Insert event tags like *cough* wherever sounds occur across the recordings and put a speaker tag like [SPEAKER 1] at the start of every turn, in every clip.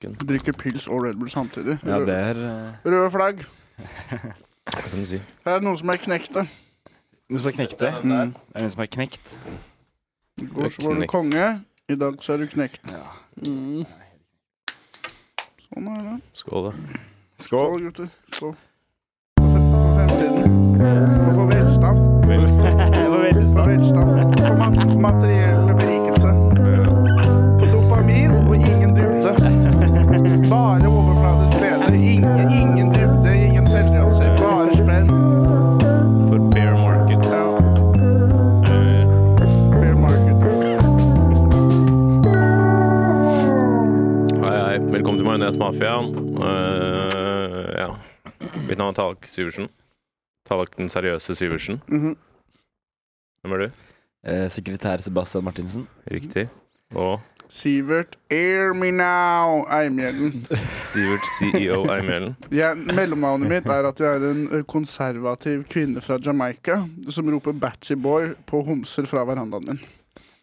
[SPEAKER 1] Fucken.
[SPEAKER 2] Drikker pils og Red Bull samtidig.
[SPEAKER 1] Ja, det er eh,
[SPEAKER 2] Røde
[SPEAKER 3] *laughs*
[SPEAKER 2] flagg.
[SPEAKER 1] Hva kan du si?
[SPEAKER 2] Her er det noen som er knekte.
[SPEAKER 1] Noen som er knekt? Det
[SPEAKER 2] Mm.
[SPEAKER 1] er en som er knekt.
[SPEAKER 2] I går
[SPEAKER 1] Du
[SPEAKER 2] så
[SPEAKER 1] er
[SPEAKER 2] var du
[SPEAKER 1] knekt.
[SPEAKER 2] konge, i dag så er du knekt.
[SPEAKER 1] Ja.
[SPEAKER 2] Mm. Sånn er det.
[SPEAKER 1] Skål, da.
[SPEAKER 2] Skål, gutter. Skål. For fe- For fremtiden. Og for velstand. For velstand. For, mat for materiell berikelse. For dopamin og ingen dybde.
[SPEAKER 1] *laughs*
[SPEAKER 2] Bare overfladisk glede. Ingen, ingen dybde, ingen selvrealisering. Bare spenn.
[SPEAKER 3] For bear market.
[SPEAKER 2] Ja,
[SPEAKER 3] Eh,
[SPEAKER 2] fair market.
[SPEAKER 3] Hei, hei. Velkommen til Majones Mafia. Eh, ja. Mitt navn er Tallak Syversen. Tallak den seriøse Syversen.
[SPEAKER 2] Mhm.
[SPEAKER 3] Hvem er du?
[SPEAKER 1] Eh, sekretær Sebastian Martinsen.
[SPEAKER 3] Riktig. Og
[SPEAKER 2] Sivert, hear me now, Eimgjelden.
[SPEAKER 3] Sivert E CEO Eimhjellen.
[SPEAKER 2] Jeg- Mellomnavnet mitt er at jeg er en ø, konservativ kvinne fra Jamaica som roper 'Batchy Boy' på homser fra verandaen min.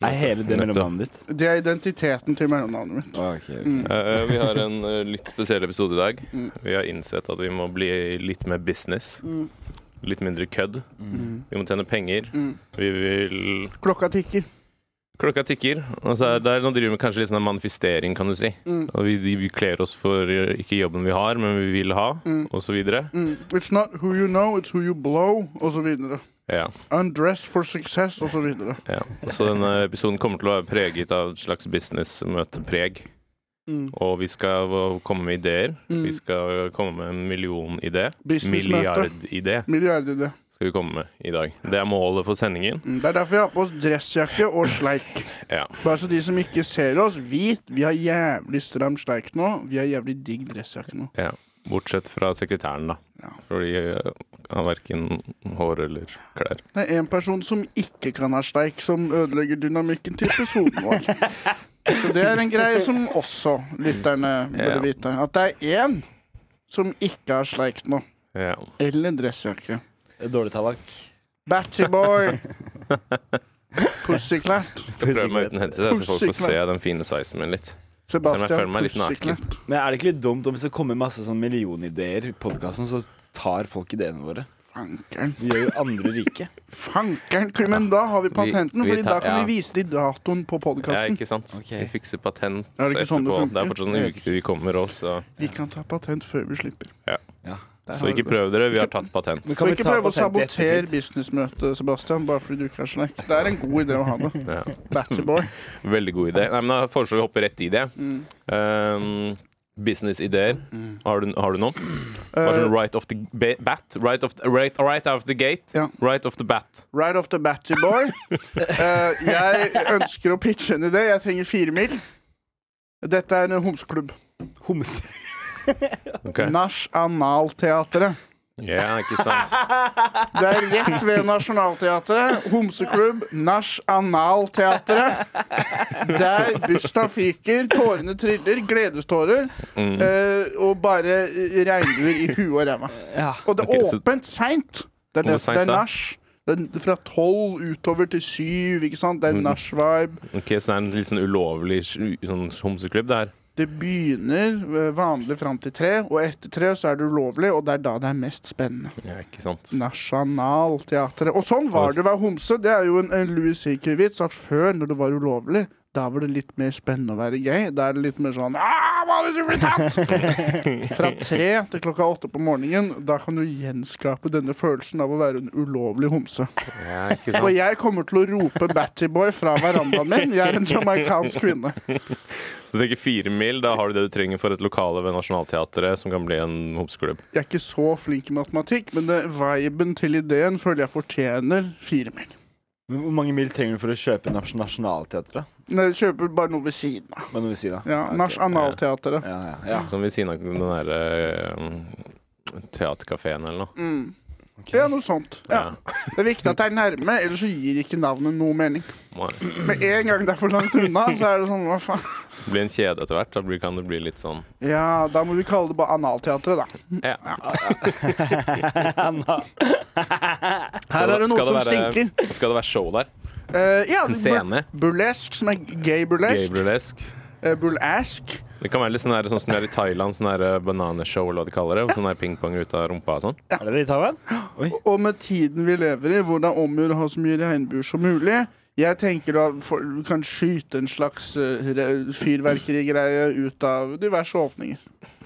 [SPEAKER 1] Er hele det
[SPEAKER 3] Nettopp.
[SPEAKER 1] mellom navnet ditt?
[SPEAKER 2] Det er identiteten til mellomnavnet mitt.
[SPEAKER 1] Ah,
[SPEAKER 2] Mm.
[SPEAKER 3] Eh, vi har en eh, litt spesiell episode i dag.
[SPEAKER 2] Mm.
[SPEAKER 3] Vi har innsett at vi må bli litt mer business.
[SPEAKER 2] Mm.
[SPEAKER 3] Litt mindre kødd.
[SPEAKER 2] Mm.
[SPEAKER 3] Vi må tjene penger.
[SPEAKER 2] Mm.
[SPEAKER 3] Vi vil
[SPEAKER 2] Klokka tikker.
[SPEAKER 3] Klokka tikker. Og så er det, nå driver vi med kanskje litt sånn manifestering, kan du si.
[SPEAKER 2] Mm.
[SPEAKER 3] Og vi, vi kler oss for eh, ikke jobben vi har, men vi vil ha,
[SPEAKER 2] Mm.
[SPEAKER 3] og så videre.
[SPEAKER 2] Mm. It's not who you know, it's who you blow, osv.
[SPEAKER 3] Ja,
[SPEAKER 2] Undress for success, osv.
[SPEAKER 3] ja. Så denne episoden kommer til å være preget av et slags business-møtepreg.
[SPEAKER 2] Mm.
[SPEAKER 3] Og vi skal eh, komme med ideer. Vi
[SPEAKER 2] Mm.
[SPEAKER 3] skal komme med en million-idé.
[SPEAKER 2] Businessmøte.
[SPEAKER 3] Milliard-idé
[SPEAKER 2] Milliardidé.
[SPEAKER 3] skal vi komme med i dag. Det er målet for sendingen.
[SPEAKER 2] Mm. Det er derfor vi har på oss dressjakke og sleik.
[SPEAKER 3] Ja.
[SPEAKER 2] Bare så de som ikke ser oss, vit vi har jævlig stram sleik nå. Vi har jævlig digg dressjakke nå.
[SPEAKER 3] ja. Bortsett fra sekretæren, da.
[SPEAKER 2] Ja.
[SPEAKER 3] Fordi eh, han har verken hår eller klær.
[SPEAKER 2] Det er en person som ikke kan ha sleik, som ødelegger dynamikken til episoden vår. Så det er en greie som også lytterne burde
[SPEAKER 3] Ja.
[SPEAKER 2] vite. At det er én som ikke har sleik nå.
[SPEAKER 3] Ja.
[SPEAKER 2] Eller dressjakke.
[SPEAKER 1] Dårlig tallak.
[SPEAKER 2] Battyboy! Pussyclat.
[SPEAKER 3] Skal prøve meg uten headset, jeg, så folk får se den fine sveisen min litt. Selv om jeg føler
[SPEAKER 2] Sebastian
[SPEAKER 3] meg litt naken.
[SPEAKER 2] Pussyclat.
[SPEAKER 1] Men er det ikke litt dumt om det skal komme masse sånn millionideer i podkasten, så tar folk ideene våre?
[SPEAKER 2] Fankeren.
[SPEAKER 1] Vi gjør jo andre rike.
[SPEAKER 2] Fankeren. Men da har vi patenten,
[SPEAKER 3] vi
[SPEAKER 2] Fordi
[SPEAKER 3] tar-
[SPEAKER 2] da kan
[SPEAKER 3] ja.
[SPEAKER 2] vi vise de datoen på
[SPEAKER 3] Ja,
[SPEAKER 2] podkasten.
[SPEAKER 3] ikke sant?
[SPEAKER 1] Ok.
[SPEAKER 3] Vi fikser patent
[SPEAKER 2] Er det ikke sånn det
[SPEAKER 3] etterpå.
[SPEAKER 2] funker?
[SPEAKER 3] Det er fortsatt
[SPEAKER 1] Jeg
[SPEAKER 3] en
[SPEAKER 1] vet
[SPEAKER 3] uke til vi kommer oss, så,
[SPEAKER 2] Vi kan ta patent før vi slipper.
[SPEAKER 1] Ja.
[SPEAKER 2] Der
[SPEAKER 3] så
[SPEAKER 2] har
[SPEAKER 3] ikke
[SPEAKER 2] du det.
[SPEAKER 3] prøv dere. Vi har tatt patent.
[SPEAKER 1] Men
[SPEAKER 2] Så
[SPEAKER 1] kan vi
[SPEAKER 2] ikke
[SPEAKER 1] ta
[SPEAKER 2] prøve å
[SPEAKER 1] patent i
[SPEAKER 2] sabotere
[SPEAKER 1] ettertid?
[SPEAKER 2] businessmøtet, Sebastian, bare fordi du ikke har slack. Det er en god idé å ha
[SPEAKER 1] *laughs*
[SPEAKER 2] det.
[SPEAKER 3] Ja.
[SPEAKER 2] Batterboy.
[SPEAKER 3] Veldig god idé. Nei, men Da foreslår vi å hoppe rett i det.
[SPEAKER 2] Mm.
[SPEAKER 3] Um, Businessideer.
[SPEAKER 2] Mm.
[SPEAKER 3] Har, du- har du noe? Bare
[SPEAKER 2] Eh,
[SPEAKER 3] sånn right off the ba- bat? Right off the, right, right out of the gate?
[SPEAKER 2] Ja.
[SPEAKER 3] Right off the bat.
[SPEAKER 2] right off the
[SPEAKER 1] *laughs*
[SPEAKER 2] Batterboy. jeg ønsker å pitche en idé. Jeg trenger fire mil. Dette er en homseklubb.
[SPEAKER 1] Homse.
[SPEAKER 3] Ok.
[SPEAKER 2] Nach Analteatret.
[SPEAKER 3] Ja, ikke sant?
[SPEAKER 2] Det er rett ved Nationaltheatret. Homseklubb, nach analteatret. Der busta fyker, tårene triller, gledestårer.
[SPEAKER 3] Mm.
[SPEAKER 2] eh, og bare regnbuer i huet og ræva.
[SPEAKER 1] Ja.
[SPEAKER 2] Og det er
[SPEAKER 3] Ok, så-
[SPEAKER 2] åpent seint. Det er,
[SPEAKER 3] Hvor
[SPEAKER 2] det,
[SPEAKER 3] sent
[SPEAKER 2] det er
[SPEAKER 3] da?
[SPEAKER 2] nach. Det er fra tolv utover til syv. ikke sant? Det er
[SPEAKER 3] Mm.
[SPEAKER 2] nach-vibe.
[SPEAKER 3] *laughs* Ok, Så det er en litt sånn ulovlig sj- sånn homseklubb, det her?
[SPEAKER 2] Det begynner eh, vanlig fram til tre, og etter tre så er det ulovlig, og det er da det er mest spennende.
[SPEAKER 3] Ja, ikke sant?
[SPEAKER 2] Nationalteatret. Og sånn var det å være homse. Det er jo en, en Louis C.K.-vits at før, når det var ulovlig, da var det litt mer spennende å være gay. Da er det litt mer sånn «Ah, hva hvis du blir tatt?
[SPEAKER 3] *laughs*
[SPEAKER 2] Fra tre til klokka åtte på morgenen, da kan du gjenskape denne følelsen av å være en ulovlig homse.
[SPEAKER 3] Ja, ikke
[SPEAKER 2] Og
[SPEAKER 3] sant?
[SPEAKER 2] jeg kommer til å rope Battyboy fra verandaen min. Jeg er en jamaicansk kvinne.
[SPEAKER 3] Så tenker fire mil, da har du det du trenger for et lokale ved Nationaltheatret som kan bli en homseklubb.
[SPEAKER 2] Jeg er ikke så flink i matematikk, men det, viben til ideen føler jeg fortjener fire mil.
[SPEAKER 1] Men Hvor mange mil trenger du for å kjøpe nas- Nationaltheatret?
[SPEAKER 2] Men Jeg kjøper bare noe ved siden av.
[SPEAKER 1] Hva er det du sier da?
[SPEAKER 2] Ja,
[SPEAKER 1] ok.
[SPEAKER 2] Nach Analteatret.
[SPEAKER 1] Ja, ja, ja.
[SPEAKER 3] Som ved siden av den derre eh, teaterkafeen eller noe.
[SPEAKER 2] Mm.
[SPEAKER 1] Ok.
[SPEAKER 2] Ja, noe sånt. Ja. Det er viktig at det er nærme, ellers så gir ikke navnet noe mening.
[SPEAKER 3] Må- Det
[SPEAKER 2] Med en gang det er for langt unna, så er det sånn hva faen.
[SPEAKER 3] blir en kjede etter hvert. Da blir, kan det bli litt sånn
[SPEAKER 2] Ja, da må vi kalle det bare Analteatret, da.
[SPEAKER 3] ja.
[SPEAKER 2] Her er det noe som
[SPEAKER 3] skal det være-
[SPEAKER 2] stinker.
[SPEAKER 3] Skal det være show der?
[SPEAKER 2] Eh, ja,
[SPEAKER 3] En
[SPEAKER 2] bur
[SPEAKER 3] scene?
[SPEAKER 2] burlesk, som er gay
[SPEAKER 3] Gay
[SPEAKER 2] burlesk.
[SPEAKER 3] burlesk?
[SPEAKER 2] eh, Bull Ask.
[SPEAKER 3] Det kan være litt sånn, der, sånn som det er i Thailand, sånn der bananeshow eller hva de kaller det. og Sånn der pingpong ut av rumpa og sånn.
[SPEAKER 4] Er det det i Taiwan?
[SPEAKER 2] Og med tiden vi lever i, hvor det er om å gjøre å ha så mye regnbuer som mulig Jeg tenker da for, du kan skyte en slags eh, re- fyrverkerigreie ut av diverse åpninger.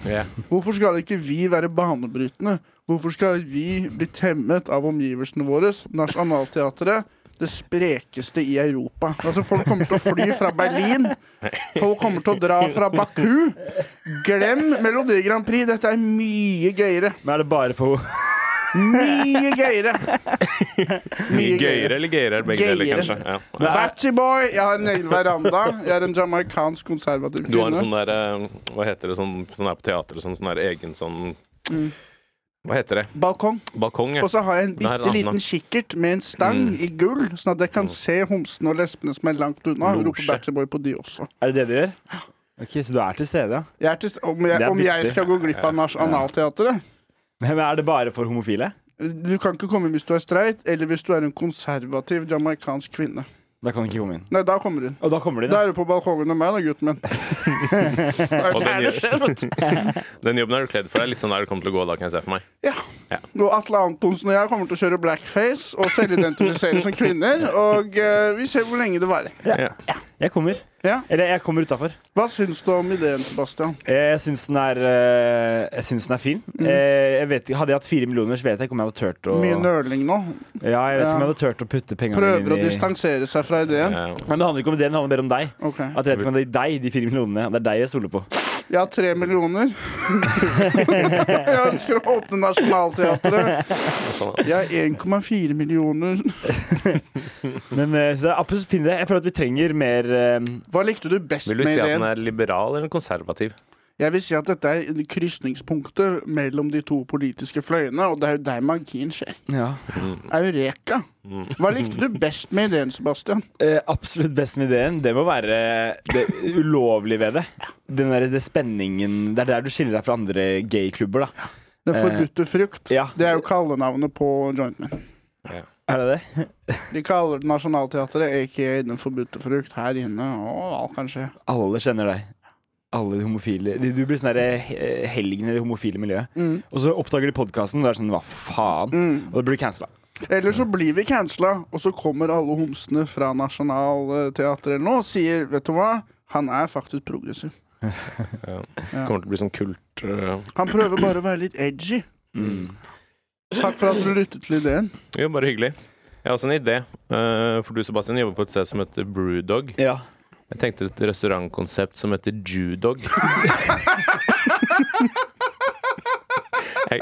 [SPEAKER 3] Ja.
[SPEAKER 2] Hvorfor skal ikke vi være banebrytende? Hvorfor skal vi bli temmet av omgivelsene våre? Nationaltheatret, det sprekeste i Europa. Altså Folk kommer til å fly fra Berlin. Folk kommer til å dra fra Baku. Glem Melodi Grand Prix. Dette er mye gøyere.
[SPEAKER 4] Men er det bare for
[SPEAKER 2] Mye gøyere. Mye
[SPEAKER 3] Gøyere eller gøyere er begge deler,
[SPEAKER 2] Gøyere.
[SPEAKER 3] kanskje. Ja. Ja.
[SPEAKER 2] Batchy boy. Jeg har en egen veranda. Jeg er en jamaicansk konservativ
[SPEAKER 3] Du har en
[SPEAKER 2] kvinne.
[SPEAKER 3] sånn der eh, Hva heter det sånn, sånn her på teatret? Sånn, sånn der egen sånn Hva heter det?
[SPEAKER 2] Balkong.
[SPEAKER 3] Balkong, sånn- ja.
[SPEAKER 2] Mm. Og så har jeg en
[SPEAKER 3] Der
[SPEAKER 2] bitte
[SPEAKER 3] landa.
[SPEAKER 2] liten kikkert med en stang
[SPEAKER 3] Mm.
[SPEAKER 2] i gull, sånn at jeg kan se homsene og lesbene som er langt unna.
[SPEAKER 3] Losje.
[SPEAKER 2] Og rope Batchy boy på de også.
[SPEAKER 4] Er det det du gjør? Ok, Så du er til stede, ja.
[SPEAKER 2] Jeg er til, st- om jeg,
[SPEAKER 4] Det er
[SPEAKER 2] om jeg
[SPEAKER 4] viktig.
[SPEAKER 2] skal gå glipp av nach analteatret
[SPEAKER 4] Men er det bare for homofile?
[SPEAKER 2] Du kan ikke komme inn hvis du er streit, eller hvis du er en konservativ jamaicansk kvinne.
[SPEAKER 4] Da kan du ikke komme inn.
[SPEAKER 2] Nei, da kommer hun.
[SPEAKER 4] Og da kommer de,
[SPEAKER 2] Da
[SPEAKER 4] da.
[SPEAKER 2] er du på balkongen med meg, da, gutten min.
[SPEAKER 3] Og
[SPEAKER 2] Det er
[SPEAKER 3] den,
[SPEAKER 2] det skjer, vet du.
[SPEAKER 3] *laughs* den jobben er du kledd for. Det er litt sånn der du kommer til å gå da, kan jeg se for meg.
[SPEAKER 2] Ja.
[SPEAKER 3] Ja.
[SPEAKER 2] Og Atle Antonsen og jeg kommer til å kjøre blackface og selvidentifisere som kvinner. Og eh, vi ser hvor lenge det varer.
[SPEAKER 3] Ja.
[SPEAKER 4] Jeg kommer.
[SPEAKER 2] Ja.
[SPEAKER 4] Eller jeg kommer utafor.
[SPEAKER 2] Hva syns du om ideen, Sebastian?
[SPEAKER 4] Jeg syns den er eh, Jeg synes den er fin. Eh, Jeg vet, ikke- hadde jeg hatt fire millioner, så vet jeg ikke om jeg hadde turt å
[SPEAKER 2] Mm. Mye nøling nå.
[SPEAKER 4] Ja, jeg vet ikke om jeg
[SPEAKER 2] Ja.
[SPEAKER 4] hadde turt å putte pengene
[SPEAKER 2] Prøver å
[SPEAKER 4] mine i
[SPEAKER 2] distansere seg fra ideen.
[SPEAKER 3] Ja.
[SPEAKER 4] Nei, men Det handler ikke om det, det handler mer om deg.
[SPEAKER 2] Ok.
[SPEAKER 4] At jeg vet ikke om det er deg, de fire millionene. Det er deg jeg stoler på.
[SPEAKER 2] Jeg har tre
[SPEAKER 3] *laughs*
[SPEAKER 2] millioner. jeg ønsker å åpne Nationaltheatret.
[SPEAKER 3] Sånn,
[SPEAKER 2] Jeg har 1,4 millioner.
[SPEAKER 4] Men eh, så det er absolutt fin idé. Jeg føler at vi trenger mer eh,
[SPEAKER 2] Hva likte du best
[SPEAKER 3] Vil du
[SPEAKER 2] med
[SPEAKER 3] si at
[SPEAKER 2] ideen?
[SPEAKER 3] den er liberal eller konservativ?
[SPEAKER 2] Jeg vil si at dette er krysningspunktet mellom de to politiske fløyene, og det er jo der magien skjer.
[SPEAKER 4] Ja.
[SPEAKER 2] Eureka.
[SPEAKER 3] Mm.
[SPEAKER 2] Hva likte du best med ideen, Sebastian?
[SPEAKER 4] Eh, absolutt best med ideen, det må være det ulovlige ved det. Den der, det spenningen Det er der du skiller deg fra andre gayklubber, da.
[SPEAKER 2] Den
[SPEAKER 4] Eh,
[SPEAKER 2] forbudte frukt.
[SPEAKER 4] ja.
[SPEAKER 2] Det er jo kallenavnet på jointman.
[SPEAKER 4] Er det det?
[SPEAKER 2] De kaller det Nationaltheatret, aka Den forbudte frukt, her inne. Og alt kan skje.
[SPEAKER 4] Alle kjenner deg. Alle de homofile Du du blir sånn derre eh, helgen i det homofile miljøet. Og så oppdager de podkasten, og det er sånn hva faen? Og det blir cancela.
[SPEAKER 2] Eller så blir vi cancela, og så kommer alle homsene fra Nationaltheatret eller noe og sier Vet du hva? Han er faktisk progressiv.
[SPEAKER 3] Kommer til å bli sånn kult øh.
[SPEAKER 2] Han prøver bare å være litt edgy.
[SPEAKER 3] Mm.
[SPEAKER 2] Takk for at du lyttet til ideen.
[SPEAKER 3] Jo, bare hyggelig. Jeg har også en idé. Eh, For du, Sebastian, jobber på et sted som heter Brewdog.
[SPEAKER 4] Ja.
[SPEAKER 3] Jeg tenkte et restaurantkonsept som heter Jewdog. Jeg-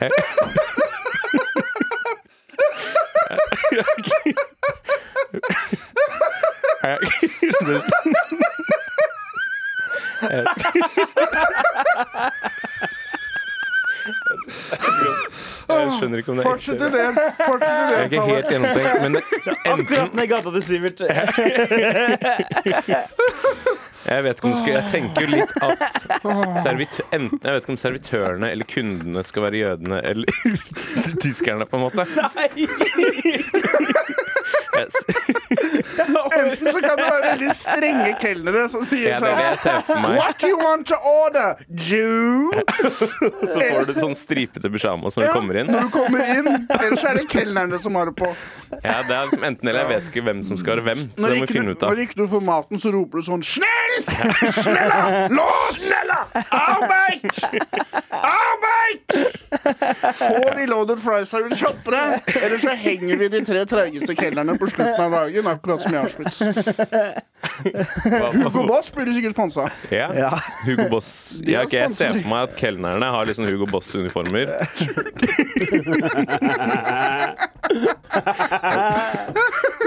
[SPEAKER 3] Jeg- Jeg- Jeg skjønner ikke om det er ekte.
[SPEAKER 2] Fortsett ideen. Fortsett
[SPEAKER 3] Det er
[SPEAKER 2] ideen,
[SPEAKER 3] ikke helt
[SPEAKER 2] Kalle.
[SPEAKER 3] gjennomtenkt, men det- enten
[SPEAKER 4] Akkurat ned gata til *laughs* Sivert.
[SPEAKER 3] Jeg vet ikke om det skal, jeg tenker jo litt at servitø- enten, Jeg vet ikke om servitørene eller kundene skal være jødene eller *laughs* tyskerne, på en måte. Jeg, s-
[SPEAKER 2] Enten så kan det være veldig strenge kelnere som sier
[SPEAKER 3] ja, det er det
[SPEAKER 2] sånn
[SPEAKER 3] jeg ser for meg.
[SPEAKER 2] What do you want to order, Jew?
[SPEAKER 3] Så får du sånn stripete pysjamas når du kommer inn.
[SPEAKER 2] Når du kommer inn, ellers er det kelnerne som har det på.
[SPEAKER 3] Ja, det er liksom enten eller. Jeg vet ikke hvem som skal være hvem. Så det må vi
[SPEAKER 2] ikke
[SPEAKER 3] finne
[SPEAKER 2] du-
[SPEAKER 3] ut av.
[SPEAKER 2] når ikke du får maten, så roper du sånn Snell! Snella! Lås! Snella! Arbeid! Arbeid! Få de loaded friesa vil kjappere, eller så henger vi de tre treigeste kelnerne på slutten av dagen, akkurat som i
[SPEAKER 3] *laughs*
[SPEAKER 2] Auschwitz. Hugo
[SPEAKER 3] Hva-
[SPEAKER 2] Boss blir du sikkert sponsa.
[SPEAKER 3] Ja,
[SPEAKER 4] Ja.
[SPEAKER 3] Hugo Boss. Ja, ok, jeg ser for meg at kelnerne har liksom Hugo
[SPEAKER 2] *laughs*
[SPEAKER 3] Boss-uniformer.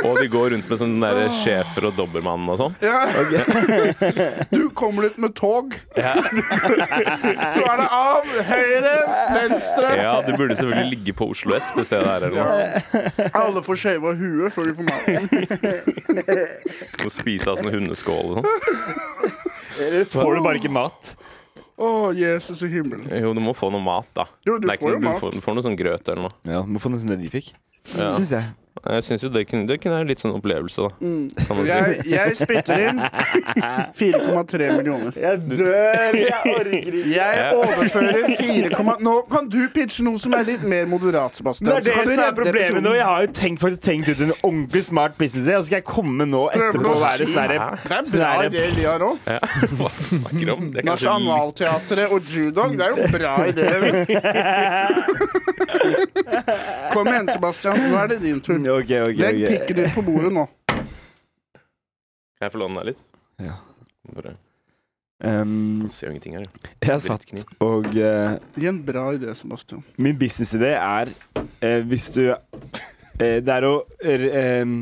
[SPEAKER 3] Og de går rundt med sånne der schæfer og dobbermann og sånn.
[SPEAKER 2] Ja. Du kommer dit med tog. Så er det av, høyre, venstre.
[SPEAKER 3] Ja, det burde selvfølgelig ligge på Oslo S, det stedet her. Eller noe.
[SPEAKER 2] Alle får shava huet før de får maten.
[SPEAKER 3] Og spise av sånn hundeskål og sånn.
[SPEAKER 4] Eller får du bare ikke mat?
[SPEAKER 2] Å, Jesus i himmelen.
[SPEAKER 3] Jo, du må få noe mat, da.
[SPEAKER 2] Jo, du
[SPEAKER 3] Det er ikke
[SPEAKER 2] får jo
[SPEAKER 3] noe-
[SPEAKER 2] mat.
[SPEAKER 3] Du får, du får noe sånn grøt eller noe.
[SPEAKER 4] Ja, Må få nesten det de fikk,
[SPEAKER 3] Ja.
[SPEAKER 4] syns jeg.
[SPEAKER 3] Jeg syns jo det kunne, det kunne være litt sånn opplevelse, da.
[SPEAKER 2] Mm.
[SPEAKER 3] Kan man si.
[SPEAKER 2] Jeg, jeg spytter
[SPEAKER 4] *laughs*
[SPEAKER 2] inn 4,3 millioner.
[SPEAKER 4] Jeg dør! Jeg orker *laughs* ikke.
[SPEAKER 2] Jeg overfører 4,... Nå kan du pitche noe som er litt mer moderat, Sebastian.
[SPEAKER 4] Det er
[SPEAKER 2] Så kan
[SPEAKER 4] det
[SPEAKER 2] du
[SPEAKER 4] som er
[SPEAKER 2] redde
[SPEAKER 4] problemet nå.
[SPEAKER 2] episoden.
[SPEAKER 4] Jeg har jo tenkt, faktisk tenkt ut en ordentlig smart business idé, og så skal jeg komme nå etterpå og være sånn herre
[SPEAKER 2] Det er
[SPEAKER 4] sånn
[SPEAKER 2] bra
[SPEAKER 4] herre-
[SPEAKER 2] ideer vi har òg.
[SPEAKER 3] Ja. Hva snakker du om? Det er kanskje litt
[SPEAKER 2] Nasjonalteatret og judog, det er jo bra ideer. Kom igjen, Sebastian. Nå er det din tur.
[SPEAKER 4] *laughs* Ok, ok, ok.
[SPEAKER 2] Legg pikken din på bordet nå.
[SPEAKER 3] Kan jeg få låne deg litt?
[SPEAKER 4] Ja.
[SPEAKER 3] Bare
[SPEAKER 4] Um,
[SPEAKER 3] jeg ser jo ingenting her.
[SPEAKER 4] jeg satt og eh,
[SPEAKER 2] Gi en bra idé, Sebastian.
[SPEAKER 4] Min businessidé er eh, hvis du eh, Det er å eh, em,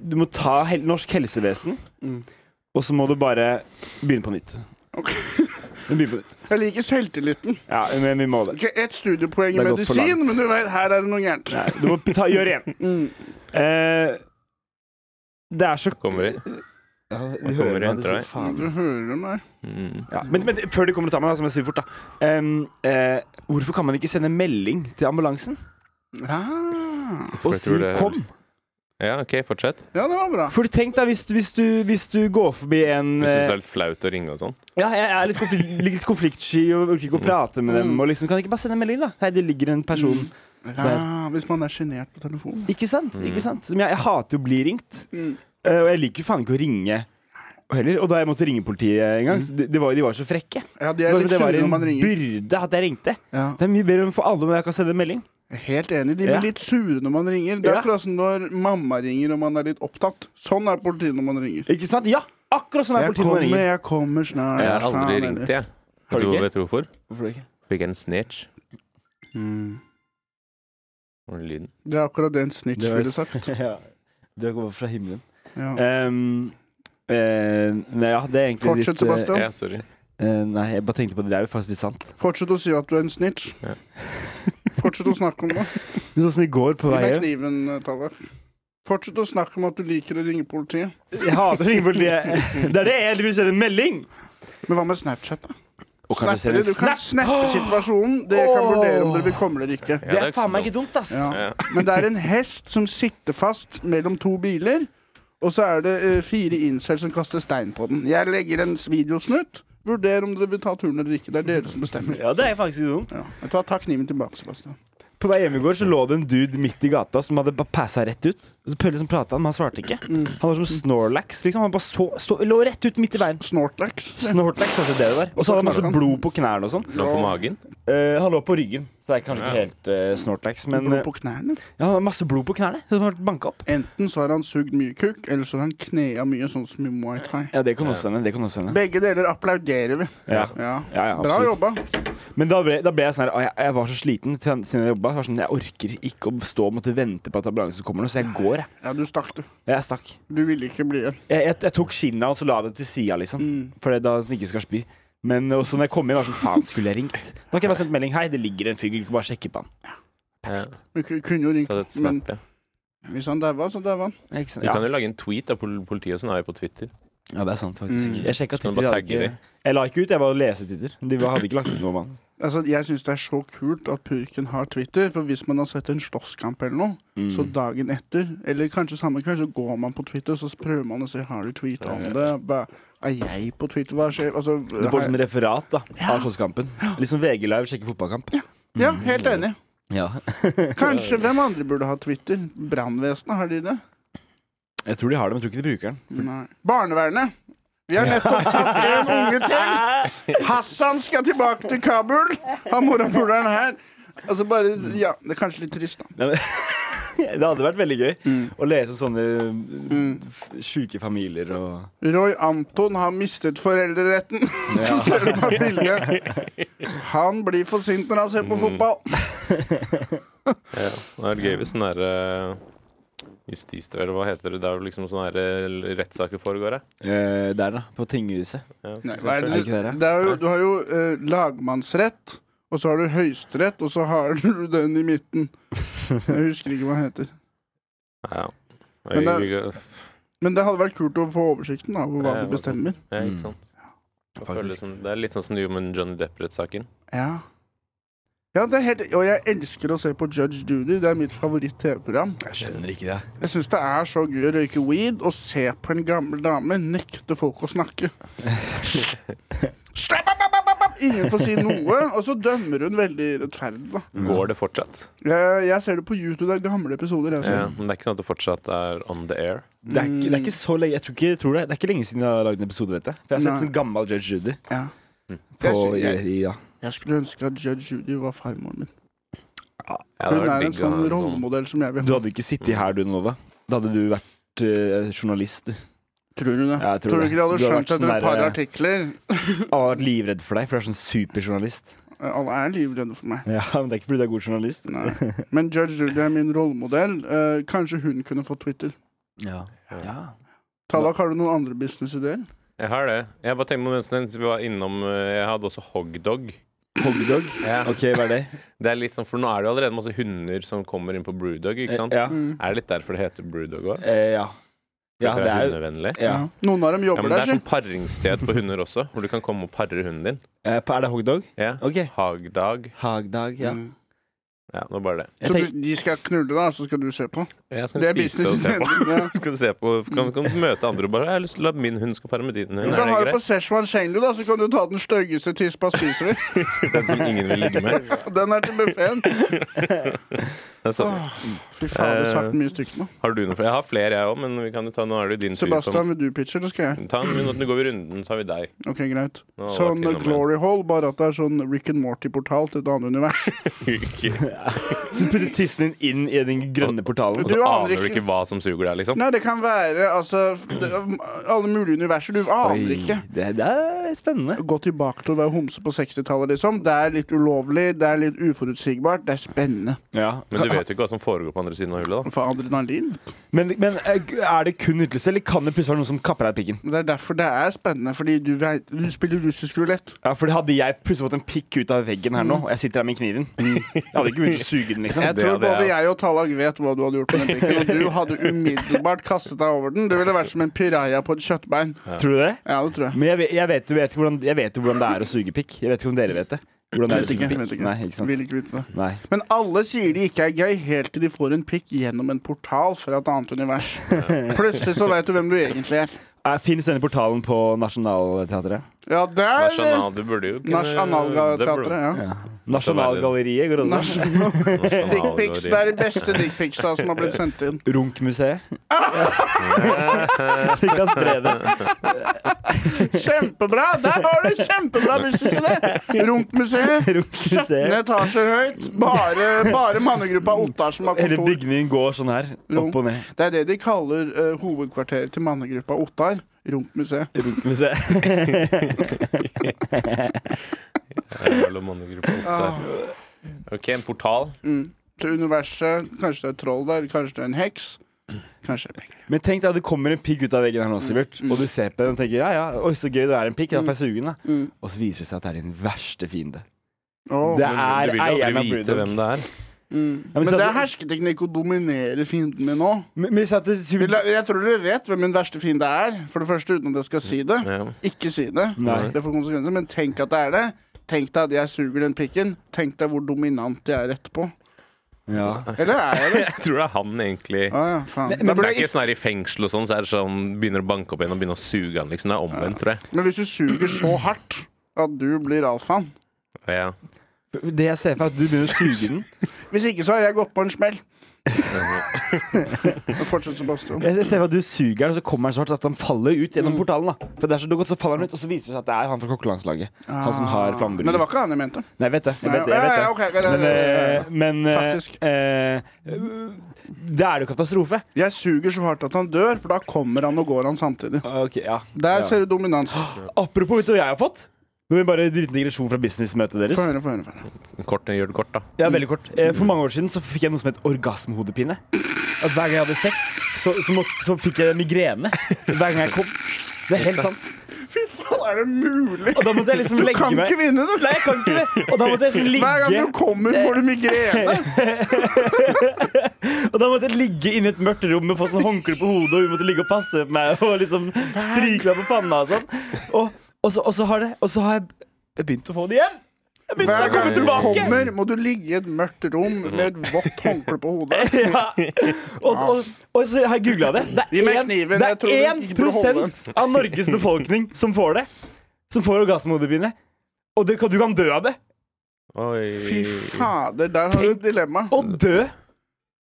[SPEAKER 4] Du må ta hel norsk helsevesen,
[SPEAKER 2] Mm.
[SPEAKER 4] og så må du bare begynne på nytt.
[SPEAKER 2] Ok.
[SPEAKER 4] *laughs* Du begynner på nytt.
[SPEAKER 2] Jeg liker selvtilliten.
[SPEAKER 4] Ja, men vi må det.
[SPEAKER 2] Ikke ett studiepoeng i
[SPEAKER 4] Det er gått for
[SPEAKER 2] medisin,
[SPEAKER 4] langt.
[SPEAKER 2] men du vet, her er det noe gærent.
[SPEAKER 4] Nei, du må ta, gjøre igjen.
[SPEAKER 2] Mm.
[SPEAKER 4] Eh, det er så
[SPEAKER 3] Kommer de?
[SPEAKER 4] ja,
[SPEAKER 3] Nå kommer de og henter deg.
[SPEAKER 2] Du hører meg.
[SPEAKER 3] Mm.
[SPEAKER 4] Ja, men, men før de kommer og tar meg, da, så må jeg si det fort, da. Em, eh, hvorfor kan man ikke sende melding til ambulansen
[SPEAKER 2] Ah.
[SPEAKER 4] og
[SPEAKER 3] jeg
[SPEAKER 4] si
[SPEAKER 3] tror det er-
[SPEAKER 4] 'kom'?
[SPEAKER 3] Ja, OK, fortsett.
[SPEAKER 2] Ja, det var bra.
[SPEAKER 4] For tenk deg hvis, du- hvis, du, hvis du går forbi en
[SPEAKER 3] Du syns det
[SPEAKER 4] eh,
[SPEAKER 3] er litt flaut å ringe og sånn?
[SPEAKER 4] Ja, jeg er litt, konflikt, litt konfliktsky og orker ikke å prate med
[SPEAKER 2] Mm.
[SPEAKER 4] dem. Og liksom, kan jeg ikke bare sende en melding, da? Hei, det ligger en person
[SPEAKER 2] Ja, hvis man er sjenert på telefonen.
[SPEAKER 4] Ikke sant? Ikke sant? Som jeg, jeg hater jo å bli ringt.
[SPEAKER 2] Mm.
[SPEAKER 4] Eh, og jeg liker jo faen ikke å ringe heller. Og da jeg måtte ringe politiet en gang, så de, de, var, de var så frekke.
[SPEAKER 2] Ja, de Mm. er litt
[SPEAKER 4] det var
[SPEAKER 2] sure når
[SPEAKER 4] en
[SPEAKER 2] man ringer.
[SPEAKER 4] byrde at jeg ringte.
[SPEAKER 2] Ja.
[SPEAKER 4] Det er mye bedre enn for alle om jeg kan sende en melding.
[SPEAKER 2] Jeg er Helt enig. De
[SPEAKER 4] Ja.
[SPEAKER 2] blir litt sure når man ringer. Det er
[SPEAKER 4] Ja.
[SPEAKER 2] akkurat som når mamma ringer og man er litt opptatt. Sånn er politiet når man ringer.
[SPEAKER 4] Ikke sant? Ja! Akkurat sånn er
[SPEAKER 2] Jeg
[SPEAKER 4] politiet når
[SPEAKER 2] kommer,
[SPEAKER 4] man ringer.
[SPEAKER 2] jeg kommer snart.
[SPEAKER 3] Jeg har aldri
[SPEAKER 2] Faen,
[SPEAKER 3] ringt,
[SPEAKER 2] eller?
[SPEAKER 3] jeg.
[SPEAKER 4] Har
[SPEAKER 3] Vet
[SPEAKER 4] du
[SPEAKER 3] du,
[SPEAKER 4] ikke?
[SPEAKER 3] vet du hvorfor?
[SPEAKER 4] Hvorfor ikke?
[SPEAKER 2] *laughs*
[SPEAKER 3] Fikk jeg en snitch.
[SPEAKER 2] Mm.
[SPEAKER 3] Hva var den lyden?
[SPEAKER 2] Det er akkurat det en snitch
[SPEAKER 4] Det var-
[SPEAKER 2] ville
[SPEAKER 4] *laughs*
[SPEAKER 2] sagt.
[SPEAKER 4] ja. Det kommer fra himmelen.
[SPEAKER 2] Ja.
[SPEAKER 4] Ehm, eh, nei, ja, det er egentlig
[SPEAKER 2] Fortsett,
[SPEAKER 4] eh,
[SPEAKER 2] Sebastian.
[SPEAKER 3] Ja, sorry.
[SPEAKER 4] eh, nei, jeg bare tenkte på det. Det er jo faktisk litt sant.
[SPEAKER 2] Fortsett å si at du er en snitch.
[SPEAKER 3] Ja.
[SPEAKER 2] *laughs* Fortsett å snakke om det.
[SPEAKER 4] Men sånn som i går på
[SPEAKER 2] Gi
[SPEAKER 4] vei
[SPEAKER 2] meg
[SPEAKER 4] hjem
[SPEAKER 2] kniven, eh, Tallak. Fortsett å snakke om at du liker å ringe politiet.
[SPEAKER 4] Jeg hater å ringe *laughs* politiet. Det er det jeg vil sende en melding!
[SPEAKER 2] Men hva med Snapchat, da?
[SPEAKER 4] Og
[SPEAKER 2] Snappe det. Du kan snappe situasjonen. Dere kan
[SPEAKER 4] Åh!
[SPEAKER 2] vurdere om dere vil komme eller ikke.
[SPEAKER 3] Ja,
[SPEAKER 4] Det er
[SPEAKER 3] ikke
[SPEAKER 4] faen
[SPEAKER 3] så
[SPEAKER 4] meg ikke dumt, ass.
[SPEAKER 2] Ja.
[SPEAKER 3] Ja.
[SPEAKER 2] Men det er en hest som sitter fast mellom to biler, og så er det eh, fire incel som kaster stein på den. Jeg legger en videosnutt. Vurder om dere vil ta turen eller ikke. Det er dere som bestemmer.
[SPEAKER 4] Ja, det er faktisk ikke dumt.
[SPEAKER 2] Ja. Jeg tar, ta kniven tilbake, Sebastian.
[SPEAKER 4] På vei hjem i går så lå det en dude midt i gata som hadde bare passa rett ut. Og så prøvde jeg liksom å prate med han, men han svarte ikke. Han var som Snorlax, liksom. Han bare så, så, lå rett ut midt i veien.
[SPEAKER 2] Snortlax.
[SPEAKER 4] Snortlax, kanskje det det var. Og så hadde han masse blod på knærne og sånn.
[SPEAKER 3] Lå på magen?
[SPEAKER 4] Eh, han lå på ryggen, så det er kanskje ikke
[SPEAKER 3] Ja.
[SPEAKER 4] helt eh, Snortlax, men
[SPEAKER 2] Blod
[SPEAKER 4] eh,
[SPEAKER 2] på knærne.
[SPEAKER 4] ja, han hadde masse blod på knærne som han banka opp.
[SPEAKER 2] Enten så har han sugd mye kukk, eller så har han knea mye, sånn som i Muay Thai.
[SPEAKER 4] Ja, det kan også hende. Det kan også hende.
[SPEAKER 2] Begge deler applauderer vi.
[SPEAKER 4] Ja.
[SPEAKER 2] Ja.
[SPEAKER 4] Ja, ja,
[SPEAKER 2] Bra
[SPEAKER 4] absolutt.
[SPEAKER 2] jobba.
[SPEAKER 4] Men da ble, da ble jeg sånn her «Å, jeg, jeg var så sliten til- siden jeg jobba. Jeg var sånn, jeg orker ikke å stå og måtte vente på at ambulansen kommer nå, så jeg går, jeg.
[SPEAKER 2] Ja, du stakk, du.
[SPEAKER 4] Jeg stakk.
[SPEAKER 2] Du ville ikke bli Mm. her.
[SPEAKER 4] Jeg, jeg, jeg tok skinnet og så la det til sida, liksom. For det- da den ikke skal spy. Men også når jeg kom inn, var det sånn Faen, skulle jeg ringt? Da kan jeg bare sendt melding. Hei, det ligger en fyr, du kan bare sjekke på han.
[SPEAKER 3] Ja.
[SPEAKER 2] Vi ku- kunne jo ringt,
[SPEAKER 3] Ta det et
[SPEAKER 2] men
[SPEAKER 3] snap, ja.
[SPEAKER 2] hvis han daua, så daua han.
[SPEAKER 4] Ja, Ikke sant?
[SPEAKER 3] Du kan
[SPEAKER 4] Ja.
[SPEAKER 3] jo lage en tweet. Da. Pol- Politiet og sånn er jo på Twitter.
[SPEAKER 4] ja, det er sant, faktisk.
[SPEAKER 2] Mm.
[SPEAKER 4] Jeg sjekka
[SPEAKER 3] Så kan du bare
[SPEAKER 4] Twitter. jeg hadde
[SPEAKER 3] tagge
[SPEAKER 4] ikke- Jeg la ikke ut, jeg var og leste Twitter. De var- hadde ikke lagt ut noe om han.
[SPEAKER 2] Altså, jeg syns det er så kult at purken har Twitter, for hvis man har sett en slåsskamp eller noe,
[SPEAKER 4] Mm.
[SPEAKER 2] så dagen etter, eller kanskje samme kveld, så går man på Twitter, så prøver man å se har du tweeta om det. Hva, er jeg på Twitter? Hva skjer? Altså,
[SPEAKER 4] Du får
[SPEAKER 2] har-
[SPEAKER 4] liksom referat da av slåsskampen. Liksom VG Live sjekker fotballkamp.
[SPEAKER 2] ja, helt enig.
[SPEAKER 4] Ja. *laughs*
[SPEAKER 2] Kanskje hvem andre burde ha Twitter? Brannvesenet, har de det?
[SPEAKER 4] Jeg tror de har det, men jeg tror ikke de bruker den.
[SPEAKER 2] Nei. Barnevernet. Vi har nettopp tatt en unge til. Hassan skal tilbake til Kabul. Har morapuleren her. Altså bare, ja, Det er kanskje litt trist, da.
[SPEAKER 4] *laughs* Det hadde vært veldig gøy
[SPEAKER 2] Mm.
[SPEAKER 4] å lese sånne
[SPEAKER 2] Mm.
[SPEAKER 4] f- sjuke familier og
[SPEAKER 2] Roy Anton har mistet foreldreretten. Så *laughs* ser du på bildet. Han blir for sint når han ser på fotball.
[SPEAKER 3] Ja. Det hadde vært gøy hvis sånn derre Justis... Eller hva heter det? Det er jo liksom sånne her rettssaker foregår, jeg.
[SPEAKER 4] Eh, Der, da. På tinghuset.
[SPEAKER 3] Ja, for
[SPEAKER 2] Nei, hva er
[SPEAKER 3] eksempel.
[SPEAKER 2] det?
[SPEAKER 4] Er ikke det det?
[SPEAKER 2] det er jo, du har jo eh, lagmannsrett, og så har du høyesterett, og så har du *laughs* den i midten. Jeg husker ikke hva den heter.
[SPEAKER 3] Ja.
[SPEAKER 2] Men det er-
[SPEAKER 3] Jeg- jeg-
[SPEAKER 2] Men det hadde vært kult å få oversikten da, over hva
[SPEAKER 3] Ja,
[SPEAKER 2] de bestemmer.
[SPEAKER 3] Ja,
[SPEAKER 4] Mm.
[SPEAKER 3] ikke sant. Jeg føler det som- Det er litt sånn som det gjorde med Johnny Depp-rettssaken.
[SPEAKER 2] Ja. Ja, det er helt, og jeg elsker å se på Judge Judy. Det er mitt favoritt-TV-program.
[SPEAKER 1] Jeg skjønner ikke det.
[SPEAKER 2] Jeg syns det er så gøy å røyke weed og se på en gammel dame nekte folk å snakke. Slapp opp, opp, opp, opp! Ingen får si noe, og så dømmer hun veldig rettferdig. da.
[SPEAKER 3] Går det fortsatt?
[SPEAKER 2] Jeg, jeg ser det på YouTube. Det er gamle episoder. Jeg,
[SPEAKER 3] Ja,
[SPEAKER 2] ser.
[SPEAKER 3] men det er ikke sånn at det fortsatt er on the air?
[SPEAKER 4] Det er, ikke, det er ikke så lenge jeg tror ikke, tror det, det er ikke lenge siden jeg har lagd en episode, vet jeg. For jeg har sett
[SPEAKER 2] Nei.
[SPEAKER 4] sånn gammel Judge Judy.
[SPEAKER 2] Ja.
[SPEAKER 4] På,
[SPEAKER 2] Jeg, sy-
[SPEAKER 4] i,
[SPEAKER 2] jeg,
[SPEAKER 4] i, ja.
[SPEAKER 2] jeg skulle ønske at Judge Judy var farmoren min.
[SPEAKER 3] Ja, det
[SPEAKER 2] Hun
[SPEAKER 3] hadde vært
[SPEAKER 2] er en
[SPEAKER 3] digg å
[SPEAKER 2] sånn
[SPEAKER 3] ha en sånn-
[SPEAKER 2] rollemodell som jeg vil
[SPEAKER 4] altså. Du
[SPEAKER 2] ha.
[SPEAKER 4] hadde ikke sittet her du nå, da. Da hadde du vært eh, journalist, du.
[SPEAKER 2] Tror du det?
[SPEAKER 4] Ja, jeg tror
[SPEAKER 2] Tror du
[SPEAKER 4] det.
[SPEAKER 2] ikke de hadde
[SPEAKER 4] Du har
[SPEAKER 2] skjønt
[SPEAKER 4] vært
[SPEAKER 2] etter
[SPEAKER 4] sånn
[SPEAKER 2] et par
[SPEAKER 4] der-
[SPEAKER 2] artikler?
[SPEAKER 4] Jeg hadde vært livredd for deg, for du er sånn superjournalist.
[SPEAKER 2] Alle er livredde for meg.
[SPEAKER 4] Ja, men det er ikke fordi du er god journalist.
[SPEAKER 2] Nei. Men Judge Judy er min rollemodell. Eh, kanskje hun kunne fått Twitter.
[SPEAKER 4] Ja. ja.
[SPEAKER 2] Tallak, har du noen andre businessideer?
[SPEAKER 3] Jeg har det. Jeg bare tenkte på mens vi var innom eh, Jeg hadde også hogdog.
[SPEAKER 4] Hogdog. OK, hva er det?
[SPEAKER 3] Det er litt sånn, For nå er det jo allerede masse hunder som kommer inn på Brewdog, ikke sant?
[SPEAKER 4] Eh, Ja.
[SPEAKER 2] Mm.
[SPEAKER 3] Er det litt derfor det heter Brewdog òg?
[SPEAKER 4] Eh, ja. ja,
[SPEAKER 3] det
[SPEAKER 4] det
[SPEAKER 3] er
[SPEAKER 4] er jo
[SPEAKER 3] hundevennlig?
[SPEAKER 4] ja.
[SPEAKER 2] Noen av dem
[SPEAKER 3] Ja,
[SPEAKER 2] jobber
[SPEAKER 3] men det er
[SPEAKER 2] der,
[SPEAKER 3] sånn paringssted for hunder også, hvor du kan komme og pare hunden din.
[SPEAKER 4] Eh, Er det hogdog?
[SPEAKER 3] Ja.
[SPEAKER 4] OK.
[SPEAKER 3] Hagdag.
[SPEAKER 4] Hagdag,
[SPEAKER 2] si.
[SPEAKER 4] ja.
[SPEAKER 2] Mm.
[SPEAKER 3] Ja, det var bare det.
[SPEAKER 4] Jeg
[SPEAKER 2] Så
[SPEAKER 4] tenk,
[SPEAKER 2] du, de skal knulle, da, så skal du se på?
[SPEAKER 3] Jeg skal
[SPEAKER 2] Det er
[SPEAKER 3] spise og se på. *laughs*
[SPEAKER 2] businessen. *laughs* Ja.
[SPEAKER 3] Skal se på. Kan, kan møte andre og bare 'Jeg har lyst til at min hund skal pare med din
[SPEAKER 2] Du
[SPEAKER 3] hund'. Er
[SPEAKER 2] kan ha
[SPEAKER 3] det
[SPEAKER 2] det på
[SPEAKER 3] greit?
[SPEAKER 2] Szechuan Chengdu, da, så kan du ta den styggeste tispa spiser.
[SPEAKER 3] *laughs* Den som ingen vil ligge med.
[SPEAKER 2] Og Den er til buffeen.
[SPEAKER 3] Det er sant.
[SPEAKER 2] Fy faen, det sagt mye stygt nå.
[SPEAKER 3] Har du noe flere? Jeg har flere, jeg òg, men vi kan jo ta, nå er det jo din tur. Tom.
[SPEAKER 2] Sebastian, vil du pitche, eller skal jeg?
[SPEAKER 3] Ta en minutt, nå går vi runden, så tar vi deg.
[SPEAKER 2] Ok, greit.
[SPEAKER 3] Nå har
[SPEAKER 2] Sånn
[SPEAKER 3] Joakim og meg.
[SPEAKER 2] Glory Hall, bare at det er sånn Rick and Morty-portal til et annet univers.
[SPEAKER 4] du putter tissen din inn i den grønne portalen.
[SPEAKER 3] Og så
[SPEAKER 2] Du aner
[SPEAKER 3] aner du
[SPEAKER 2] ikke-
[SPEAKER 3] ikke hva som suger deg, liksom.
[SPEAKER 2] Nei, det kan være altså det, alle mulige universer. Du aner ikke.
[SPEAKER 4] det, det er spennende.
[SPEAKER 2] Gå tilbake til å være homse på 60-tallet, liksom. Det er litt ulovlig, det er litt uforutsigbart, det er spennende.
[SPEAKER 4] Ja.
[SPEAKER 3] Men du vet jo ikke hva som foregår på andre siden av hullet, da.
[SPEAKER 2] For adrenalin.
[SPEAKER 4] Men, men eh, er det kun nytelse, eller kan det plutselig være noen som kapper deg pikken?
[SPEAKER 2] Men Det er derfor det er spennende, fordi du, vei- du spiller russisk rulett.
[SPEAKER 4] Ja, for Hadde jeg plutselig fått en pikk ut av veggen her nå, og jeg sitter her med kniven mm, Jeg hadde ikke begynt å suge den, liksom.
[SPEAKER 2] Jeg
[SPEAKER 3] det
[SPEAKER 2] tror
[SPEAKER 3] hadde
[SPEAKER 2] både
[SPEAKER 3] jeg, ass.
[SPEAKER 2] jeg og Tallag vet hva du hadde gjort med den pikken, og du hadde umiddelbart kastet deg over den. Du ville vært som en piraja på et kjøttbein.
[SPEAKER 4] Tror du det?
[SPEAKER 2] *laughs* Ja, det tror jeg.
[SPEAKER 4] Men jeg vet, jeg vet, jo- vet, ikke hvordan, jeg vet jo hvordan det er å suge pikk. Jeg vet ikke om dere vet det. Hvordan det er å
[SPEAKER 2] Vet ikke,
[SPEAKER 4] suge
[SPEAKER 2] vet
[SPEAKER 4] pikk.
[SPEAKER 2] ikke.
[SPEAKER 4] Nei, ikke sant?
[SPEAKER 2] Vil ikke vite det.
[SPEAKER 4] Nei.
[SPEAKER 2] Men alle sier det ikke er gøy, helt til de får en pikk gjennom en portal fra et annet univers. Plutselig så vet du hvem du egentlig er.
[SPEAKER 4] Fins Eh, denne portalen på Nationaltheatret?
[SPEAKER 2] Ja, der
[SPEAKER 3] Nasjonal, du burde jo kunne
[SPEAKER 2] Nasjonalteatret, ja.
[SPEAKER 4] Nasjonalgalleriet går også.
[SPEAKER 2] Dickpics. Det er de beste dickpicsa som har blitt sendt inn.
[SPEAKER 4] Runkmuseet. *laughs* Vi kan spre det.
[SPEAKER 2] Kjempebra! Der var det kjempebra businessidé! Runkmuseet. 17
[SPEAKER 4] Runkmuseet.
[SPEAKER 2] etasjer høyt. Bare, bare mannegruppa Ottar som har
[SPEAKER 4] Hele
[SPEAKER 2] kontor.
[SPEAKER 4] bygningen går sånn her.
[SPEAKER 2] *laughs*
[SPEAKER 4] Opp og ned.
[SPEAKER 2] Det er det de kaller eh, hovedkvarteret til mannegruppa Ottar. Runkmuseet.
[SPEAKER 4] Runkmuseet.
[SPEAKER 3] Ah. OK, en portal.
[SPEAKER 2] Til universet. Kanskje det er et troll der. Kanskje det er en heks. Kanskje det er penger.
[SPEAKER 4] *laughs* Men tenk deg at det kommer en pikk ut av veggen her nå, Sivert. Og du ser på den og tenker ja, ja, oi, så gøy det er en pikk. Da får jeg suge den, da.
[SPEAKER 2] Mm. Mm.
[SPEAKER 4] Og så viser det seg at det er din verste fiende.
[SPEAKER 2] Åh.
[SPEAKER 4] Det
[SPEAKER 3] Men du
[SPEAKER 4] er
[SPEAKER 3] vil jo
[SPEAKER 4] eieren
[SPEAKER 3] aldri
[SPEAKER 4] av
[SPEAKER 3] vite
[SPEAKER 4] Brewdog.
[SPEAKER 3] hvem det er.
[SPEAKER 2] Mm.
[SPEAKER 4] men
[SPEAKER 2] Men
[SPEAKER 4] så
[SPEAKER 2] det
[SPEAKER 4] hadde-
[SPEAKER 2] er hersketeknikk å dominere fienden min òg.
[SPEAKER 4] Men men hvis at det suger
[SPEAKER 2] Jeg tror dere vet hvem min verste fiende er. For det første, uten at jeg skal si det.
[SPEAKER 3] Ja.
[SPEAKER 2] Ikke si det.
[SPEAKER 4] Nei.
[SPEAKER 2] Det får konsekvenser, men tenk at det er det. Tenk deg at jeg suger den pikken. Tenk deg hvor dominant jeg er etterpå.
[SPEAKER 4] Ja.
[SPEAKER 2] Eller er jeg det?
[SPEAKER 3] Jeg tror det er han, egentlig.
[SPEAKER 2] Å ja, faen.
[SPEAKER 4] Men-
[SPEAKER 2] Men,
[SPEAKER 4] men-
[SPEAKER 3] Ah, Det
[SPEAKER 2] burde
[SPEAKER 3] er
[SPEAKER 2] jeg
[SPEAKER 3] ikke sånn her i fengsel og sånn, så er det sånn begynner å banke opp igjen og begynne å suge han, liksom. Det er omvendt, tror jeg.
[SPEAKER 2] ikke- men hvis du suger så hardt at du blir alfaen
[SPEAKER 3] Ja.
[SPEAKER 4] Det jeg ser for meg, er at du begynner å
[SPEAKER 2] *laughs*
[SPEAKER 4] suge den.
[SPEAKER 2] Hvis ikke, så har jeg gått på en smell. Men Fortsett, Sebastian.
[SPEAKER 4] Jeg ser for meg at du suger den, og så kommer den så hardt at han faller ut gjennom
[SPEAKER 2] Mm.
[SPEAKER 4] portalen. da For det er så godt, så faller han ut, og så viser det seg at det er han fra kokkelandslaget. Han som har flammebryn.
[SPEAKER 2] Ah. Men det var ikke han jeg mente.
[SPEAKER 4] Nei, jeg vet det. Jeg vet det, jeg
[SPEAKER 2] Ja,
[SPEAKER 4] vet
[SPEAKER 2] ja,
[SPEAKER 4] det.
[SPEAKER 2] ja, ok, ok, ok,
[SPEAKER 4] Men,
[SPEAKER 2] ok,
[SPEAKER 4] eh,
[SPEAKER 2] ok.
[SPEAKER 4] men eh,
[SPEAKER 2] Faktisk.
[SPEAKER 4] eh, Da er det jo katastrofe.
[SPEAKER 2] Jeg suger så hardt at han dør, for da kommer han og går han samtidig.
[SPEAKER 4] Ok, ja
[SPEAKER 2] Der
[SPEAKER 4] Ja.
[SPEAKER 2] ser du dominans.
[SPEAKER 4] Apropos, vet du hva jeg har fått? Nå vil jeg bare drite digresjon fra businessmøtet deres.
[SPEAKER 2] Få høre, få høre. få høre.
[SPEAKER 3] Kort, gjør det kort, da.
[SPEAKER 4] Ja, veldig kort. Eh, For mange år siden så fikk jeg noe som het orgasmehodepine. At hver gang jeg hadde sex, så, så, måtte, så fikk jeg migrene. Hver gang jeg kom. Det er helt sant.
[SPEAKER 2] Fy faen, er det mulig?
[SPEAKER 4] Og da måtte jeg liksom
[SPEAKER 2] Du
[SPEAKER 4] legge
[SPEAKER 2] kan
[SPEAKER 4] meg
[SPEAKER 2] ikke vinne, du.
[SPEAKER 4] Nei, jeg kan ikke det. Og da måtte jeg liksom
[SPEAKER 2] Hver gang du
[SPEAKER 4] ligge
[SPEAKER 2] kommer, får du migrene.
[SPEAKER 4] Og da måtte jeg ligge inne i et mørkt rom med få sånn håndkle på hodet, og hun måtte ligge og passe på meg og liksom stryke meg på panna og sånn. Og, og, så, og så har det Og så har jeg begynt å få det igjen.
[SPEAKER 2] Hver gang du
[SPEAKER 3] tilbake.
[SPEAKER 2] kommer, må du ligge i et mørkt rom med et vått håndkle på hodet.
[SPEAKER 4] *laughs* Ja. Og, og, og så har jeg googla det. Det
[SPEAKER 2] Gi meg
[SPEAKER 4] er en-
[SPEAKER 2] kniven,
[SPEAKER 4] det
[SPEAKER 2] jeg tror
[SPEAKER 4] er
[SPEAKER 2] den ikke burde
[SPEAKER 4] 1 av Norges befolkning som får det. Som får orgasmehodepine. Og det, kan- du kan dø av det.
[SPEAKER 2] Fy
[SPEAKER 3] Oi.
[SPEAKER 2] fader, der har du et dilemma.
[SPEAKER 4] Og dø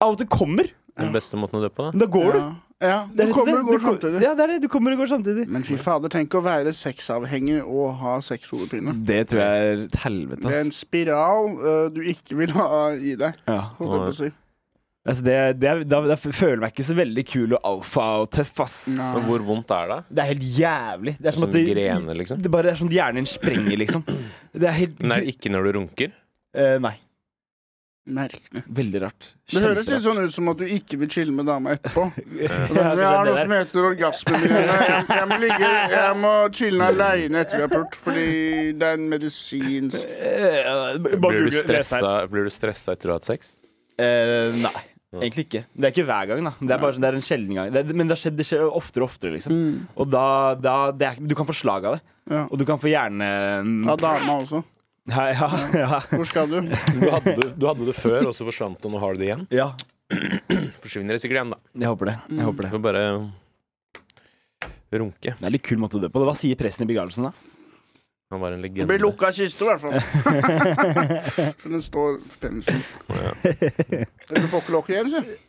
[SPEAKER 4] av at du kommer.
[SPEAKER 3] Den beste måten å dø på, da.
[SPEAKER 4] Men Da går du.
[SPEAKER 2] Ja, ja.
[SPEAKER 4] Det
[SPEAKER 2] Du
[SPEAKER 4] er litt
[SPEAKER 2] kommer
[SPEAKER 4] det.
[SPEAKER 2] og går
[SPEAKER 4] kom-
[SPEAKER 2] samtidig.
[SPEAKER 4] Ja, det er det. Du kommer og går samtidig.
[SPEAKER 2] Men fy fader, tenk å være sexavhengig og ha
[SPEAKER 4] Mm,
[SPEAKER 2] sexhodepine.
[SPEAKER 1] Det tror jeg er et helvete,
[SPEAKER 2] Det er en
[SPEAKER 1] ass.
[SPEAKER 2] spiral ø, du ikke vil ha i deg.
[SPEAKER 1] Ja.
[SPEAKER 2] Holdt jeg på å si.
[SPEAKER 1] Altså, det, det, er- da, da føler jeg meg ikke så veldig kul og alfa og tøff, ass.
[SPEAKER 2] Nei. Altså,
[SPEAKER 3] Men hvor vondt er det?
[SPEAKER 4] Det er helt jævlig. Det er som
[SPEAKER 3] Sånn
[SPEAKER 4] at det,
[SPEAKER 3] grener, liksom?
[SPEAKER 4] det bare er sånn at hjernen din sprenger, liksom. Det er helt
[SPEAKER 3] Men er det ikke når du runker?
[SPEAKER 4] Eh, nei.
[SPEAKER 2] Merkelig.
[SPEAKER 1] Veldig rart.
[SPEAKER 2] Det høres litt
[SPEAKER 1] Kjemperart.
[SPEAKER 2] sånn ut som at du ikke vil chille med dama etterpå.
[SPEAKER 4] *laughs* Ja,
[SPEAKER 2] Og da,
[SPEAKER 4] det
[SPEAKER 2] jeg har
[SPEAKER 4] er
[SPEAKER 2] noe
[SPEAKER 4] det
[SPEAKER 2] *laughs* som
[SPEAKER 4] der.
[SPEAKER 2] heter orgasmemigrene. Jeg, jeg må ligge Jeg må chille aleine etter vi har pult, fordi det er en medisinsk
[SPEAKER 4] Eh, Bare
[SPEAKER 3] Blir
[SPEAKER 4] google
[SPEAKER 3] du
[SPEAKER 4] les her.
[SPEAKER 3] stressa, blir du stressa etter å ha hatt sex?
[SPEAKER 4] Eh, nei, egentlig ikke. Det er ikke hver gang, da. Det er bare sånn, det er en sjelden gang. Det, men det, har skjedd, det skjer oftere og oftere, liksom. Og da, da det er, Du kan få slag av det.
[SPEAKER 2] Ja.
[SPEAKER 4] Og du kan få hjerne...
[SPEAKER 2] Ja, dama også.
[SPEAKER 4] Ja, ja, ja,
[SPEAKER 2] Hvor skal du?
[SPEAKER 3] Du hadde, det- du hadde det før, og så forsvant det, og nå har du det igjen.
[SPEAKER 4] ja.
[SPEAKER 3] Forsvinner det sikkert igjen, da.
[SPEAKER 4] Jeg håper det. Jeg håper
[SPEAKER 2] Mm.
[SPEAKER 3] Du
[SPEAKER 4] det.
[SPEAKER 3] får bare runke.
[SPEAKER 4] Det er litt kul måte å dø på. Hva sier presten i begravelsen,
[SPEAKER 2] *laughs*
[SPEAKER 4] da?
[SPEAKER 3] Han var en
[SPEAKER 2] Det blir
[SPEAKER 3] legende.
[SPEAKER 2] lukka kiste, i hvert fall. For den står for penisen. Du får ikke lokk igjen, sier jeg.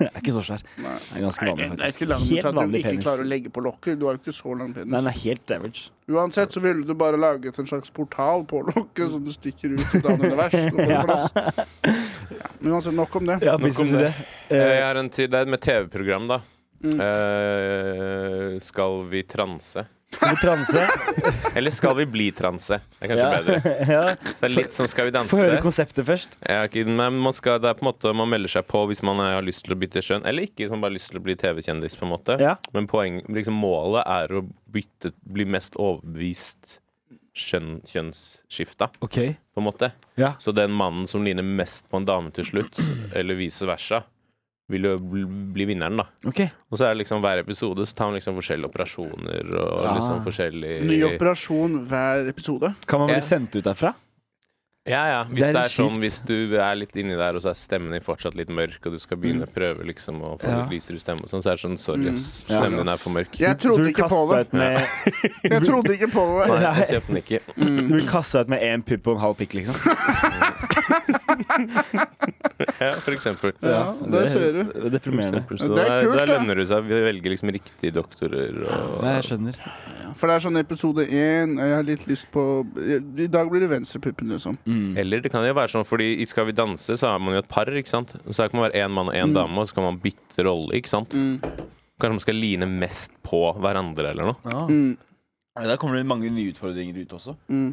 [SPEAKER 4] Det er ikke så svær. Det
[SPEAKER 2] Nei.
[SPEAKER 4] er ganske vanlig,
[SPEAKER 2] Det er
[SPEAKER 4] faktisk.
[SPEAKER 2] ikke langt til
[SPEAKER 4] Helt
[SPEAKER 2] at du
[SPEAKER 4] vanlig
[SPEAKER 2] ikke
[SPEAKER 4] penis.
[SPEAKER 2] klarer å legge på lokket. Du har jo ikke så lang
[SPEAKER 4] Nei,
[SPEAKER 2] penis.
[SPEAKER 4] den er helt average.
[SPEAKER 2] Uansett så ville du bare laget en slags portal på lokket, så det stikker ut et annet univers. og får plass. Ja. Men uansett, nok om det.
[SPEAKER 4] Ja,
[SPEAKER 3] Nok om
[SPEAKER 4] businessidé.
[SPEAKER 3] det. Jeg har en til. Det er med TV-program, da.
[SPEAKER 4] Mm.
[SPEAKER 3] Eh, skal vi transe?
[SPEAKER 4] Skal vi transe?
[SPEAKER 3] Eller skal vi bli transe? Det er kanskje
[SPEAKER 4] Ja.
[SPEAKER 3] bedre.
[SPEAKER 4] *laughs* ja.
[SPEAKER 3] Så det er litt sånn skal vi danse.
[SPEAKER 4] Få høre konseptet først.
[SPEAKER 3] Jeg er ikke, men man, skal, det er på en måte, man melder seg på hvis man eh, har lyst til å bytte skjønn, eller ikke hvis man bare har lyst til å bli TV-kjendis. på en måte.
[SPEAKER 4] Ja.
[SPEAKER 3] Men poeng, liksom, målet er å bytte, bli mest overbevist skjønn, kjønnsskifta,
[SPEAKER 4] OK.
[SPEAKER 3] på en måte.
[SPEAKER 4] Ja.
[SPEAKER 3] Så den mannen som ligner mest på en dame til slutt, *clears throat* eller vice versa, vil jo bli, bli vinneren, da.
[SPEAKER 4] Ok.
[SPEAKER 3] Og så er det liksom hver episode så tar man liksom forskjellige operasjoner og
[SPEAKER 4] Ah.
[SPEAKER 3] liksom forskjellig
[SPEAKER 2] Ny operasjon hver episode.
[SPEAKER 4] Kan man
[SPEAKER 3] Ja.
[SPEAKER 4] bli sendt ut derfra?
[SPEAKER 3] Ja, ja. Hvis
[SPEAKER 4] Det
[SPEAKER 3] det
[SPEAKER 4] er
[SPEAKER 3] er,
[SPEAKER 4] litt
[SPEAKER 3] sånn,
[SPEAKER 4] kjipt.
[SPEAKER 3] hvis du er litt inni der, og så er stemmen din fortsatt litt mørk, og du skal begynne å prøve liksom å få
[SPEAKER 4] Mm. Ja. Mm.
[SPEAKER 3] litt lysere stemme, og sånn, så er det sånn Sorry, ass.
[SPEAKER 4] Ja.
[SPEAKER 3] Stemmen din er for mørk.
[SPEAKER 2] Jeg
[SPEAKER 4] Så
[SPEAKER 2] trodde
[SPEAKER 4] blir du
[SPEAKER 2] ikke på det.
[SPEAKER 4] kastet ut med-
[SPEAKER 2] Jeg trodde ikke på
[SPEAKER 4] *laughs*
[SPEAKER 2] det.
[SPEAKER 3] Nei, jeg kjøper den ikke.
[SPEAKER 4] Du blir kasta ut med én pupp og en halv
[SPEAKER 2] *laughs*
[SPEAKER 4] pikk, liksom.
[SPEAKER 3] Ja, for eksempel.
[SPEAKER 2] Ja, der ser du.
[SPEAKER 4] Det er deprimerende.
[SPEAKER 3] For eksempel, Så
[SPEAKER 2] Det er
[SPEAKER 3] der,
[SPEAKER 2] kult,
[SPEAKER 3] der
[SPEAKER 2] da.
[SPEAKER 3] lønner det seg. Vi velger liksom riktige doktorer og
[SPEAKER 4] Nei, jeg skjønner.
[SPEAKER 2] For det er sånn episode én, og jeg har litt lyst på I dag blir det venstrepuppen, liksom.
[SPEAKER 1] Mm.
[SPEAKER 3] Eller det kan jo være sånn, fordi i Skal vi danse, så er man jo et par, ikke sant. Så her kan man være én mann og én dame, og så kan man bytte rolle, ikke sant. Kanskje man skal line mest på hverandre eller noe.
[SPEAKER 2] Mm,
[SPEAKER 1] Ja, Der kommer det mange nye utfordringer ut også.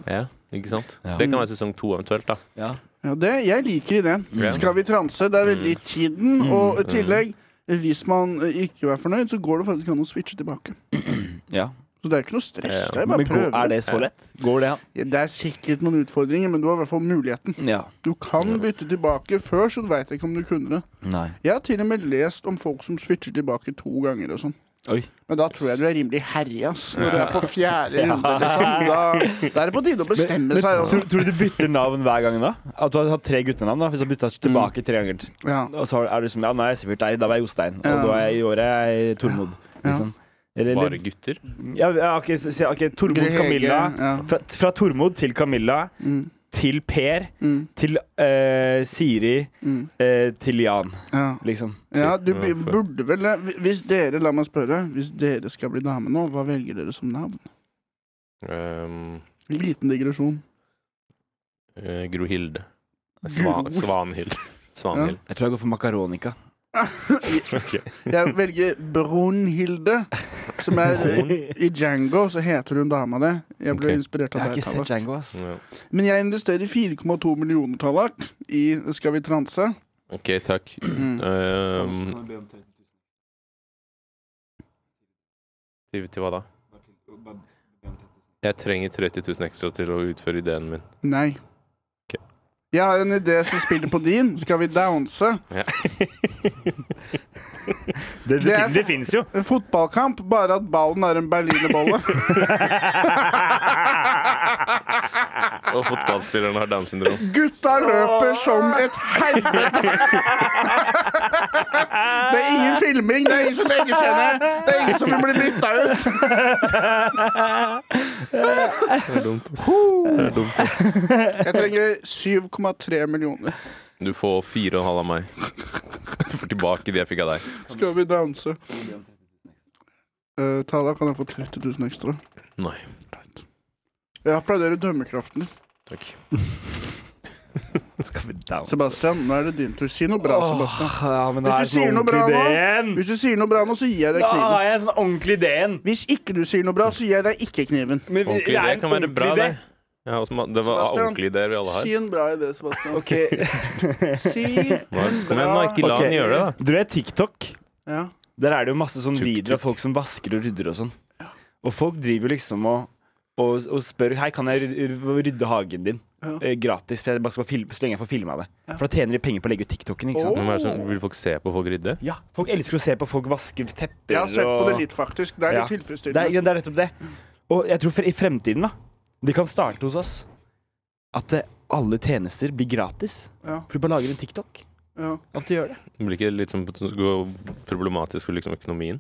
[SPEAKER 3] Ja, ikke sant?
[SPEAKER 1] Ja.
[SPEAKER 3] Det kan være sesong to eventuelt, da.
[SPEAKER 2] Ja, det, jeg liker ideen. Skal vi transe? Det er veldig
[SPEAKER 4] Mm.
[SPEAKER 2] i tiden. Og i tillegg, hvis man eh, ikke er fornøyd, så går det faktisk an å switche tilbake.
[SPEAKER 1] Ja.
[SPEAKER 2] Så det er ikke noe stress. Det er
[SPEAKER 4] Men
[SPEAKER 2] bare å
[SPEAKER 4] går, er
[SPEAKER 2] prøve.
[SPEAKER 4] det så lett? Går det an?
[SPEAKER 2] Det er sikkert noen utfordringer, men du har i hvert fall muligheten.
[SPEAKER 1] Ja.
[SPEAKER 2] Du kan bytte tilbake før, så du veit ikke om du kunne det.
[SPEAKER 1] Nei.
[SPEAKER 2] Jeg har til og med lest om folk som switcher tilbake to ganger og sånn.
[SPEAKER 1] Oi.
[SPEAKER 2] Men da tror jeg du er rimelig herja, ass. Når du er på
[SPEAKER 1] *laughs*
[SPEAKER 2] fjerde runde, liksom. Da, da er det på tide å
[SPEAKER 4] Men,
[SPEAKER 2] bestemme seg.
[SPEAKER 4] tror,
[SPEAKER 2] Altså.
[SPEAKER 4] tror du du bytter navn hver gang da? At du har hatt tre guttenavn? da Hvis du har
[SPEAKER 2] Mm.
[SPEAKER 4] bytta tilbake tre ganger.
[SPEAKER 2] Ja.
[SPEAKER 4] Og så er du som Ja, nå er jeg sikkert deg. Da var jeg Jostein. Og
[SPEAKER 2] Ja.
[SPEAKER 4] da er jeg, i år er jeg Tormod. Liksom. Eller,
[SPEAKER 3] Bare
[SPEAKER 4] eller
[SPEAKER 3] gutter.
[SPEAKER 4] ja, ja, OK, så- så- ok, Tormod
[SPEAKER 2] Greg Hege,
[SPEAKER 4] Camilla.
[SPEAKER 2] ja.
[SPEAKER 4] Fra, fra Tormod til Camilla.
[SPEAKER 2] Mm.
[SPEAKER 4] Til Per.
[SPEAKER 2] Mm.
[SPEAKER 4] Til eh, Siri.
[SPEAKER 2] Mm.
[SPEAKER 4] eh, til Jan,
[SPEAKER 2] Ja.
[SPEAKER 4] liksom.
[SPEAKER 2] Ja, du b- burde vel det. Hvis dere, la meg spørre, hvis dere skal bli dame nå, hva velger dere som navn?
[SPEAKER 3] Um,
[SPEAKER 2] Liten digresjon.
[SPEAKER 3] Eh, Gro Hilde.
[SPEAKER 2] Gro- *laughs*
[SPEAKER 3] Svan, Svanhild. *laughs* Svanhild.
[SPEAKER 1] Jeg tror jeg går for makaronika.
[SPEAKER 2] Jeg velger Brunhilde, som er i Django, så heter hun dama det. Jeg ble
[SPEAKER 3] Ok.
[SPEAKER 2] inspirert
[SPEAKER 1] Jeg
[SPEAKER 2] av
[SPEAKER 1] har
[SPEAKER 2] deg,
[SPEAKER 1] ikke sett
[SPEAKER 2] Tallak.
[SPEAKER 1] Django, ass.
[SPEAKER 3] Ja.
[SPEAKER 2] Men jeg investerer 4,2 millioner, Tallak, i Skal vi transe?
[SPEAKER 3] OK, takk.
[SPEAKER 2] Mm.
[SPEAKER 3] Um, til, til hva da? Jeg trenger 30 000 ekstra til å utføre ideen min.
[SPEAKER 2] Nei.
[SPEAKER 3] Ok.
[SPEAKER 2] Jeg har en idé som spiller på din. Skal vi danse?
[SPEAKER 4] Det,
[SPEAKER 2] Det
[SPEAKER 4] det,
[SPEAKER 2] er-
[SPEAKER 4] fin- det fins jo.
[SPEAKER 2] En fotballkamp, bare
[SPEAKER 3] *laughs*
[SPEAKER 2] at ballen er en berlinerbolle.
[SPEAKER 3] Og og fotballspilleren har Downs syndrom.
[SPEAKER 2] Gutta løper som et
[SPEAKER 3] *laughs*
[SPEAKER 2] helvete! Det er ingen filming, det er ingen som legger seg ned, det er ingen som vil bli bytta ut.
[SPEAKER 3] Det er dumt. Det er dumt.
[SPEAKER 2] Jeg trenger 7,3 millioner.
[SPEAKER 3] Du får fire og en halv av meg. Du får tilbake det jeg fikk av deg.
[SPEAKER 2] Skal vi danse? Uh, Tala, kan jeg få 30 000 ekstra?
[SPEAKER 3] Nei.
[SPEAKER 2] Jeg applauderer dømmekraften.
[SPEAKER 3] Takk.
[SPEAKER 4] Skal vi down?
[SPEAKER 2] Sebastian, nå er det din tur. Si noe bra, Sebastian.
[SPEAKER 4] Åh, ja, men det
[SPEAKER 2] Hvis
[SPEAKER 4] er
[SPEAKER 2] du sier
[SPEAKER 4] sånn
[SPEAKER 2] noe bra nå,
[SPEAKER 4] ordentlig ideen!
[SPEAKER 2] hvis du sier noe bra nå, så gir jeg deg
[SPEAKER 4] Da
[SPEAKER 2] kniven.
[SPEAKER 4] har jeg en sånn ordentlig ideen!
[SPEAKER 2] Hvis ikke du sier noe bra, så gir jeg deg ikke kniven.
[SPEAKER 4] Men vi-
[SPEAKER 3] Ordentlig idé
[SPEAKER 4] en
[SPEAKER 3] kan være bra,
[SPEAKER 4] ordentlig
[SPEAKER 3] det.
[SPEAKER 4] idé.
[SPEAKER 3] Ja, også, det var
[SPEAKER 2] Sebastian,
[SPEAKER 3] ordentlige ideer vi alle har.
[SPEAKER 2] Si en bra idé, Sebastian.
[SPEAKER 4] Ok,
[SPEAKER 1] *laughs*
[SPEAKER 2] Si en
[SPEAKER 3] Kom igjen, da.
[SPEAKER 2] bra
[SPEAKER 3] Ikke la
[SPEAKER 4] Ok.
[SPEAKER 3] han gjøre det, da.
[SPEAKER 4] Du vet TikTok?
[SPEAKER 2] ja.
[SPEAKER 4] Der er det jo masse sånn
[SPEAKER 3] Tuk,
[SPEAKER 4] videoer av folk som vasker og rydder og sånn. Og folk driver liksom og, og, og spør Hei, kan jeg rydde, rydde hagen din?
[SPEAKER 2] Ja.
[SPEAKER 4] Eh, gratis, for jeg bare skal bare filme, så lenge jeg får filma det. For da tjener de penger på å legge ut TikToken. ikke sant?
[SPEAKER 2] Åh.
[SPEAKER 3] Men hva er det som, vil folk se på folk rydde?
[SPEAKER 4] Ja, Folk elsker å se på folk vaske tepper
[SPEAKER 2] Jeg har sett på
[SPEAKER 4] og
[SPEAKER 2] det litt, faktisk. Det er litt
[SPEAKER 4] Ja. Det er,
[SPEAKER 2] tilfredsstillende.
[SPEAKER 4] det er nettopp det. Og jeg tror for, i fremtiden, da De kan starte hos oss. At eh, alle tjenester blir gratis.
[SPEAKER 2] Ja.
[SPEAKER 4] For du bare lager en TikTok.
[SPEAKER 2] Ja.
[SPEAKER 4] At du gjør det.
[SPEAKER 3] Blir ikke litt sånn gå- problematisk for liksom økonomien?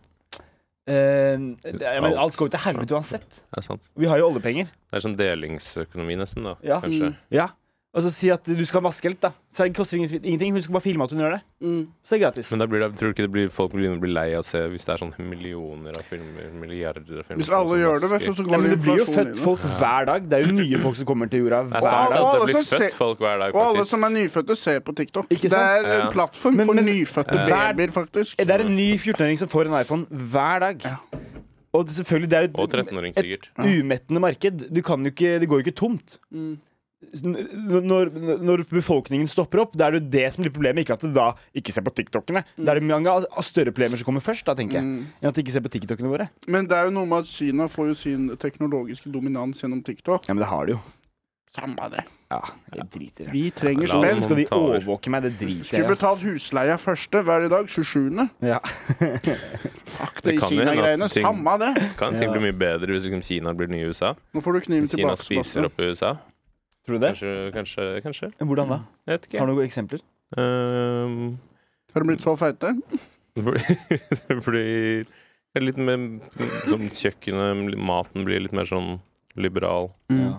[SPEAKER 4] Eh, det er- men alt går jo til helvete uansett.
[SPEAKER 3] Er det sant?
[SPEAKER 4] Vi har jo oljepenger.
[SPEAKER 3] Det er sånn delingsøkonomi nesten, da.
[SPEAKER 4] Ja.
[SPEAKER 3] Kanskje.
[SPEAKER 4] Ja, og så si at du skal vaske litt, da. Så det koster ingen- ingenting. Hun skal bare filme at hun gjør det.
[SPEAKER 2] Mm.
[SPEAKER 4] Så det er gratis.
[SPEAKER 3] Men da blir det, tror du ikke det blir, folk begynner å bli lei av å se hvis det er sånn millioner av filmer, milliarder av filmer
[SPEAKER 2] Hvis
[SPEAKER 3] som-
[SPEAKER 2] alle
[SPEAKER 3] som
[SPEAKER 2] gjør det, vet
[SPEAKER 3] vasker?
[SPEAKER 2] du, så
[SPEAKER 4] Nei,
[SPEAKER 2] går det
[SPEAKER 4] men det blir jo
[SPEAKER 2] inflasjon i
[SPEAKER 4] født
[SPEAKER 2] det.
[SPEAKER 4] folk hver dag. Det er jo nye folk som kommer til jorda
[SPEAKER 3] Det
[SPEAKER 4] hver
[SPEAKER 3] er sant,
[SPEAKER 4] dag.
[SPEAKER 3] altså,
[SPEAKER 2] alle
[SPEAKER 3] det blir
[SPEAKER 2] som ser-
[SPEAKER 3] født folk hver
[SPEAKER 2] Og
[SPEAKER 3] dag,
[SPEAKER 2] alle
[SPEAKER 3] faktisk.
[SPEAKER 2] som er nyfødte, ser på TikTok.
[SPEAKER 4] Ikke
[SPEAKER 2] Det er
[SPEAKER 3] sant?
[SPEAKER 2] en plattform
[SPEAKER 4] Men-
[SPEAKER 2] for
[SPEAKER 4] men-
[SPEAKER 2] nyfødte
[SPEAKER 4] Ja.
[SPEAKER 2] babyer, faktisk.
[SPEAKER 4] Det er en ny 14-åring som får en iPhone hver dag.
[SPEAKER 2] Ja.
[SPEAKER 4] Og det- selvfølgelig, det er jo
[SPEAKER 3] Og 13-åring,
[SPEAKER 4] et
[SPEAKER 3] sikkert.
[SPEAKER 4] umettende marked. Du kan jo ikke, det går jo ikke tomt.
[SPEAKER 2] Mm.
[SPEAKER 4] Så n- Når, når befolkningen stopper opp, da er det jo det som blir problemet. Ikke at det da ikke ser på TikTokene. Da er det mange av- av større problemer som kommer først, da, tenker jeg.
[SPEAKER 2] Mm.
[SPEAKER 4] Enn at de ikke ser på TikTokene våre.
[SPEAKER 2] Men det er jo noe med at Kina får jo sin teknologiske dominans gjennom TikTok.
[SPEAKER 4] Ja, men det har de jo.
[SPEAKER 2] Samme det.
[SPEAKER 4] Ja, jeg driter i det.
[SPEAKER 2] Vi trenger
[SPEAKER 3] La
[SPEAKER 2] som
[SPEAKER 3] dem
[SPEAKER 2] helst.
[SPEAKER 3] nå.
[SPEAKER 4] Skal de
[SPEAKER 3] tar-
[SPEAKER 4] overvåke meg? Det driter
[SPEAKER 2] Skulle
[SPEAKER 4] jeg
[SPEAKER 2] betalt husleia første hver i dag. 27.
[SPEAKER 4] Ja.
[SPEAKER 2] *laughs* Fuck
[SPEAKER 3] Det
[SPEAKER 2] det i
[SPEAKER 3] kan jo hende at
[SPEAKER 2] Kina-greiene.
[SPEAKER 3] ting-
[SPEAKER 2] Samme det.
[SPEAKER 3] Kan ting bli mye bedre hvis liksom Kina blir nye USA?
[SPEAKER 2] Nå får du kniven
[SPEAKER 3] Hvis Kina
[SPEAKER 2] tilbake.
[SPEAKER 3] spiser
[SPEAKER 2] Sebastian.
[SPEAKER 3] opp USA?
[SPEAKER 4] Tror du det?
[SPEAKER 3] Kanskje, kanskje, kanskje.
[SPEAKER 4] Hvordan da?
[SPEAKER 3] Jeg vet ikke.
[SPEAKER 4] Har du noen eksempler?
[SPEAKER 3] Ehm, *laughs*
[SPEAKER 2] Har de blitt så feite?
[SPEAKER 3] det blir, det blir litt mer sånn Kjøkkenet, maten blir litt mer sånn liberal.
[SPEAKER 2] Mm.
[SPEAKER 4] Ja.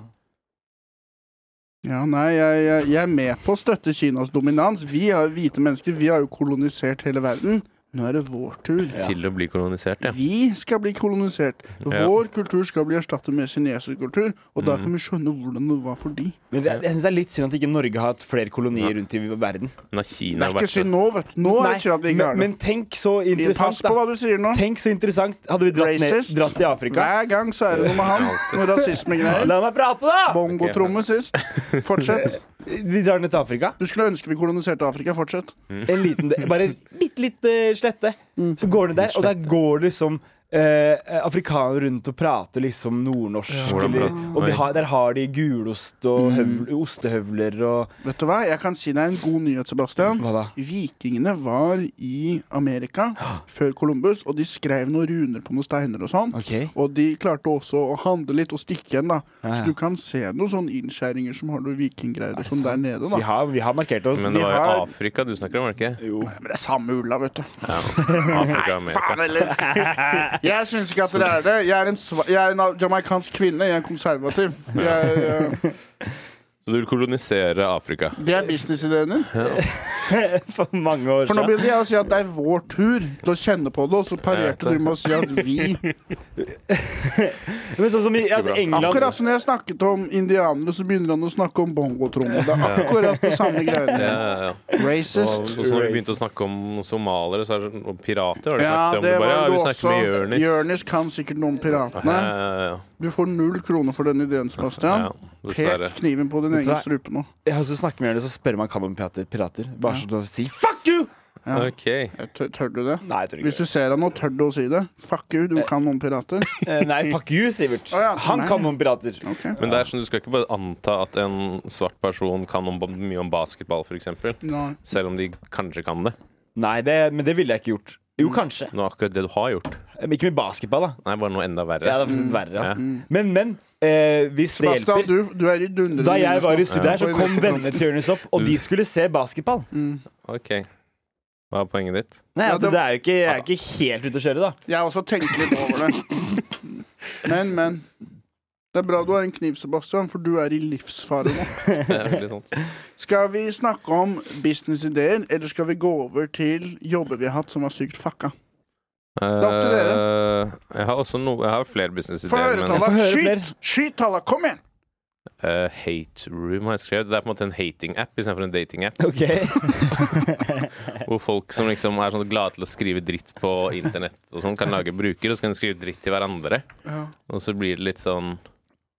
[SPEAKER 2] Ja, nei, jeg, jeg, jeg er med på å støtte Kinas dominans. Vi er hvite mennesker, vi har jo kolonisert hele verden. Nå er det vår tur.
[SPEAKER 4] Ja.
[SPEAKER 3] Til å bli kolonisert, ja.
[SPEAKER 2] Vi skal bli kolonisert.
[SPEAKER 3] Ja.
[SPEAKER 2] Vår kultur skal bli erstattet med kinesisk kultur, og da
[SPEAKER 3] Mm.
[SPEAKER 2] kan vi skjønne hvordan det var for de.
[SPEAKER 4] Men det, jeg synes det er litt synd at ikke Norge har hatt flere kolonier rundt i verden.
[SPEAKER 3] Men da
[SPEAKER 2] Det
[SPEAKER 3] Kina
[SPEAKER 2] er
[SPEAKER 3] har vært
[SPEAKER 2] ikke
[SPEAKER 3] så
[SPEAKER 2] synd nå, vet du. Nå er det ikke at vi ikke
[SPEAKER 4] men,
[SPEAKER 2] er det.
[SPEAKER 4] men tenk så interessant,
[SPEAKER 2] Pass på
[SPEAKER 4] da.
[SPEAKER 2] hva du sier nå.
[SPEAKER 4] Tenk så interessant. Hadde vi dratt, ned,
[SPEAKER 2] Racist.
[SPEAKER 4] dratt til Afrika
[SPEAKER 2] Hver gang så er det noe med han. Noe rasismegreier.
[SPEAKER 4] *laughs* La meg prate, da!
[SPEAKER 2] Bongotromme sist.
[SPEAKER 3] *laughs*
[SPEAKER 2] Fortsett.
[SPEAKER 4] Vi drar ned til Afrika.
[SPEAKER 2] Du skulle ønske vi koloniserte Afrika. Fortsett.
[SPEAKER 3] Mm.
[SPEAKER 4] En liten, del- bare bitte lite slette. Så går det der, og der går liksom eh, afrikanere rundt og prater liksom nordnorsk.
[SPEAKER 3] Hvordan
[SPEAKER 4] eller,
[SPEAKER 3] prater-
[SPEAKER 4] og de
[SPEAKER 3] Oi. Mm.
[SPEAKER 4] har, der har de gulost og høvl, ostehøvler og
[SPEAKER 2] Vet du hva? Jeg kan si deg en god nyhet, Sebastian.
[SPEAKER 4] Hva da?
[SPEAKER 2] Vikingene var i Amerika før Columbus, og de skrev noen runer på noen steiner og sånn.
[SPEAKER 4] OK.
[SPEAKER 2] Og de klarte også å handle litt og stikke igjen, da.
[SPEAKER 4] Ja, ja.
[SPEAKER 2] Så du kan se noen sånne innskjæringer som har noe vikinggreier og sånn der nede,
[SPEAKER 4] Så vi
[SPEAKER 2] da.
[SPEAKER 4] har, vi har markert oss.
[SPEAKER 2] Vi
[SPEAKER 3] Men det var jo
[SPEAKER 2] har-
[SPEAKER 3] Afrika du snakker om, var det ikke?
[SPEAKER 2] Jo. Men det er samme ulla, vet du.
[SPEAKER 3] Ja. Afrika og
[SPEAKER 2] Faen
[SPEAKER 3] Amerika.
[SPEAKER 2] heller! *laughs* Jeg syns ikke at dere er det. Jeg er en, sva jeg er en jamaikansk kvinne. Jeg er konservativ. Jeg, eh,
[SPEAKER 3] Så du vil kolonisere Afrika?
[SPEAKER 2] det er businessideen din.
[SPEAKER 4] *laughs* for mange år
[SPEAKER 2] For nå
[SPEAKER 4] siden.
[SPEAKER 2] begynte jeg å si at det er vår tur til å kjenne på det, og så
[SPEAKER 3] Jeg
[SPEAKER 2] parerte
[SPEAKER 3] vet
[SPEAKER 2] du
[SPEAKER 3] det.
[SPEAKER 2] med å si at vi
[SPEAKER 4] Men sånn som i at
[SPEAKER 3] bra.
[SPEAKER 4] England
[SPEAKER 2] Akkurat som når jeg snakket om indianere, så begynner han å snakke om bongotromme. Det er akkurat det
[SPEAKER 3] *laughs*
[SPEAKER 2] samme
[SPEAKER 3] Ja,
[SPEAKER 2] greiene.
[SPEAKER 3] ja, ja. Og, og
[SPEAKER 2] Racist.
[SPEAKER 3] så når vi begynte å snakke om somalere så er det, sånn- og pirater, har de
[SPEAKER 2] Ja,
[SPEAKER 3] snakket om.
[SPEAKER 2] det
[SPEAKER 3] Du bare,
[SPEAKER 2] var
[SPEAKER 3] ja,
[SPEAKER 2] du
[SPEAKER 3] vi
[SPEAKER 2] også.
[SPEAKER 3] snakker med Jonis.
[SPEAKER 2] Jonis kan sikkert noe om
[SPEAKER 3] Ja,
[SPEAKER 2] piratene.
[SPEAKER 3] ja, ja.
[SPEAKER 2] Du får null kroner for den ideen, Sebastian.
[SPEAKER 3] ja, dessverre.
[SPEAKER 2] Pek kniven på din
[SPEAKER 4] Vet du
[SPEAKER 2] egen
[SPEAKER 4] hva?
[SPEAKER 2] strupe nå.
[SPEAKER 4] Jeg har også snakket med dem, så spør man kan om pirater. pirater. Bare så du sier fuck you!
[SPEAKER 2] Ja.
[SPEAKER 3] Ok.
[SPEAKER 2] Jeg tør, tør du det?
[SPEAKER 4] Nei, jeg tror
[SPEAKER 2] Hvis
[SPEAKER 4] ikke
[SPEAKER 2] du
[SPEAKER 4] det.
[SPEAKER 2] ser han nå, tør du å si det? Fuck you, du kan noen pirater.
[SPEAKER 4] Eh, Nei, fuck you, Sivert.
[SPEAKER 2] Å ja,
[SPEAKER 4] Han
[SPEAKER 2] nei.
[SPEAKER 4] kan om pirater.
[SPEAKER 2] Ok.
[SPEAKER 3] Men det er sånn, du skal ikke bare anta at en svart person kan om, mye om basketball, f.eks.
[SPEAKER 2] Nei.
[SPEAKER 3] Selv om de kanskje kan det.
[SPEAKER 4] Nei, det, men det ville jeg ikke gjort. Jo, kanskje.
[SPEAKER 3] Nå er akkurat det du har gjort.
[SPEAKER 4] Men ikke med basketball, da.
[SPEAKER 3] Nei, bare noe enda verre.
[SPEAKER 4] Ja, det er faktisk verre. da.
[SPEAKER 2] Mm,
[SPEAKER 3] Ja.
[SPEAKER 4] Men, men. Eh, hvis det
[SPEAKER 2] Sebastian,
[SPEAKER 4] hjelper
[SPEAKER 2] du, du er i dundrende
[SPEAKER 4] Da jeg var i
[SPEAKER 2] minus nå. Mm.
[SPEAKER 4] studiet her, så
[SPEAKER 2] Og i
[SPEAKER 4] kom
[SPEAKER 2] minus nå.
[SPEAKER 4] vennene til Jonis opp, og de skulle se basketball.
[SPEAKER 2] Mm.
[SPEAKER 3] Ok. Hva er poenget
[SPEAKER 2] *laughs*
[SPEAKER 3] ditt?
[SPEAKER 4] Nei,
[SPEAKER 2] Ja,
[SPEAKER 4] at
[SPEAKER 2] det-
[SPEAKER 4] det er jo ikke, jeg er ikke helt ute å kjøre, da.
[SPEAKER 2] Jeg har også tenkt litt over det. Men, men. Det er bra du har en kniv, Sebastian, for du er i livsfare nå.
[SPEAKER 3] Det er veldig sant.
[SPEAKER 2] Skal vi snakke om businessideer, eller skal vi gå over til jobber vi har hatt som var sykt fucka? er opp til
[SPEAKER 3] Eh, jeg har også noe Jeg har flere
[SPEAKER 2] Få
[SPEAKER 3] businessideer,
[SPEAKER 2] høre,
[SPEAKER 3] men
[SPEAKER 2] Talla.
[SPEAKER 4] får høre
[SPEAKER 2] Skyt!
[SPEAKER 4] flere.
[SPEAKER 2] Skyt, Talla! Kom igjen!
[SPEAKER 3] eh, Hate Room har jeg skrevet. Det er på en måte en hating-app istedenfor en dating-app.
[SPEAKER 4] *laughs* Ok
[SPEAKER 3] Hvor folk som liksom er sånn glade til å skrive dritt på internett og sånn, kan lage bruker, og så kan de skrive dritt til hverandre.
[SPEAKER 2] Ja.
[SPEAKER 3] Og så blir det litt sånn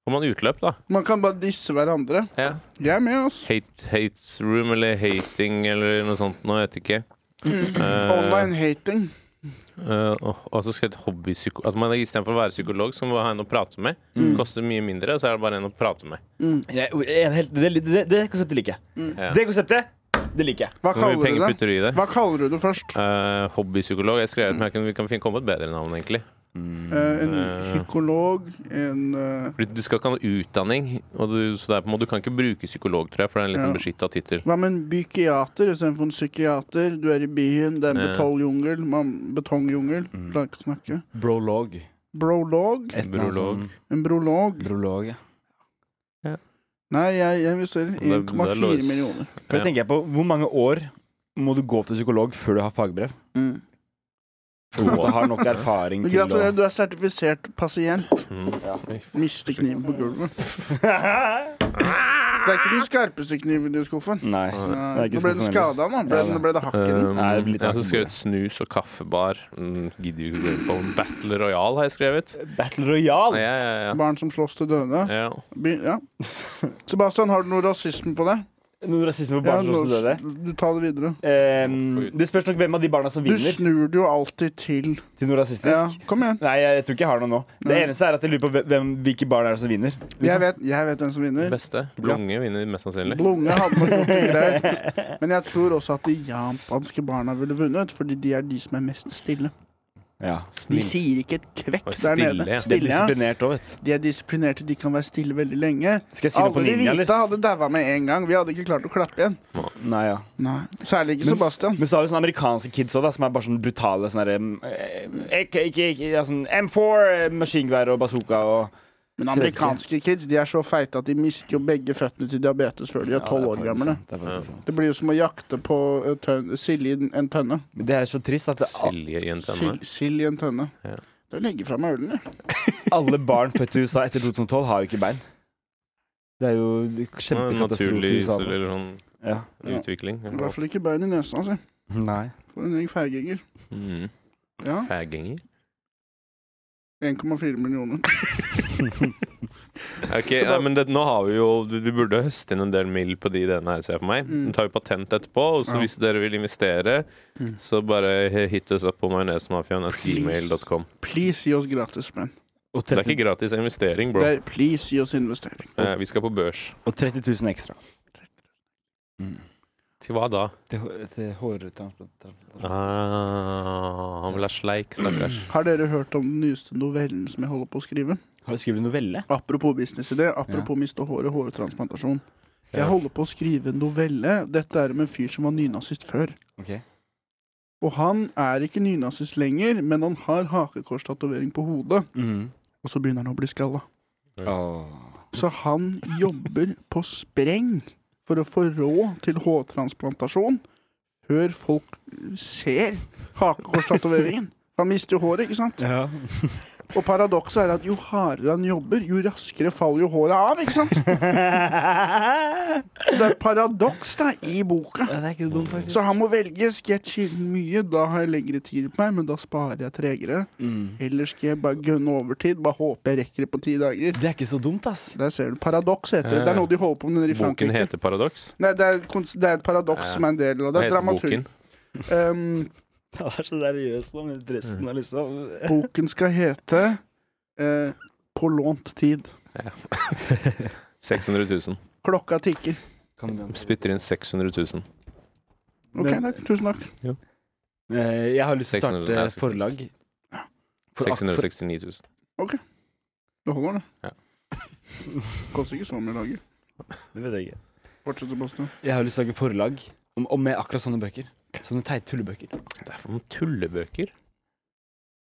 [SPEAKER 3] Får man utløp, da.
[SPEAKER 2] Man kan bare disse hverandre.
[SPEAKER 3] Ja.
[SPEAKER 2] Jeg er med, altså.
[SPEAKER 3] Hate, hate room eller hating eller noe sånt nå, jeg vet ikke. Eh,
[SPEAKER 2] Online hating.
[SPEAKER 3] eh, og og så skrevet hobbypsyko... At man istedenfor å være psykolog, så må man ha en å prate med.
[SPEAKER 2] Mm.
[SPEAKER 3] Koster mye mindre, og så er det bare en å prate med.
[SPEAKER 4] Jeg er en helt, det, det, det konseptet liker jeg.
[SPEAKER 2] Mm.
[SPEAKER 3] Ja.
[SPEAKER 4] Det konseptet, det liker jeg.
[SPEAKER 2] Hva
[SPEAKER 3] Hvor mye
[SPEAKER 2] kaller
[SPEAKER 3] penger
[SPEAKER 2] du det?
[SPEAKER 3] putter du i det?
[SPEAKER 2] Hva kaller du det først?
[SPEAKER 3] Eh, hobbypsykolog. Jeg skrev det, men jeg kan, vi kan fin- komme på et bedre navn, egentlig.
[SPEAKER 4] Mm.
[SPEAKER 2] Eh,
[SPEAKER 3] Mm,
[SPEAKER 2] en psykolog, en eh,
[SPEAKER 3] Fordi Du skal ikke ha noe utdanning, og du, så det er på en måte, du kan ikke bruke psykolog, tror jeg, for det er en litt sånn
[SPEAKER 2] Ja.
[SPEAKER 3] beskytta tittel.
[SPEAKER 2] Hva med en bykiater istedenfor en psykiater? Du er i byen, det er en
[SPEAKER 3] Ja.
[SPEAKER 2] betongjungel. man- Betongjungel. Klarer ikke å snakke.
[SPEAKER 4] Brolog.
[SPEAKER 2] Brolog?
[SPEAKER 4] Et eller annet
[SPEAKER 3] Brolog.
[SPEAKER 4] sånn-
[SPEAKER 2] En brolog?
[SPEAKER 4] Brolog, ja.
[SPEAKER 2] Nei, jeg, jeg investerer
[SPEAKER 3] er- det er
[SPEAKER 2] 1,4
[SPEAKER 3] Lois.
[SPEAKER 2] millioner.
[SPEAKER 3] Ja.
[SPEAKER 4] For da tenker jeg på hvor mange år må du gå til psykolog før du har fagbrev?
[SPEAKER 2] Mm.
[SPEAKER 4] Og har nok erfaring til å
[SPEAKER 2] Gratulerer, du er sertifisert pasient.
[SPEAKER 3] Mm.
[SPEAKER 2] Miste kniven på gulvet. Det er ikke den skarpeste kniven i skuffen.
[SPEAKER 4] Nei.
[SPEAKER 2] Nei,
[SPEAKER 4] ikke
[SPEAKER 2] Nå ble den
[SPEAKER 4] skuffen
[SPEAKER 2] skada, nå. Ble, den- ble det hakk i den?
[SPEAKER 3] Um,
[SPEAKER 4] Nei, det blir litt
[SPEAKER 3] jeg har
[SPEAKER 4] hakk i
[SPEAKER 3] også skrevet snus og kaffebar. Mm, gidder jo ikke gå inn på Battle Royal har jeg skrevet.
[SPEAKER 4] Battle Royale.
[SPEAKER 3] Ja, ja, ja.
[SPEAKER 2] Barn som slåss til døde.
[SPEAKER 3] ja.
[SPEAKER 2] By-
[SPEAKER 4] *laughs*
[SPEAKER 2] Ja. Sebastian, har du noe rasisme på deg?
[SPEAKER 4] Noe rasisme på
[SPEAKER 2] Ja,
[SPEAKER 4] barn som også døde.
[SPEAKER 2] nå- du tar det videre.
[SPEAKER 4] Ehm, det spørs nok hvem av de barna som
[SPEAKER 2] Du
[SPEAKER 4] vinner
[SPEAKER 2] snur det jo alltid til
[SPEAKER 4] til noe rasistisk.
[SPEAKER 2] Ja, kom igjen.
[SPEAKER 4] Nei, jeg, jeg tror ikke jeg har noe nå. Det
[SPEAKER 2] Nei.
[SPEAKER 4] eneste er at jeg lurer på hvem- hvem, hvilke barn er det som vinner. liksom.
[SPEAKER 2] Jeg vet, jeg vet hvem som vinner.
[SPEAKER 3] Beste. Blunge vinner mest sannsynlig.
[SPEAKER 2] Blunge hadde nok gjort det
[SPEAKER 4] *laughs*
[SPEAKER 2] greit. Men jeg tror også at de japanske barna ville vunnet, fordi de er de som er mest stille.
[SPEAKER 4] Ja.
[SPEAKER 2] De
[SPEAKER 3] Snill.
[SPEAKER 2] sier ikke et kvekk
[SPEAKER 3] Og
[SPEAKER 2] der
[SPEAKER 3] stille,
[SPEAKER 2] nede.
[SPEAKER 3] ja.
[SPEAKER 4] Det er
[SPEAKER 2] Stille, ja.
[SPEAKER 4] disiplinert òg, vet du.
[SPEAKER 2] De er disiplinerte, de kan være stille veldig lenge.
[SPEAKER 4] Skal jeg si noe på
[SPEAKER 2] Alle de
[SPEAKER 4] min, eller?
[SPEAKER 2] hvite hadde daua med en gang. Vi hadde ikke klart å klappe igjen.
[SPEAKER 4] Nei, ja.
[SPEAKER 2] Nei. Særlig ikke Sebastian.
[SPEAKER 4] Men så har vi sånne amerikanske kids også, da, som er bare sånn brutale sånne der, mm, eh, ikke- ikke- ikke- ja, sånn M4, eh, maskingevær og bazooka og
[SPEAKER 2] Men amerikanske kids de er så feite at de mister jo begge føttene til diabetes før de er tolv år gamle. Det blir jo som å jakte på eh, tønn- sild i en- en tønne.
[SPEAKER 4] Men det er så trist at det,
[SPEAKER 3] Silje i en tønne.
[SPEAKER 2] Sild- Sild i en tønne.
[SPEAKER 3] Ja.
[SPEAKER 2] Da legger jeg fra meg ølen, jeg.
[SPEAKER 4] alle barn født i USA etter 2012 har jo ikke bein. Det er jo
[SPEAKER 3] Ja,
[SPEAKER 4] kjempekatastrofe i
[SPEAKER 3] Naturlig
[SPEAKER 4] USA.
[SPEAKER 3] eller sånn
[SPEAKER 4] Ja.
[SPEAKER 3] utvikling.
[SPEAKER 2] I hvert fall ikke bein i nesa, si.
[SPEAKER 4] Nei.
[SPEAKER 2] For en gjeng feiginger.
[SPEAKER 3] Mm.
[SPEAKER 2] Ja.
[SPEAKER 3] Fagginger.
[SPEAKER 2] 1,4 millioner.
[SPEAKER 3] Ok, nei, men det, nå har vi jo Du, du burde høste inn en del mill på de ideene her, ser jeg for meg.
[SPEAKER 2] Mm.
[SPEAKER 3] Nå tar vi patent etterpå, og så
[SPEAKER 2] Ja.
[SPEAKER 3] hvis dere vil investere,
[SPEAKER 2] Mm.
[SPEAKER 3] så bare hit oss opp på majonesmafiaen.gmail.com.
[SPEAKER 2] Please gi oss gratis, men.
[SPEAKER 4] Og
[SPEAKER 3] Det er
[SPEAKER 4] 30,
[SPEAKER 3] ikke gratis investering, bro.
[SPEAKER 2] Nei, Please gi oss investering.
[SPEAKER 3] Eh, vi skal på børs.
[SPEAKER 4] og 30 000 ekstra. Mm.
[SPEAKER 3] Til hva da?
[SPEAKER 4] Til, hå- til hårtransplantasjon.
[SPEAKER 3] Ah, han vil ha sleik, stakkars.
[SPEAKER 2] Har dere hørt om den nyeste novellen som jeg holder på å skrive?
[SPEAKER 4] Har du skrevet novelle?
[SPEAKER 2] Apropos businessidé, apropos miste håret, hårtransplantasjon. Jeg holder på å skrive en novelle. Dette er om en fyr som var nynazist før.
[SPEAKER 4] Ok.
[SPEAKER 2] Og han er ikke nynazist lenger, men han har hakekorstatovering på hodet.
[SPEAKER 4] Mm.
[SPEAKER 2] Og så begynner han å bli skalla.
[SPEAKER 4] Åh.
[SPEAKER 2] Så han jobber på spreng for å få råd til hårtransplantasjon før folk ser hakekorstatoveringen. Han mister jo håret, ikke sant?
[SPEAKER 4] *laughs* Ja.
[SPEAKER 2] Og paradokset er at jo hardere han jobber, jo raskere faller jo håret av, ikke sant? Så det er et paradoks da, i boka.
[SPEAKER 4] det er ikke så dumt, faktisk.
[SPEAKER 2] Så han må velge. Skal jeg chille mye, da har jeg lengre tid på meg, men da sparer jeg tregere.
[SPEAKER 4] Mm.
[SPEAKER 2] Eller skal jeg bare gønne overtid? Bare håpe jeg rekker det på ti dager.
[SPEAKER 4] Det er ikke så dumt, ass.
[SPEAKER 2] Der ser du. Paradoks heter det. Det er noe de holder på med nede i
[SPEAKER 3] Eh, Boken
[SPEAKER 2] Frankrike.
[SPEAKER 3] heter Paradoks.
[SPEAKER 2] Nei, det er, kons- det er et paradoks
[SPEAKER 3] Ja.
[SPEAKER 2] som er en del av det.
[SPEAKER 3] Hva heter
[SPEAKER 2] Dramaturg.
[SPEAKER 3] boken?
[SPEAKER 2] Um,
[SPEAKER 4] Det var så seriøst om resten av lista.
[SPEAKER 2] boken skal hete eh, På lånt tid.
[SPEAKER 3] 600 000.
[SPEAKER 2] Klokka tikker.
[SPEAKER 3] Spytter inn 600 000.
[SPEAKER 2] Ok, takk. Tusen takk.
[SPEAKER 4] Eh, Jeg har lyst til å
[SPEAKER 3] 600,
[SPEAKER 4] starte
[SPEAKER 3] nei,
[SPEAKER 4] et forlag. For-
[SPEAKER 3] 669 000.
[SPEAKER 2] Det holder, det.
[SPEAKER 3] Ja.
[SPEAKER 2] *laughs* Koster ikke så mye å lage.
[SPEAKER 4] Det vet jeg ikke.
[SPEAKER 2] Fortsett, Sebastian.
[SPEAKER 4] Jeg har lyst til å lage forlag om, om med akkurat sånne bøker. Sånne teite tullebøker.
[SPEAKER 3] Det er for noen tullebøker.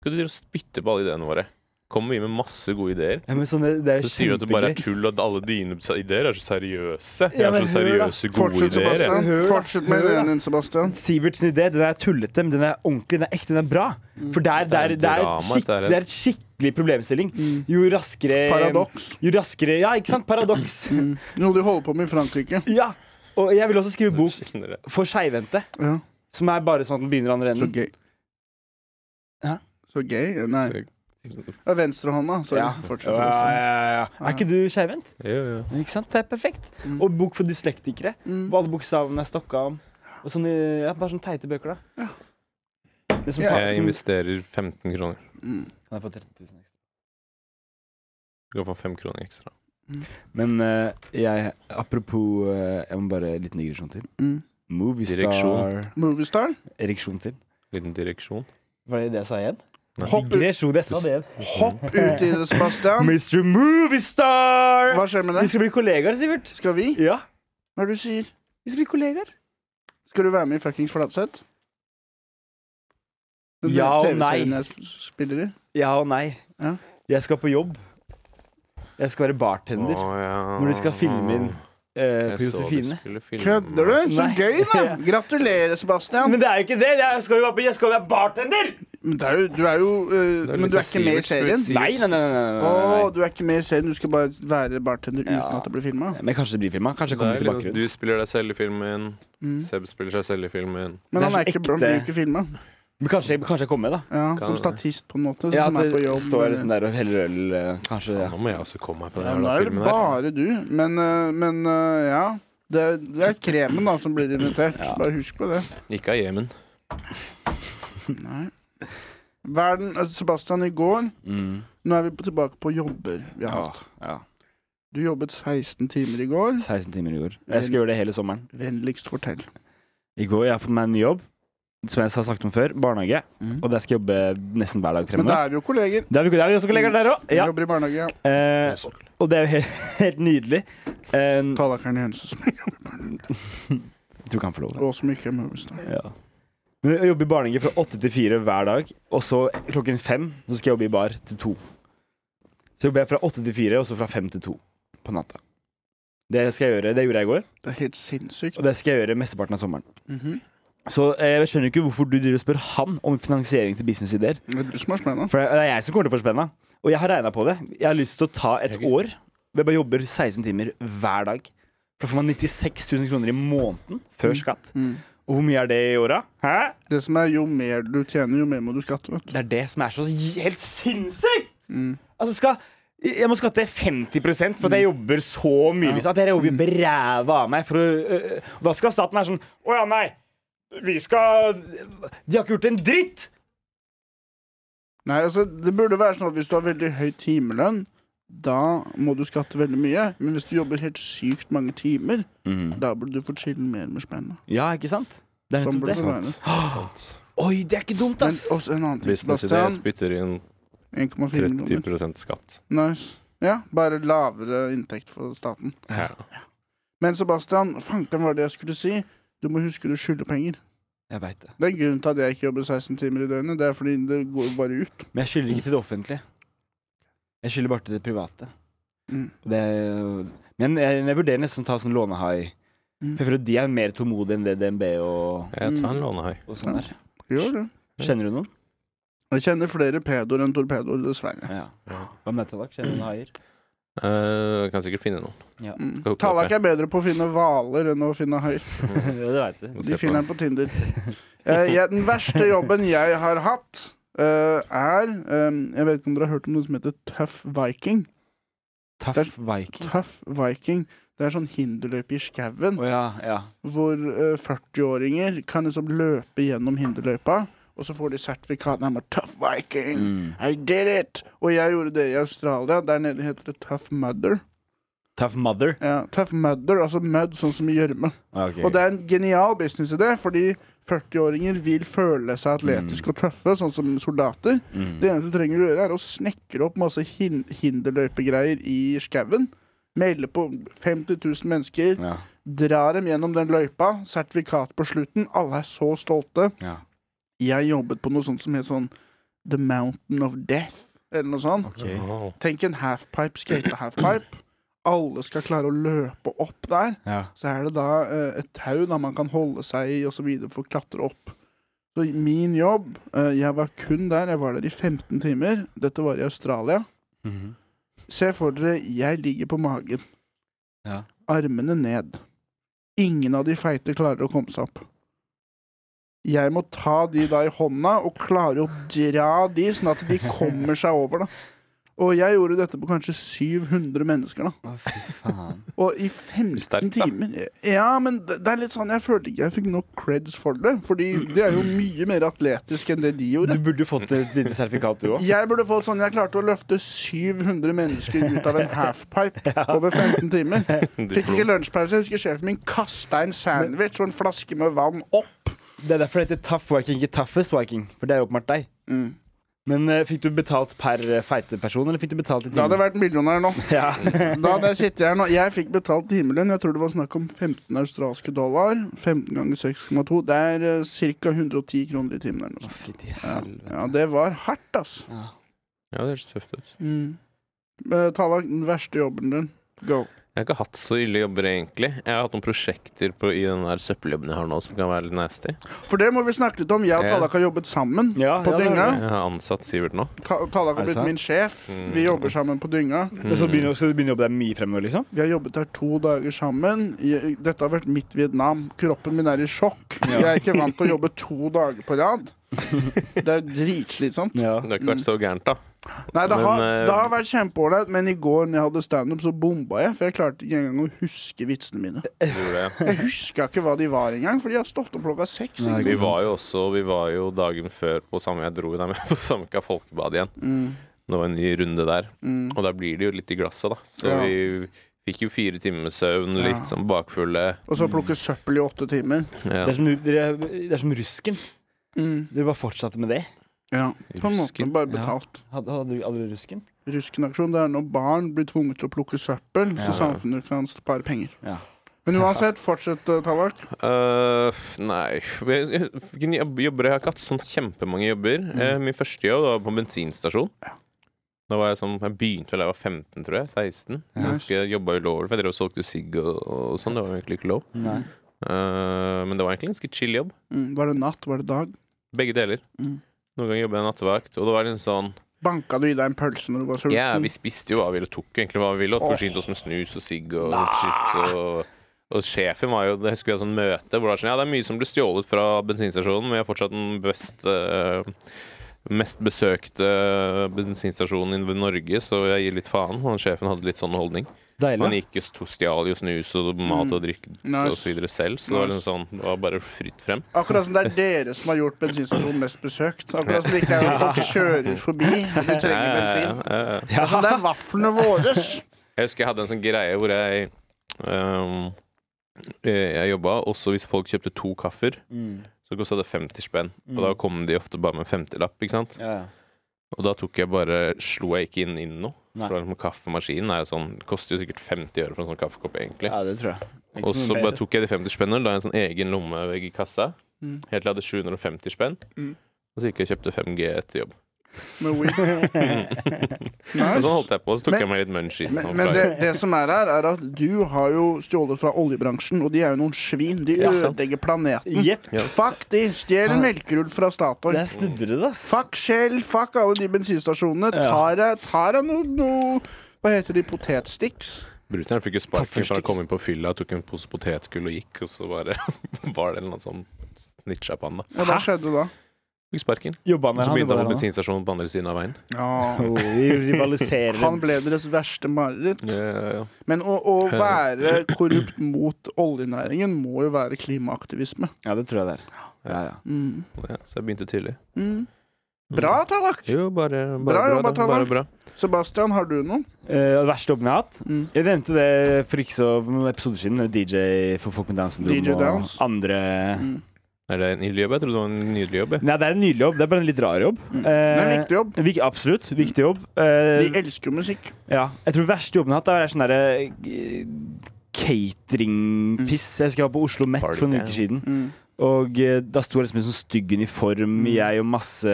[SPEAKER 3] Skal du drive og spytte på alle ideene våre? Kommer vi med masse gode ideer?
[SPEAKER 4] Ja, men sånne, det er
[SPEAKER 3] Så sier du at det bare er
[SPEAKER 4] kjempegøy.
[SPEAKER 3] tull, og at alle dine ideer er så seriøse. Jeg
[SPEAKER 4] Ja,
[SPEAKER 3] er
[SPEAKER 4] men
[SPEAKER 3] så
[SPEAKER 4] hør da.
[SPEAKER 3] seriøse, gode
[SPEAKER 2] Fortsett,
[SPEAKER 3] ideer. jeg.
[SPEAKER 2] Sebastian.
[SPEAKER 4] Hør, da.
[SPEAKER 2] Fortsett med
[SPEAKER 4] Hør, da.
[SPEAKER 2] ideen din, Sebastian.
[SPEAKER 4] Siverts idé den er tullete, men den er ordentlig, den er ekte, den er bra. For det er, det
[SPEAKER 3] Det er
[SPEAKER 4] er, det er,
[SPEAKER 3] drama,
[SPEAKER 4] et, skikk,
[SPEAKER 3] det er et-
[SPEAKER 4] det er et skikkelig problemstilling. Jo raskere
[SPEAKER 2] Mm. Paradoks.
[SPEAKER 4] Jo raskere Ja, ikke sant? Paradoks.
[SPEAKER 2] *clears throat* Noe de holder på med i Frankrike.
[SPEAKER 4] Ja. Og jeg vil også skrive bok
[SPEAKER 3] Skjønner det.
[SPEAKER 4] for skeivhendte,
[SPEAKER 2] Ja.
[SPEAKER 4] som er bare sånn at den begynner andre
[SPEAKER 2] Så
[SPEAKER 4] enden.
[SPEAKER 2] gay.
[SPEAKER 4] Hæ?
[SPEAKER 2] Så gay? Nei. Ja, Venstrehånda. Sorry.
[SPEAKER 4] Ja.
[SPEAKER 2] Fortsett.
[SPEAKER 4] Ja,
[SPEAKER 2] Sebastian.
[SPEAKER 4] ja, ja. Er ikke du skeivhendt?
[SPEAKER 3] Jo, jo.
[SPEAKER 4] Ikke sant? Det er perfekt.
[SPEAKER 2] Mm.
[SPEAKER 4] Og bok for dyslektikere.
[SPEAKER 2] Mm.
[SPEAKER 4] Hvor alle bokstavene er stokka om. Og sånne, ja, bare sånne teite bøker, da.
[SPEAKER 2] Ja.
[SPEAKER 4] Det som
[SPEAKER 2] Ja.
[SPEAKER 4] faen
[SPEAKER 3] Jeg
[SPEAKER 4] som-
[SPEAKER 3] investerer 15 kroner.
[SPEAKER 2] Mm.
[SPEAKER 4] Kan jeg få 30 000 ekstra?
[SPEAKER 3] Du kan få 5 kroner ekstra.
[SPEAKER 4] Men eh, jeg Apropos eh, Jeg må bare en liten digresjon til.
[SPEAKER 2] Mm.
[SPEAKER 4] Moviestar
[SPEAKER 3] Direksjon.
[SPEAKER 2] Moviestar?
[SPEAKER 4] Ereksjon til.
[SPEAKER 3] Liten direksjon.
[SPEAKER 4] Var det det jeg sa igjen?
[SPEAKER 3] Nei.
[SPEAKER 2] Hopp ut,
[SPEAKER 4] Digresjon, jeg sa det igjen.
[SPEAKER 2] hopp ut
[SPEAKER 4] *laughs*
[SPEAKER 2] i det, Sebastian.
[SPEAKER 4] Mr. Moviestar!
[SPEAKER 2] Hva skjer med
[SPEAKER 4] Vi
[SPEAKER 2] det?
[SPEAKER 4] skal bli kollegaer, Sivert.
[SPEAKER 2] Skal vi?
[SPEAKER 4] Ja,
[SPEAKER 2] Hva er det du sier?
[SPEAKER 4] vi skal bli kollegaer.
[SPEAKER 2] Skal du være med i fuckings Flatseth? Den
[SPEAKER 4] Ja og
[SPEAKER 2] TV-serien
[SPEAKER 4] nei.
[SPEAKER 2] jeg sp- Spiller i?
[SPEAKER 4] Ja og nei.
[SPEAKER 2] Ja.
[SPEAKER 4] Jeg skal på jobb. Jeg skal være bartender
[SPEAKER 3] Å, ja.
[SPEAKER 4] Når de skal filme inn, eh,
[SPEAKER 3] Jeg
[SPEAKER 4] på
[SPEAKER 3] så de
[SPEAKER 4] Josefine.
[SPEAKER 3] skulle filme.
[SPEAKER 2] Kødder du? Så
[SPEAKER 4] Nei.
[SPEAKER 2] gøy, *laughs* da!
[SPEAKER 4] Ja.
[SPEAKER 2] Gratulerer, Sebastian.
[SPEAKER 4] Men det er jo ikke det! Jeg skal jo være, på- jeg skal jo være bartender!
[SPEAKER 2] Men det er jo, du er jo eh,
[SPEAKER 3] er
[SPEAKER 2] Men
[SPEAKER 3] litt
[SPEAKER 2] du er
[SPEAKER 3] sånn
[SPEAKER 2] ikke med i
[SPEAKER 3] Siverts
[SPEAKER 2] serien?
[SPEAKER 3] Siverts.
[SPEAKER 4] Nei, nei, nei. nei, nei,
[SPEAKER 2] Å,
[SPEAKER 4] nei, nei.
[SPEAKER 2] du er ikke med i serien, du skal bare være bartender uten
[SPEAKER 4] Ja.
[SPEAKER 2] at det blir filma?
[SPEAKER 4] Men kanskje det blir filma. Kanskje jeg
[SPEAKER 3] Det
[SPEAKER 4] kommer
[SPEAKER 3] er litt
[SPEAKER 4] til
[SPEAKER 3] sånn,
[SPEAKER 4] bakgrunnen.
[SPEAKER 3] Du spiller deg selv i filmen.
[SPEAKER 2] Mm.
[SPEAKER 3] Seb spiller seg selv i filmen.
[SPEAKER 2] Men
[SPEAKER 4] Det er
[SPEAKER 2] han er
[SPEAKER 4] så
[SPEAKER 2] ikke, han
[SPEAKER 4] ekte.
[SPEAKER 2] blir ikke filma.
[SPEAKER 4] Men kanskje, kanskje jeg kommer med, da.
[SPEAKER 2] Ja,
[SPEAKER 3] Kan-
[SPEAKER 2] som statist, på en måte.
[SPEAKER 4] Ja,
[SPEAKER 2] som er
[SPEAKER 4] at
[SPEAKER 2] på
[SPEAKER 4] det
[SPEAKER 2] jobb.
[SPEAKER 4] står
[SPEAKER 2] eller-
[SPEAKER 4] liksom der og heller øl eh, Kanskje
[SPEAKER 3] Ja,
[SPEAKER 4] ja.
[SPEAKER 3] nå må jeg også komme meg på den
[SPEAKER 2] Ja, men
[SPEAKER 3] jævla
[SPEAKER 2] da er det
[SPEAKER 3] filmen her.
[SPEAKER 2] bare du. Men, eh, men eh, ja. Det, det er kremen da som blir invitert.
[SPEAKER 4] Ja.
[SPEAKER 2] Bare husk på det.
[SPEAKER 3] Ikke av Jemen.
[SPEAKER 2] Nei. Verden, eh, Sebastian, i går
[SPEAKER 4] Mm.
[SPEAKER 2] Nå er vi på- tilbake på jobber. vi har hatt.
[SPEAKER 4] Åh, ja.
[SPEAKER 2] Du jobbet 16 timer i går.
[SPEAKER 4] 16 timer i går. Jeg skal gjøre det hele sommeren.
[SPEAKER 2] Vennligst fortell.
[SPEAKER 4] I går jeg har fått meg en ny jobb, som jeg har snakket om før. Barnehage. Mm. Og der skal jeg jobbe nesten hver
[SPEAKER 2] Men da
[SPEAKER 4] dag fremover.
[SPEAKER 2] er vi jo kolleger.
[SPEAKER 4] Det er vi, det er vi også kollegaer der òg.
[SPEAKER 2] Vi
[SPEAKER 4] Ja.
[SPEAKER 2] jobber i barnehage. ja.
[SPEAKER 4] Eh, og det er jo helt, *laughs* helt nydelig. Eh,
[SPEAKER 2] Tallakeren Jensen som ikke jobber i barnehage.
[SPEAKER 4] jeg tror ikke han får lov.
[SPEAKER 2] Og som ikke er Movistar.
[SPEAKER 4] Ja. Men jeg jobber i barnehage fra åtte til fire hver dag, og så klokken fem så skal jeg jobbe i bar til to. Så jobber jeg fra åtte til fire, og så fra fem til to på natta. Det skal jeg gjøre, det gjorde jeg i går,
[SPEAKER 2] Det er helt sinnssykt.
[SPEAKER 4] og det skal jeg gjøre mesteparten av sommeren.
[SPEAKER 2] Mhm.
[SPEAKER 4] Så eh, jeg skjønner ikke hvorfor du driver og spør han om finansiering til businessidéer.
[SPEAKER 2] Det er du som har spenna.
[SPEAKER 4] For det er jeg som kommer til å få spenna. Og jeg har regna på det. Jeg har lyst til å ta et år hvor jeg bare jobber 16 timer hver dag. For da får man 96 000 kroner i måneden før skatt.
[SPEAKER 2] Mm.
[SPEAKER 4] Og hvor mye er det i åra? Hæ?
[SPEAKER 2] Det som er, jo mer du tjener, jo mer må du skatte. Vet. du.
[SPEAKER 4] Det er det som er så j- helt sinnssykt!
[SPEAKER 2] Mm.
[SPEAKER 4] Altså skal jeg må skatte 50 for at jeg jobber så mye.
[SPEAKER 2] Ja.
[SPEAKER 4] Liksom. At jeg jobber beræva av meg. For å, øh, øh, og da skal staten være sånn Å ja, nei. Vi skal De har ikke gjort en dritt!
[SPEAKER 2] Nei, altså, det burde være sånn at hvis du har veldig høy timelønn, da må du skatte veldig mye. Men hvis du jobber helt sykt mange timer, da burde du få chille mer med spenna.
[SPEAKER 4] Ja, ikke sant? Det er
[SPEAKER 2] Sånn
[SPEAKER 4] nettopp
[SPEAKER 2] burde det
[SPEAKER 4] det.
[SPEAKER 2] være.
[SPEAKER 3] Ah,
[SPEAKER 4] Oi, det er ikke dumt,
[SPEAKER 2] Men
[SPEAKER 4] ass!
[SPEAKER 2] også en annen ting,
[SPEAKER 3] Businessidé
[SPEAKER 2] Sebastian.
[SPEAKER 3] spytter inn
[SPEAKER 2] 1,4 millioner.
[SPEAKER 3] 30 skatt.
[SPEAKER 2] Nice. Ja, bare lavere inntekt for staten.
[SPEAKER 3] Ja.
[SPEAKER 2] Men Sebastian, fanken var det jeg skulle si. Du må huske du skylder penger.
[SPEAKER 4] Jeg veit det.
[SPEAKER 2] Det er grunnen til at jeg ikke jobber 16 timer i døgnet. Det er fordi det går jo bare ut.
[SPEAKER 4] Men jeg skylder ikke til det offentlige. Jeg skylder bare til det private.
[SPEAKER 2] Mm.
[SPEAKER 4] Og Det er, men jeg, jeg vurderer nesten å ta sånn lånehai.
[SPEAKER 2] Mm.
[SPEAKER 4] For jeg føler at de er mer tålmodige enn det DNB og,
[SPEAKER 3] Jeg tar en
[SPEAKER 2] Mm.
[SPEAKER 3] lånehai.
[SPEAKER 4] og sånn der.
[SPEAKER 2] Gjør det.
[SPEAKER 4] Kjenner du noen?
[SPEAKER 2] Jeg kjenner flere pedoer enn torpedoer, dessverre.
[SPEAKER 4] Ja. Hva med deg, Dag? Kjenner du noen *laughs* haier?
[SPEAKER 3] Uh, kan sikkert finne noen.
[SPEAKER 2] Mm.
[SPEAKER 3] Skal hooke opp,
[SPEAKER 2] Tallak er bedre på å finne hvaler enn å finne haier.
[SPEAKER 4] det veit vi.
[SPEAKER 3] Må
[SPEAKER 2] De
[SPEAKER 3] se på
[SPEAKER 2] finner
[SPEAKER 3] den.
[SPEAKER 2] den på Tinder. Eh, jeg, den verste jobben jeg har hatt, eh, er eh, Jeg vet ikke om dere har hørt om noe som heter Tøff Viking?
[SPEAKER 4] Tøff Viking.
[SPEAKER 2] Tøff Viking Det er sånn hinderløype i skauen
[SPEAKER 4] Å ja, ja.
[SPEAKER 2] hvor eh, 40-åringer kan liksom løpe gjennom hinderløypa, og så får de sertifikat. I'm a tough
[SPEAKER 1] Mm.
[SPEAKER 2] viking. I did it! Og jeg gjorde det i Australia. Der nede heter det Tough Mother.
[SPEAKER 1] Tough mother.
[SPEAKER 2] Ja, tough mudder, altså mud, sånn som i gjørme.
[SPEAKER 1] Ah, ok.
[SPEAKER 2] Og det er en genial businessidé, fordi 40-åringer vil føle
[SPEAKER 1] Mm.
[SPEAKER 2] seg atletiske og tøffe, sånn som soldater. Det eneste du trenger å gjøre, er å snekre opp masse hin hinderløypegreier i skauen. Melde på 50 000 mennesker.
[SPEAKER 1] Ja.
[SPEAKER 2] Drar dem gjennom den løypa. Sertifikat på slutten. Alle er så stolte.
[SPEAKER 1] Ja.
[SPEAKER 2] Jeg jobbet på noe sånt som het sånn The Mountain of Death, eller noe sånt.
[SPEAKER 1] Ok.
[SPEAKER 2] Tenk en halfpipe, skate
[SPEAKER 1] *clears throat*
[SPEAKER 2] halfpipe. Alle skal klare å løpe opp der.
[SPEAKER 1] Ja.
[SPEAKER 2] Så er det da eh, et tau da man kan holde seg i osv. for å klatre opp. Så min jobb eh, Jeg var kun der. Jeg var der i 15 timer. Dette var i Australia.
[SPEAKER 1] Mhm.
[SPEAKER 2] Se for dere, jeg ligger på magen.
[SPEAKER 1] Ja.
[SPEAKER 2] Armene ned. Ingen av de feite klarer å komme seg opp. Jeg må ta de da i hånda og klare å dra de, sånn at de kommer seg over, da. Og jeg gjorde dette på kanskje 700 mennesker, da.
[SPEAKER 1] Å, fy faen.
[SPEAKER 2] Og i 15
[SPEAKER 3] Sterkt, da.
[SPEAKER 2] timer. Ja, men det det er litt sånn Jeg følte ikke jeg fikk nok creds for det. Fordi de er jo mye mer atletiske enn det de gjorde.
[SPEAKER 1] *laughs* Du burde jo fått et lite sertifikat, du
[SPEAKER 2] *laughs*
[SPEAKER 1] òg.
[SPEAKER 2] Jeg burde fått sånn Jeg klarte å løfte 700 mennesker ut av en halfpipe over 15 *laughs*
[SPEAKER 4] *laughs*
[SPEAKER 2] timer. Fikk ikke lunsjpause. Jeg husker sjefen min kasta en sandwich og en flaske med vann opp.
[SPEAKER 1] Det er derfor det heter tough viking, ikke toughest viking. For det er jo åpenbart deg.
[SPEAKER 2] Mm.
[SPEAKER 1] Men eh, fikk du betalt per eh, feite person, eller fikk du betalt i
[SPEAKER 4] Mm.
[SPEAKER 2] Da hadde jeg
[SPEAKER 1] timen?
[SPEAKER 2] vært millionær nå.
[SPEAKER 1] Ja.
[SPEAKER 2] Da hadde jeg sittet her nå. Jeg fikk betalt timelønn. Jeg tror det var snakk om 15 australske dollar. 15 ganger 6,2. Det er eh, ca. 110 kroner i timen eller noe sånt.
[SPEAKER 1] Fytti
[SPEAKER 2] Ja.
[SPEAKER 1] helvete.
[SPEAKER 2] ja, det var hardt, ass.
[SPEAKER 3] Ja, det høres tøft ut.
[SPEAKER 2] Mm. Eh, Tallak, den verste jobben din. Go.
[SPEAKER 3] Jeg har ikke hatt så ille jobber, egentlig. Jeg har hatt noen prosjekter på, i den der søppeljobben jeg har nå, som kan være litt nasty.
[SPEAKER 2] For det må vi snakke litt om. Jeg og
[SPEAKER 3] Ja.
[SPEAKER 2] Tallak har jobbet sammen
[SPEAKER 1] Ja,
[SPEAKER 2] på
[SPEAKER 1] ja, det har
[SPEAKER 2] dynga.
[SPEAKER 1] vi.
[SPEAKER 3] Jeg har ansatt Sivert nå.
[SPEAKER 2] Ta- Tallak
[SPEAKER 1] Er
[SPEAKER 2] har
[SPEAKER 1] det
[SPEAKER 2] blitt
[SPEAKER 1] sant?
[SPEAKER 2] min sjef.
[SPEAKER 3] Mm.
[SPEAKER 2] Vi jobber sammen på dynga.
[SPEAKER 1] Men Så begynner, skal du begynne å jobbe der mye fremover, liksom?
[SPEAKER 2] Vi har jobbet her to dager sammen. Jeg- Dette har vært mitt Vietnam. Kroppen min er i sjokk.
[SPEAKER 1] Ja.
[SPEAKER 2] Jeg er ikke vant til å jobbe to dager på rad. Det er dritslitsomt.
[SPEAKER 1] Ja.
[SPEAKER 3] Det har ikke vært så gærent, da.
[SPEAKER 2] Nei, det har,
[SPEAKER 3] Men, eh,
[SPEAKER 2] det har vært kjempeålreit, men i går når jeg hadde standup, så bomba jeg. For jeg klarte ikke engang å huske vitsene mine.
[SPEAKER 3] Det gjorde jeg.
[SPEAKER 2] Jeg huska ikke hva de var engang, for de har stått opp klokka seks.
[SPEAKER 1] Nei,
[SPEAKER 3] Vi
[SPEAKER 2] ikke sant?
[SPEAKER 3] var jo også Vi var jo dagen før på samme Jeg dro jo der *laughs* med på Samka folkebad igjen.
[SPEAKER 2] Mm,
[SPEAKER 3] Det var en ny runde der.
[SPEAKER 2] mm.
[SPEAKER 3] Og da blir det jo litt i glasset, da. Så
[SPEAKER 2] Ja.
[SPEAKER 3] vi fikk jo fire timer med søvn,
[SPEAKER 2] Ja.
[SPEAKER 3] litt sånn bakfulle.
[SPEAKER 2] Og så plukke søppel i åtte timer.
[SPEAKER 3] Ja.
[SPEAKER 1] Det, er som, det, er, det er som rusken.
[SPEAKER 2] Mm.
[SPEAKER 1] Du bare fortsatte med det.
[SPEAKER 2] Ja, på en måte.
[SPEAKER 3] Rusken.
[SPEAKER 2] Bare
[SPEAKER 1] Ja.
[SPEAKER 2] betalt.
[SPEAKER 1] Hadde, hadde, du- hadde du rusken?
[SPEAKER 2] Ruskenaksjon det er når barn blir tvunget til å plukke søppel,
[SPEAKER 1] Ja.
[SPEAKER 2] så samfunnet kan spare penger.
[SPEAKER 1] Ja.
[SPEAKER 2] Men uansett, fortsett, eh, Tallak.
[SPEAKER 3] Øh, nei Jeg- jeg- Hvilken jobb- jobber jeg har ikke hatt? Sånn kjempemange jobber. Eh, min første jobb var på bensinstasjon. Da var jeg sånn Jeg begynte vel da jeg var 15, tror jeg. 16.
[SPEAKER 2] Nice.
[SPEAKER 3] Jeg jobba ulovlig, for jeg drev og solgte sigg og, og sånn. Det var egentlig ikke lov.
[SPEAKER 1] Nei.
[SPEAKER 3] Eh, men det var egentlig en ganske chill jobb.
[SPEAKER 2] Mm, var det natt? Var det dag?
[SPEAKER 3] Begge deler.
[SPEAKER 2] Mm.
[SPEAKER 3] Noen ganger jobba jeg nattevakt, og det var liksom sånn
[SPEAKER 2] Banka du i deg en pølse når du var sulten?
[SPEAKER 3] Ja, vi spiste jo hva vi ville, og tok egentlig hva vi ville, og forsynte oss med snus og sigg og chips og og sjefen var jo Jeg husker vi hadde sånn møte hvor det var sånn Ja, det er mye som ble stjålet fra bensinstasjonen, men vi er fortsatt den best eh, Mest besøkte bensinstasjonen i Norge, så jeg gir litt faen. Han sjefen hadde litt sånn holdning. Han
[SPEAKER 1] Deilig.
[SPEAKER 3] gikk jo st- stjal jo snus og mat og drikke
[SPEAKER 2] Mm. Nice.
[SPEAKER 3] og så videre selv, så det var liksom sånn Det var bare fritt frem.
[SPEAKER 2] Akkurat som det er dere som har gjort bensinstasjonen mest besøkt. Akkurat som det ikke er at folk kjører forbi og de trenger bensin.
[SPEAKER 3] Ja, ja, ja.
[SPEAKER 2] Det er som
[SPEAKER 4] *laughs*
[SPEAKER 2] det er vaflene våre.
[SPEAKER 3] Jeg husker jeg hadde en sånn greie hvor jeg um, eh, Jeg jobba, og så hvis folk kjøpte to kaffer,
[SPEAKER 1] Mm.
[SPEAKER 3] så kosta det 50 spenn. Og
[SPEAKER 2] Mm.
[SPEAKER 3] da kom de ofte bare med en femtilapp, ikke sant.
[SPEAKER 1] Ja, ja.
[SPEAKER 3] Og da tok jeg bare Slo jeg ikke inn, inn noe.
[SPEAKER 1] Nei.
[SPEAKER 3] For liksom, kaffemaskinen er jo sånn Koster jo sikkert 50 øre for en sånn kaffekopp, egentlig.
[SPEAKER 1] ja, det tror jeg. Ikke
[SPEAKER 3] Og
[SPEAKER 1] mye
[SPEAKER 3] så
[SPEAKER 1] bedre.
[SPEAKER 3] bare tok jeg de 50 spennene og la i en sånn egen lomme i kassa.
[SPEAKER 2] Mm.
[SPEAKER 3] Helt til jeg hadde 750 spenn.
[SPEAKER 2] Mm.
[SPEAKER 3] Og så gikk jeg og kjøpte 5G etter jobb.
[SPEAKER 2] Med weed.
[SPEAKER 3] *laughs* Og
[SPEAKER 2] Nice.
[SPEAKER 3] sånn holdt jeg på, og så tok
[SPEAKER 2] Men-
[SPEAKER 3] jeg meg litt munchies.
[SPEAKER 2] Men,
[SPEAKER 3] sånn
[SPEAKER 2] men
[SPEAKER 3] fra-
[SPEAKER 2] det, det som er her, er at du har jo stjålet fra oljebransjen, og de er jo noen svin. De
[SPEAKER 3] Ja, sant.
[SPEAKER 2] ødelegger planeten.
[SPEAKER 1] Jepp.
[SPEAKER 3] Ja.
[SPEAKER 2] Fuck de! Stjel en melkerull fra Statoil.
[SPEAKER 1] Det er snudrete, ass.
[SPEAKER 2] Fuck Shell, fuck alle de bensinstasjonene. Tar jeg, tar jeg noe, noe Hva heter de? Potetsticks?
[SPEAKER 3] Bruteren fikk jo sparken for å
[SPEAKER 1] Taffelstiks.
[SPEAKER 3] komme inn på fylla, tok en pose potetgull og gikk, og så bare *laughs* var det en eller annen sånn snitcha på han, da.
[SPEAKER 2] Ja, hva skjedde da?
[SPEAKER 3] Fikk sparken.
[SPEAKER 1] Jobba
[SPEAKER 3] Og
[SPEAKER 1] med
[SPEAKER 3] så
[SPEAKER 1] han.
[SPEAKER 3] begynte
[SPEAKER 1] jobba
[SPEAKER 3] han på
[SPEAKER 1] med han.
[SPEAKER 3] bensinstasjonen på andre siden av veien.
[SPEAKER 2] Ja.
[SPEAKER 1] Oh, vi rivaliserer.
[SPEAKER 2] Han ble deres verste mareritt.
[SPEAKER 3] Ja, ja, ja.
[SPEAKER 2] Men å, å være korrupt mot oljenæringen må jo være klimaaktivisme.
[SPEAKER 1] Ja, det tror jeg det er. Ja, ja.
[SPEAKER 2] Mm.
[SPEAKER 3] Ja, Så jeg begynte tidlig.
[SPEAKER 2] Mm. Bra, Tallak.
[SPEAKER 3] Jo, bare, bare
[SPEAKER 2] Bra
[SPEAKER 3] bra.
[SPEAKER 2] jobba,
[SPEAKER 3] da. bare
[SPEAKER 2] Tallak.
[SPEAKER 3] bra.
[SPEAKER 2] Sebastian, har du noen?
[SPEAKER 4] Eh, det verste jobben jeg har hatt?
[SPEAKER 2] Mm.
[SPEAKER 4] Jeg nevnte det for ikke så noen episoder siden. DJ for folk med Downs syndrom
[SPEAKER 2] DJ
[SPEAKER 4] og
[SPEAKER 2] Downs.
[SPEAKER 4] andre
[SPEAKER 2] Mm.
[SPEAKER 3] Er det en ille jobb? Jeg trodde det var en nydelig jobb. jeg.
[SPEAKER 4] Nei, det er en nydelig jobb. Det er bare en litt rar jobb.
[SPEAKER 2] Mm. Det er
[SPEAKER 4] Eh,
[SPEAKER 2] en viktig jobb.
[SPEAKER 4] Vik, absolutt. Viktig jobb. Eh,
[SPEAKER 2] Vi elsker jo musikk.
[SPEAKER 4] ja. Jeg tror verste jobben jeg har hatt, er sånn derre cateringpiss. Jeg skal være på Oslo Met for noen
[SPEAKER 3] Party.
[SPEAKER 4] uker siden.
[SPEAKER 2] Mm.
[SPEAKER 4] Og eh, da sto jeg liksom i sånn stygg uniform, jeg og masse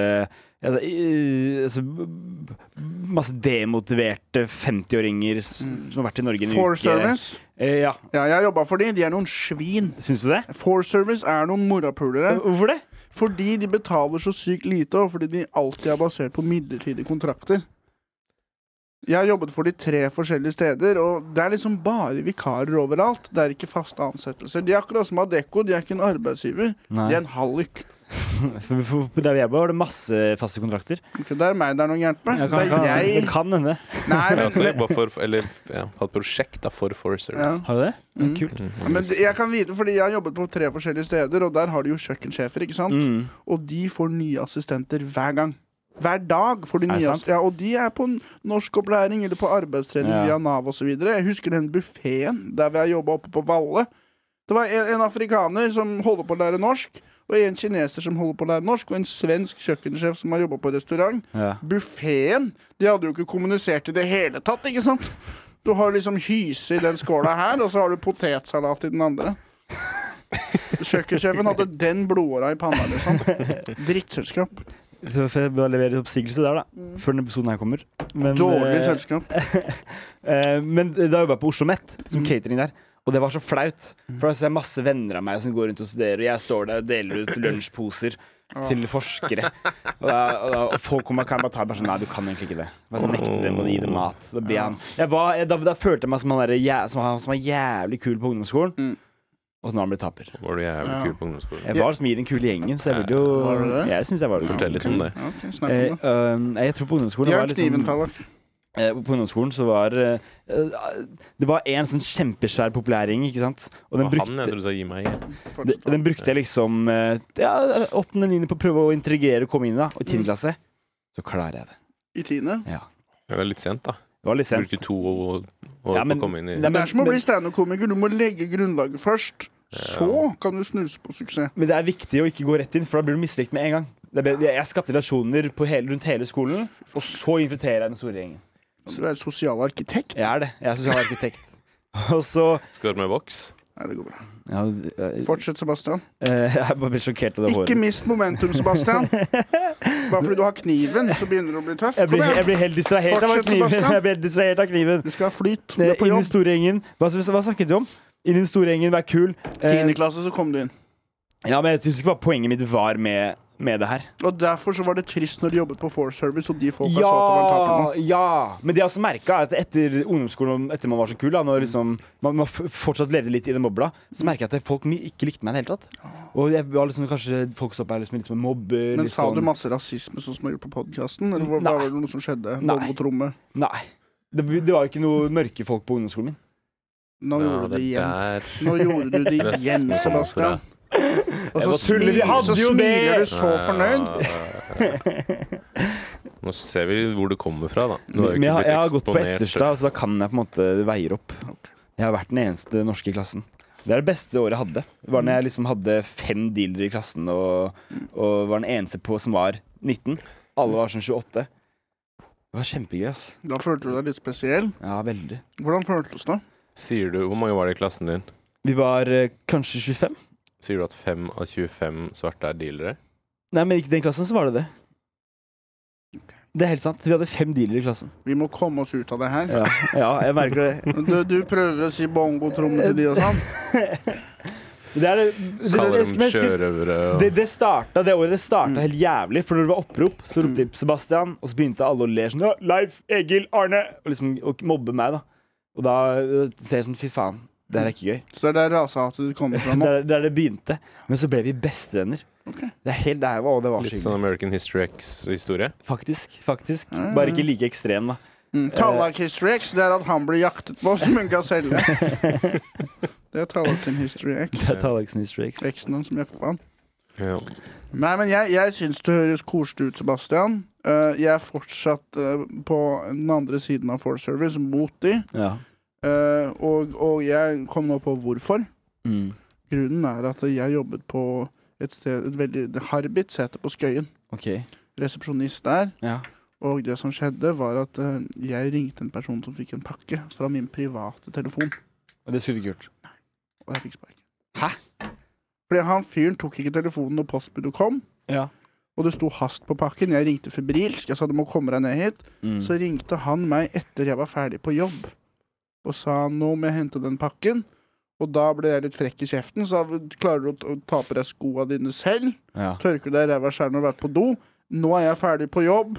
[SPEAKER 4] altså, i- altså, b- Masse demotiverte 50-åringer s- som har vært i Norge en
[SPEAKER 2] Mm. Four
[SPEAKER 4] uke.
[SPEAKER 2] Service.
[SPEAKER 4] Eh, ja.
[SPEAKER 2] Ja, jeg har jobba for de. De er noen svin.
[SPEAKER 4] Syns du det?
[SPEAKER 2] Four Service er noen morapulere.
[SPEAKER 4] Hvorfor det?
[SPEAKER 2] Fordi de betaler så sykt lite, og fordi de alltid er basert på midlertidige kontrakter. Jeg har jobbet for de tre forskjellige steder, og det er liksom bare vikarer overalt. Det er ikke faste ansettelser. De er akkurat som Adecco, de er ikke en arbeidsgiver. De er en hallik.
[SPEAKER 4] For, for, for der vi er på, var det masse faste kontrakter.
[SPEAKER 2] Ikke det er meg det er noe gærent med.
[SPEAKER 4] Jeg kan, kan,
[SPEAKER 2] det er
[SPEAKER 4] det
[SPEAKER 2] jeg.
[SPEAKER 4] kan hende.
[SPEAKER 2] Nei,
[SPEAKER 3] altså,
[SPEAKER 4] *laughs*
[SPEAKER 3] Jeg har også
[SPEAKER 2] men,
[SPEAKER 3] jobbet for, eller ja, hatt prosjekt da, for Forest
[SPEAKER 2] ja.
[SPEAKER 3] Service.
[SPEAKER 4] Har du det?
[SPEAKER 2] Mm.
[SPEAKER 4] Kult.
[SPEAKER 3] Mm,
[SPEAKER 2] men jeg kan vite, fordi jeg har jobbet på tre forskjellige steder, og der har de jo kjøkkensjefer, ikke sant?
[SPEAKER 4] Mm.
[SPEAKER 2] Og de får nye assistenter hver gang. Hver dag får de
[SPEAKER 4] det
[SPEAKER 2] nye
[SPEAKER 4] sant?
[SPEAKER 2] assistenter. Ja, og de er på n- norskopplæring eller på arbeidstrening
[SPEAKER 4] Ja.
[SPEAKER 2] via Nav osv. Jeg husker den buffeen der vi har jobba oppe på Valle. Det var en, en afrikaner som holder på å lære norsk, og en kineser som holder på å lære norsk, og en svensk kjøkkensjef som har jobba på restaurant.
[SPEAKER 4] Ja.
[SPEAKER 2] Buffeen De hadde jo ikke kommunisert i det hele tatt, ikke sant? Du har liksom hyse i den skåla her, og så har du potetsalat i den andre. Kjøkkensjefen hadde den blodåra i panna, liksom. Drittselskap.
[SPEAKER 4] Så får jeg bare levere oppsigelse der, da. Før denne episoden her kommer. Men,
[SPEAKER 2] Dårlig
[SPEAKER 4] eh,
[SPEAKER 2] selskap.
[SPEAKER 4] *laughs* Eh, men da jobba jeg på Oslo Met,
[SPEAKER 2] Mm.
[SPEAKER 4] som catering der. Og det var så flaut. For altså, det er masse venner av meg som går rundt og studerer, og jeg står der og deler ut lunsjposer
[SPEAKER 2] Ah.
[SPEAKER 4] til forskere. Og, da, og, da, og folk kommer og kan bare ta bare sånn Nei, du kan egentlig ikke det. Bare sånn, nekte dem å gi dem mat. Da, blir han, jeg var, jeg, da, da følte jeg meg som han, der, jæ- som han som var jævlig kul på ungdomsskolen,
[SPEAKER 2] Mm.
[SPEAKER 4] og så nå har han blitt taper.
[SPEAKER 3] Var du jævlig
[SPEAKER 2] Ja.
[SPEAKER 3] kul på ungdomsskolen?
[SPEAKER 4] Jeg var som i den kule gjengen, så jeg burde
[SPEAKER 2] Var du
[SPEAKER 4] jo
[SPEAKER 2] det?
[SPEAKER 4] Jeg syns jeg var
[SPEAKER 3] Fortell
[SPEAKER 4] det.
[SPEAKER 3] litt om det.
[SPEAKER 2] Ja, ok, snakk
[SPEAKER 4] Eh,
[SPEAKER 2] om det.
[SPEAKER 4] eh, jeg tror på ungdomsskolen
[SPEAKER 2] Gjør
[SPEAKER 4] var liksom-
[SPEAKER 2] kniven, Tallak.
[SPEAKER 4] Eh, På ungdomsskolen så var eh, eh, Det var en sånn kjempesvær populærgjeng, ikke sant? Og den
[SPEAKER 3] Og han jeg
[SPEAKER 4] brukte,
[SPEAKER 3] trodde du sa gi meg. igjen.
[SPEAKER 4] den,
[SPEAKER 2] Fortsett.
[SPEAKER 4] den brukte jeg liksom eh, ja, åttende, niende på å prøve å integrere og komme inn i, da. Og i tiende
[SPEAKER 2] Mm.
[SPEAKER 4] klasse så klarer jeg det.
[SPEAKER 2] I tiende.
[SPEAKER 3] Det var litt sent, da.
[SPEAKER 4] Det var litt
[SPEAKER 3] Du
[SPEAKER 4] sent.
[SPEAKER 3] brukte to år
[SPEAKER 4] Ja, men-
[SPEAKER 3] på å komme inn i
[SPEAKER 4] Nei,
[SPEAKER 2] Det
[SPEAKER 4] men-
[SPEAKER 2] er som å bli
[SPEAKER 4] men-
[SPEAKER 2] standup-komiker. Du må legge grunnlaget først. Så kan du snuse på suksess.
[SPEAKER 4] Men det er viktig å ikke gå rett inn, for da blir du mislikt med en gang. Det er bedre- jeg skapte relasjoner på hele, rundt hele skolen, og så infiltrerer jeg den store gjengen.
[SPEAKER 2] Du er sosial arkitekt.
[SPEAKER 4] Jeg er det. Jeg er sosial arkitekt. *laughs* Og så
[SPEAKER 3] Skal du være med i voks?
[SPEAKER 2] Nei, det går bra.
[SPEAKER 4] ja, eh,
[SPEAKER 2] Fortsett, Sebastian.
[SPEAKER 4] *laughs* Jeg bare blir sjokkert av det
[SPEAKER 2] Ikke
[SPEAKER 4] håret.
[SPEAKER 2] mist momentum, Sebastian. Bare fordi du har kniven, så begynner du å bli tøff.
[SPEAKER 4] Jeg blir,
[SPEAKER 2] Kom
[SPEAKER 4] jeg
[SPEAKER 2] igjen.
[SPEAKER 4] blir helt distrahert av
[SPEAKER 2] Fortsett,
[SPEAKER 4] kniven.
[SPEAKER 2] Sebastian.
[SPEAKER 4] *laughs* Jeg blir helt distrahert av kniven.
[SPEAKER 2] Du skal ha flyt. Du
[SPEAKER 4] Inn
[SPEAKER 2] er på
[SPEAKER 4] i den
[SPEAKER 2] jobb.
[SPEAKER 4] store gjengen. Hva, hva snakket du om? Inn i den store gjengen, vær kul. Eh,
[SPEAKER 2] Tiende klasse, så kom du inn.
[SPEAKER 4] ja, men jeg husker ikke hva poenget mitt var med, med det her.
[SPEAKER 2] Og derfor så var det trist når de jobbet på Four Service, og de folka så at det var en taper nå.
[SPEAKER 4] Ja, ja! Men det jeg også merka, er at etter ungdomsskolen, og etter man var så kul, da, når liksom, man, man f- fortsatt levde litt i den bobla, så merka jeg at folk mi- ikke likte meg i det hele tatt. Og jeg var liksom, kanskje folk så på meg liksom, litt som en mobber.
[SPEAKER 2] Men
[SPEAKER 4] litt
[SPEAKER 2] sa du
[SPEAKER 4] sånn-
[SPEAKER 2] masse rasisme, sånn som du har gjort på podkasten? Eller var,
[SPEAKER 4] Nei.
[SPEAKER 2] var det noe som skjedde?
[SPEAKER 4] Nei.
[SPEAKER 2] Noe mot rommet?
[SPEAKER 4] Nei. Det, det var jo ikke noe mørke folk på ungdomsskolen min.
[SPEAKER 2] Nå gjorde du det igjen.
[SPEAKER 3] der
[SPEAKER 2] Nå gjorde du det *laughs*
[SPEAKER 3] Nesten
[SPEAKER 2] igjen,
[SPEAKER 3] som
[SPEAKER 2] Sebastian. Og
[SPEAKER 4] Jeg
[SPEAKER 2] så,
[SPEAKER 4] bare tuller, vi
[SPEAKER 2] smil,
[SPEAKER 4] hadde
[SPEAKER 2] så
[SPEAKER 4] jo
[SPEAKER 2] smiler
[SPEAKER 4] det.
[SPEAKER 2] du så fornøyd.
[SPEAKER 3] Nå ser vi hvor det kommer fra, da. Du har jo
[SPEAKER 4] Men jeg,
[SPEAKER 3] ikke
[SPEAKER 4] har- jeg har
[SPEAKER 3] blitt
[SPEAKER 4] gått på
[SPEAKER 3] eksponert.
[SPEAKER 4] etterstad, så da kan jeg på en måte det veier opp. Jeg har vært den eneste norske i klassen. Det er det beste året jeg hadde. Det var når jeg liksom hadde fem dealere i klassen og, og var den eneste på som var 19. Alle var sånn 28. Det var kjempegøy, ass.
[SPEAKER 2] Da følte du deg litt spesiell.
[SPEAKER 4] Ja, veldig.
[SPEAKER 2] Hvordan føltes det?
[SPEAKER 3] Sier du, Hvor mange var det i klassen din?
[SPEAKER 4] Vi var eh, kanskje 25.
[SPEAKER 3] Sier du at 5 av 25 svarte er dealere?
[SPEAKER 4] Nei, men ikke i den klassen, så var det det. Det er helt sant. Vi hadde fem dealere i klassen.
[SPEAKER 2] Vi må komme oss ut av det her.
[SPEAKER 4] Ja, ja jeg merker det.
[SPEAKER 2] Du, du prøver å si bongotromme til de og sånn.
[SPEAKER 4] Det er det, det,
[SPEAKER 3] Kaller
[SPEAKER 4] men
[SPEAKER 3] dem
[SPEAKER 4] jeg skulle-
[SPEAKER 3] sjørøvere og
[SPEAKER 4] Det, det starta det året det starta
[SPEAKER 2] Mm.
[SPEAKER 4] helt jævlig, for når det var opprop, så ropte de Sebastian, og så begynte alle å le sånn «Ja, Leif, Egil, Arne Og liksom og mobbe meg, da. Og da øh, tenkte jeg sånn Fy faen, det her er ikke gøy.
[SPEAKER 2] Så det er der rasehatet ditt kommer fra
[SPEAKER 4] Det
[SPEAKER 2] nå.
[SPEAKER 4] er der det begynte. Men så ble vi bestevenner. Det er helt det her var, og det var så
[SPEAKER 3] Litt
[SPEAKER 4] hyggelig.
[SPEAKER 3] sånn American History X-historie.
[SPEAKER 4] Faktisk. faktisk *laughs* Bare ikke like ekstrem, da.
[SPEAKER 2] Mm. Tallak History X, det er at han blir jaktet på som en
[SPEAKER 4] *laughs*
[SPEAKER 2] gaselle. Det er Tallak sin History X.
[SPEAKER 4] Det er Talexen i Streaks.
[SPEAKER 2] X-en hans som jakter på han.
[SPEAKER 3] Ja.
[SPEAKER 2] Nei, men jeg, jeg syns det høres koselig ut, Sebastian. Eh, jeg er fortsatt eh, på den andre siden av Force Service, mot de.
[SPEAKER 4] Ja.
[SPEAKER 2] Eh, og, og jeg kom nå på hvorfor.
[SPEAKER 4] Mm.
[SPEAKER 2] Grunnen er at jeg jobbet på et sted et veldig, det Harbit heter på Skøyen.
[SPEAKER 4] OK.
[SPEAKER 2] Resepsjonist der.
[SPEAKER 4] Ja.
[SPEAKER 2] Og det som skjedde, var at eh, jeg ringte en person som fikk en pakke fra min private telefon,
[SPEAKER 4] Og det skulle du ikke gjort.
[SPEAKER 2] og jeg fikk sparken. Hæ? Fordi han fyren tok ikke telefonen når postbudet kom.
[SPEAKER 4] Ja.
[SPEAKER 2] Og det sto hast på pakken. Jeg ringte febrilsk. Jeg sa du må komme deg ned hit.
[SPEAKER 4] Mm.
[SPEAKER 2] Så ringte han meg etter jeg var ferdig på jobb, og sa nå må jeg hente den pakken. Og da ble jeg litt frekk i kjeften, sa klarer du å t- å ta på deg skoa dine selv?
[SPEAKER 4] Ja.
[SPEAKER 2] Tørker deg i ræva sjæl når du har vært på do? Nå er jeg ferdig på jobb.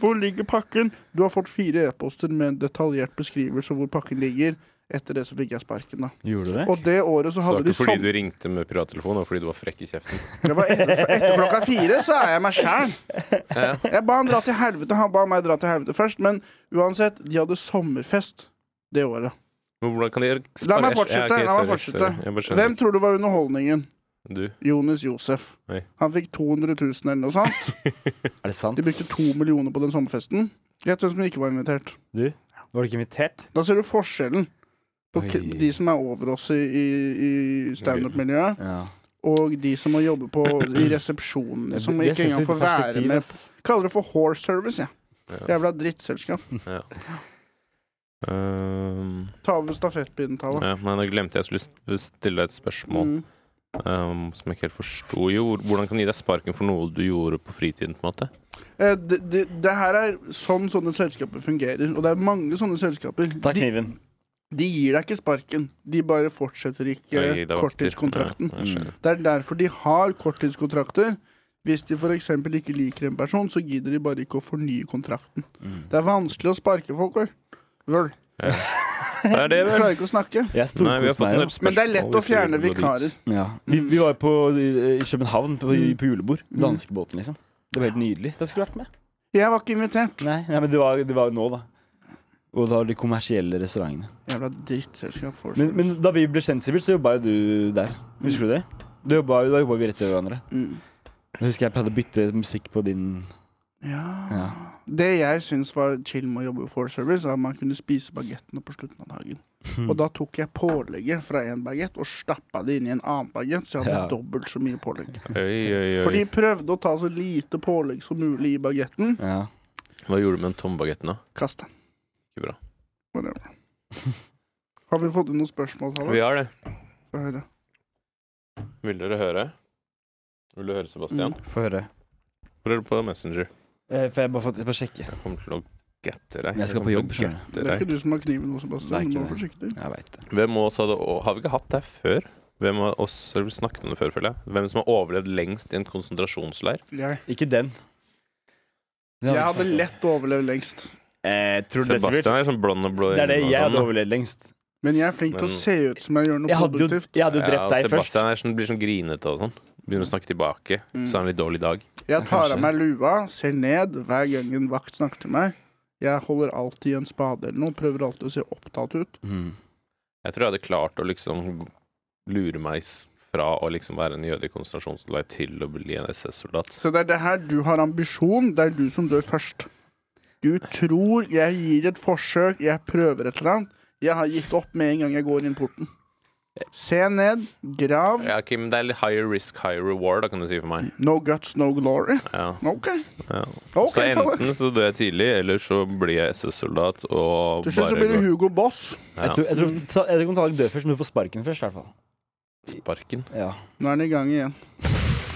[SPEAKER 2] Hvor ligger pakken? Du har fått fire e-poster med en detaljert beskrivelse av hvor pakken ligger. Etter det så fikk jeg sparken, da.
[SPEAKER 4] Gjorde du det?
[SPEAKER 2] Og det året så
[SPEAKER 3] Så det
[SPEAKER 2] hadde
[SPEAKER 3] var
[SPEAKER 2] de
[SPEAKER 3] ikke fordi
[SPEAKER 2] sånn
[SPEAKER 3] du ringte med privattelefon, det var fordi du var frekk i kjeften.
[SPEAKER 2] Det var etter, etter klokka fire, så er jeg meg sjæl.
[SPEAKER 3] Ja.
[SPEAKER 2] Jeg ba han dra til helvete, han ba meg dra til helvete først. Men uansett, de hadde sommerfest det året.
[SPEAKER 3] Men hvordan kan de
[SPEAKER 2] La meg
[SPEAKER 3] spare-
[SPEAKER 2] fortsette,
[SPEAKER 3] Ja, ok,
[SPEAKER 2] la meg
[SPEAKER 3] sorry,
[SPEAKER 2] fortsette.
[SPEAKER 3] sorry. Jeg bare skjønner
[SPEAKER 2] Hvem tror du var underholdningen?
[SPEAKER 3] ikke. Du.
[SPEAKER 2] Jonis Josef.
[SPEAKER 3] Oi.
[SPEAKER 2] Han fikk 200 000 eller noe sånt.
[SPEAKER 4] Er det sant?
[SPEAKER 2] De brukte to millioner på den sommerfesten. Gjett hvem som ikke var invitert.
[SPEAKER 4] Var du ikke invitert?
[SPEAKER 2] Da ser du forskjellen på
[SPEAKER 4] Oi.
[SPEAKER 2] k- de som er over oss i, i, i standup-miljøet,
[SPEAKER 4] Ja.
[SPEAKER 2] og de som må jobbe på,
[SPEAKER 4] *clears throat*
[SPEAKER 2] i resepsjonen, som
[SPEAKER 4] Det
[SPEAKER 2] ikke
[SPEAKER 4] setter
[SPEAKER 2] engang
[SPEAKER 4] litt
[SPEAKER 2] får være
[SPEAKER 4] perspektiv,
[SPEAKER 2] med.
[SPEAKER 4] ass.
[SPEAKER 2] Kaller det for horse service, jeg.
[SPEAKER 3] Ja.
[SPEAKER 2] Jævla drittselskap.
[SPEAKER 3] Ehm,
[SPEAKER 2] Ta over stafettpinnen, Tala.
[SPEAKER 3] ja, nei, nå glemte jeg jeg skulle st- stille deg et spørsmål
[SPEAKER 2] Mm.
[SPEAKER 3] ehm, som jeg ikke helt forsto. Jo, hvordan kan de gi deg sparken for noe du gjorde på fritiden, på en måte?
[SPEAKER 2] Eh, Det, det, det her er sånn sånne selskaper fungerer, og det er mange sånne selskaper.
[SPEAKER 4] Ta
[SPEAKER 2] De,
[SPEAKER 4] kniven.
[SPEAKER 2] de gir deg ikke sparken, de bare fortsetter ikke
[SPEAKER 3] Nei, det var
[SPEAKER 2] korttidskontrakten.
[SPEAKER 3] Ja, jeg skjønner.
[SPEAKER 2] Det er derfor de har korttidskontrakter. Hvis de f.eks. ikke liker en person, så gidder de bare ikke å fornye kontrakten.
[SPEAKER 4] Mm.
[SPEAKER 2] Det er vanskelig å sparke folk, vel. vel.
[SPEAKER 3] Det er det,
[SPEAKER 2] Jeg *laughs*
[SPEAKER 3] vel?
[SPEAKER 2] klarer ikke å snakke.
[SPEAKER 4] Jeg
[SPEAKER 3] Nei, vi har fått en del
[SPEAKER 4] storkoste meg. da.
[SPEAKER 3] spørsmål.
[SPEAKER 2] Men det er lett å
[SPEAKER 3] hvis vi
[SPEAKER 2] fjerne
[SPEAKER 3] går dit.
[SPEAKER 2] vikarer.
[SPEAKER 4] Ja. Vi, vi var på, i København på, på julebord. Danskebåten, liksom. Det var helt nydelig. Det skulle vært med.
[SPEAKER 2] Jeg var ikke invitert.
[SPEAKER 4] Nei, nei men det var, det var jo nå, da. Og da de kommersielle restaurantene.
[SPEAKER 2] Jævla drittselskap. folk.
[SPEAKER 4] Men, men da vi ble kjent, Sivert, så jobba jo du der. Husker du det? Da jobba, da jobba vi rett ved hverandre.
[SPEAKER 2] Mm.
[SPEAKER 4] Jeg husker jeg pleide å bytte musikk på din
[SPEAKER 2] Ja.
[SPEAKER 4] Ja.
[SPEAKER 2] Det jeg syns var chill med å jobbe i Four Service, var at man kunne spise bagettene på slutten av dagen.
[SPEAKER 4] Hmm.
[SPEAKER 2] Og da tok jeg pålegget fra én bagett og stappa det inn i en annen bagett, så jeg hadde
[SPEAKER 4] Ja.
[SPEAKER 2] dobbelt så mye pålegg.
[SPEAKER 3] Oi, oi, oi.
[SPEAKER 2] For de prøvde å ta så lite pålegg som mulig i bagetten.
[SPEAKER 4] Ja. *laughs*
[SPEAKER 3] Hva gjorde du med den tomme bagetten, da?
[SPEAKER 2] Kast den.
[SPEAKER 3] Ikke bra.
[SPEAKER 2] Whatever. Har vi fått inn noen spørsmål? Tale?
[SPEAKER 3] Vi har det.
[SPEAKER 2] Få høre.
[SPEAKER 3] Vil dere høre? Vil du høre, Sebastian?
[SPEAKER 2] Mm.
[SPEAKER 4] Få høre.
[SPEAKER 3] Hvor er du på Messenger?
[SPEAKER 4] Eh, får jeg bare, få, jeg bare sjekke?
[SPEAKER 3] Jeg kommer til å gette deg.
[SPEAKER 4] Jeg
[SPEAKER 3] kommer
[SPEAKER 4] skal på
[SPEAKER 3] til å
[SPEAKER 4] jobb, skjønner
[SPEAKER 2] Det
[SPEAKER 3] gette
[SPEAKER 2] er
[SPEAKER 3] deg.
[SPEAKER 2] ikke du som har kniven nå,
[SPEAKER 4] Det er
[SPEAKER 2] Sebastian. Du
[SPEAKER 4] ikke
[SPEAKER 2] må være
[SPEAKER 4] det.
[SPEAKER 2] forsiktig.
[SPEAKER 4] Jeg veit det.
[SPEAKER 3] Hvem av oss hadde, å, har vi ikke hatt det før? Hvem av oss har vi snakket om det før, føler jeg? Hvem som har overlevd lengst i en konsentrasjonsleir?
[SPEAKER 2] Jeg,
[SPEAKER 4] Ikke den. Den
[SPEAKER 2] jeg
[SPEAKER 4] vi
[SPEAKER 2] hadde
[SPEAKER 4] snakket om.
[SPEAKER 2] lett overlevd lengst.
[SPEAKER 4] eh, Tror du det, Sivert?
[SPEAKER 3] Sebastian er sånn blond og blå
[SPEAKER 4] Det er det
[SPEAKER 3] øyne og
[SPEAKER 4] jeg hadde
[SPEAKER 3] sånn, da.
[SPEAKER 4] overlevd lengst.
[SPEAKER 2] Men jeg er flink til å
[SPEAKER 3] Men-
[SPEAKER 2] se ut som jeg gjør
[SPEAKER 4] Jeg
[SPEAKER 2] noe
[SPEAKER 4] hadde jo,
[SPEAKER 2] produktivt.
[SPEAKER 4] jeg hadde jo drept
[SPEAKER 3] Ja,
[SPEAKER 4] deg først.
[SPEAKER 3] Sebastian er sånn, blir sånn grinete og sånn. Begynner å snakke tilbake.
[SPEAKER 2] Mm.
[SPEAKER 3] Så har han litt dårlig dag.
[SPEAKER 2] Jeg tar
[SPEAKER 3] Kanskje.
[SPEAKER 2] av meg lua, ser ned hver gang en vakt snakker til meg. Jeg holder alltid en spade eller noe, prøver alltid å se opptatt ut.
[SPEAKER 4] Mm.
[SPEAKER 3] Jeg tror jeg hadde klart å liksom lure meg s- fra å liksom være en jøde i konsentrasjonsleir til å bli en SS-soldat.
[SPEAKER 2] Så det er det her du har ambisjon, det er du som dør først. Du tror jeg gir et forsøk, jeg prøver et eller annet. Jeg har gitt opp med en gang jeg går inn porten. Se ned, grav.
[SPEAKER 3] Ja, ok, men det er litt higher risk, higher reward, da, kan du si for meg.
[SPEAKER 2] No guts, no glory.
[SPEAKER 3] Ja.
[SPEAKER 2] OK.
[SPEAKER 3] Ja.
[SPEAKER 2] Ok,
[SPEAKER 3] så
[SPEAKER 2] Kalle.
[SPEAKER 3] enten så dør jeg tidlig, eller så blir jeg SS-soldat og
[SPEAKER 2] Til slutt så blir
[SPEAKER 3] bare
[SPEAKER 2] det
[SPEAKER 3] går
[SPEAKER 2] Hugo Boss.
[SPEAKER 4] Jeg tror, jeg tror, jeg tror Tallak dør først, men du får sparken først, i hvert fall.
[SPEAKER 3] sparken.
[SPEAKER 4] Ja.
[SPEAKER 2] Nå er han i gang igjen.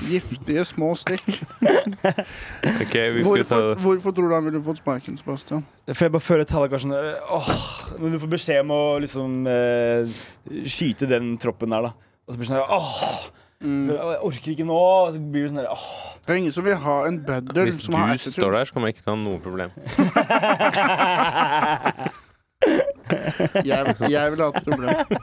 [SPEAKER 2] Giftige små stikk.
[SPEAKER 3] Ok, *laughs* vi skal ta
[SPEAKER 2] Hvorfor, hvorfor tror du han ville fått sparken, Sebastian?
[SPEAKER 4] For jeg bare føler Tallak var sånn øh, Åh, Når du får beskjed om å liksom eh, skyte den troppen der, da. Og så blir det sånn her, Åh,
[SPEAKER 2] Mm.
[SPEAKER 4] jeg orker ikke nå. Og så blir du sånn her, Åh. *laughs*
[SPEAKER 2] Det er ingen som vil ha en bøddel
[SPEAKER 3] Hvis
[SPEAKER 2] som har
[SPEAKER 3] du
[SPEAKER 2] attitude.
[SPEAKER 3] står der, så kommer jeg ikke til å ha noe problem.
[SPEAKER 2] Jeg, jeg vil ha et problem.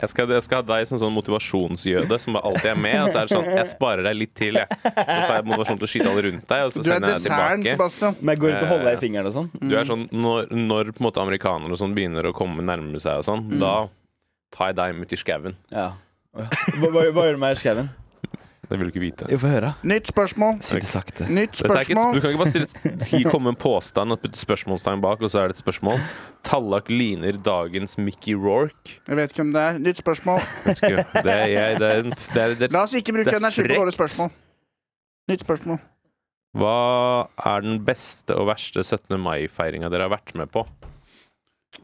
[SPEAKER 3] Jeg skal, jeg skal ha deg som sånn motivasjonsjøde som bare alltid er med. Og så er det sånn Jeg sparer deg litt til, jeg. Så får jeg motivasjon til å skyte alle rundt deg, og *laughs*
[SPEAKER 2] Du
[SPEAKER 3] så
[SPEAKER 2] er
[SPEAKER 3] sender jeg
[SPEAKER 2] desserten,
[SPEAKER 3] deg tilbake.
[SPEAKER 2] Sebastian.
[SPEAKER 4] Men jeg går rundt og holder deg i fingeren og sånn.
[SPEAKER 3] Du er sånn Når, når på en måte amerikanere og sånn begynner å komme nærmere seg og sånn,
[SPEAKER 2] Mm.
[SPEAKER 3] da tar jeg deg med ut i skauen.
[SPEAKER 4] Ja. Hva, hva, hva gjør du med skauen?
[SPEAKER 3] Det vil du ikke vite.
[SPEAKER 4] Jo, få høre.
[SPEAKER 2] Nytt spørsmål.
[SPEAKER 4] Si det sakte.
[SPEAKER 2] Nytt
[SPEAKER 3] Dette er ikke et, sp- du
[SPEAKER 2] spørsmål.
[SPEAKER 3] kan ikke bare stille, si- komme med en påstand og putte spørsmålstegn bak, og så er det et spørsmål. Tallak ligner dagens Mickey Rorke.
[SPEAKER 2] Jeg vet ikke hvem det er. Nytt spørsmål.
[SPEAKER 3] Vet ikke. Det er, jeg, det er, en, det er, det er
[SPEAKER 2] La oss ikke bruke
[SPEAKER 3] Det er
[SPEAKER 2] energi på
[SPEAKER 3] frekt.
[SPEAKER 2] dårlige spørsmål. Nytt spørsmål.
[SPEAKER 3] Hva er den beste og verste 17. mai-feiringa dere har vært med på?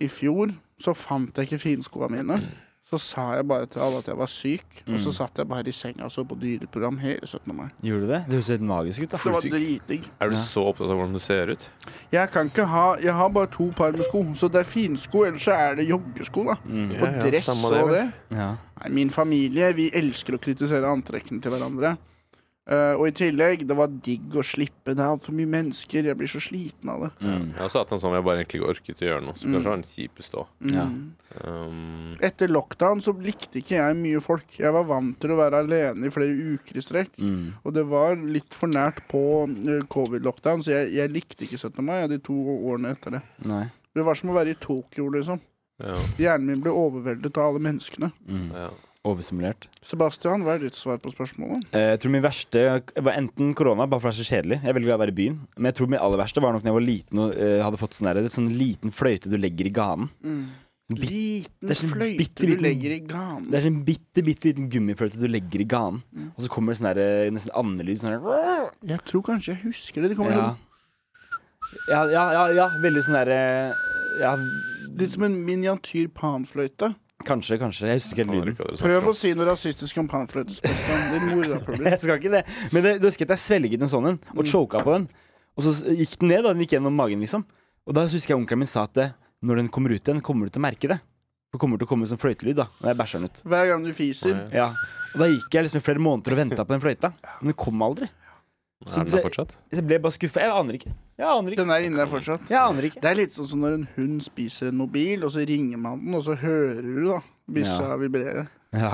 [SPEAKER 2] I fjor så fant jeg ikke finskoa mine. Så sa jeg bare til alle at jeg var syk, og
[SPEAKER 3] Mm.
[SPEAKER 2] så satt jeg bare i senga og så på dyreprogram hele 17. mai.
[SPEAKER 4] Gjorde du det? Det høres helt magisk ut. da
[SPEAKER 2] Det var
[SPEAKER 4] Fullsyk.
[SPEAKER 2] dritdigg.
[SPEAKER 3] Er du
[SPEAKER 4] Ja.
[SPEAKER 3] så opptatt av hvordan du ser ut?
[SPEAKER 2] Jeg kan ikke ha Jeg har bare to par med sko, så det er finsko, ellers så er det joggesko, da. Og
[SPEAKER 3] Ja, ja,
[SPEAKER 2] dress
[SPEAKER 3] samme
[SPEAKER 2] og
[SPEAKER 3] det, vel.
[SPEAKER 2] det.
[SPEAKER 4] Mm. Ja.
[SPEAKER 2] Nei, min familie, vi elsker å kritisere antrekkene til hverandre. Eh, og i tillegg, det var digg å slippe. Det er altfor mye mennesker. Jeg blir så sliten av det.
[SPEAKER 3] Jeg har også hatt en sånn jeg bare egentlig ikke orket å gjøre noe, som kanskje var den kjipeste òg.
[SPEAKER 2] Mm.
[SPEAKER 4] Ja.
[SPEAKER 3] Um,
[SPEAKER 2] Etter lockdown så likte ikke jeg mye folk. Jeg var vant til å være alene i flere uker i strekk.
[SPEAKER 4] Mm.
[SPEAKER 2] Og det var litt for nært på eh, covid-lockdown, så jeg, jeg likte ikke 17. mai og de to årene etter det.
[SPEAKER 4] Nei.
[SPEAKER 2] Det var som å være i Tokyo, liksom.
[SPEAKER 3] ja,
[SPEAKER 2] Hjernen min ble overveldet av alle menneskene.
[SPEAKER 4] Mm.
[SPEAKER 3] ja.
[SPEAKER 4] Oversimulert.
[SPEAKER 2] Sebastian, hva er ditt svar på spørsmålet?
[SPEAKER 4] Eh, Jeg tror min verste var enten korona, bare for det er så kjedelig. Jeg er veldig glad i å være i byen. Men jeg tror min aller verste var nok da jeg var liten og eh, hadde fått sånn der, sånn liten fløyte du legger i ganen. Bit-
[SPEAKER 2] Mm. Liten
[SPEAKER 4] det er sånn bitte
[SPEAKER 2] fløyte du
[SPEAKER 4] liten-
[SPEAKER 2] legger i ganen.
[SPEAKER 4] Det er sånn bitte, bitte liten gummifløyte du legger i ganen.
[SPEAKER 2] Mm.
[SPEAKER 4] Og så kommer det sånn der, eh, nesten andelyd. Sånn der,
[SPEAKER 2] Jeg tror kanskje jeg husker det. sånn? Det kommer
[SPEAKER 4] ja. Ja, ja, ja, ja. Veldig sånn derre ja,
[SPEAKER 2] litt, litt som en miniatyr panfløyte.
[SPEAKER 4] Kanskje, kanskje. Jeg husker ikke helt
[SPEAKER 3] Aner
[SPEAKER 4] lyden.
[SPEAKER 3] ikke sånn. hva dere snakker
[SPEAKER 2] Prøv
[SPEAKER 3] om.
[SPEAKER 2] å si noe rasistisk om panfløytespørsmål. Din mor har problemer.
[SPEAKER 4] *laughs* Jeg skal ikke det. Men det, du husker at jeg svelget en sånn en, og choka på den. Og så s- gikk den ned, da. Den gikk gjennom magen, liksom. Og da husker jeg onkelen min sa at eh, når den kommer ut igjen, kommer du til å merke det. For det kommer til å komme som fløytelyd, da. Når jeg bæsjer den ut.
[SPEAKER 2] Hver gang du fiser.
[SPEAKER 3] Nei.
[SPEAKER 4] Ja. Og da gikk jeg liksom i flere måneder og venta på den fløyta. Men den kom aldri.
[SPEAKER 3] Er den der fortsatt?
[SPEAKER 4] Jeg ble bare skuffa. Jeg aner ikke. Jeg aner ikke.
[SPEAKER 2] Den er inne der fortsatt.
[SPEAKER 4] Jeg aner ikke.
[SPEAKER 2] Det er litt sånn som når en hund spiser en mobil, og så ringer man den, og så hører du da bikkja
[SPEAKER 4] Ja.
[SPEAKER 2] vibrere.
[SPEAKER 4] Ja.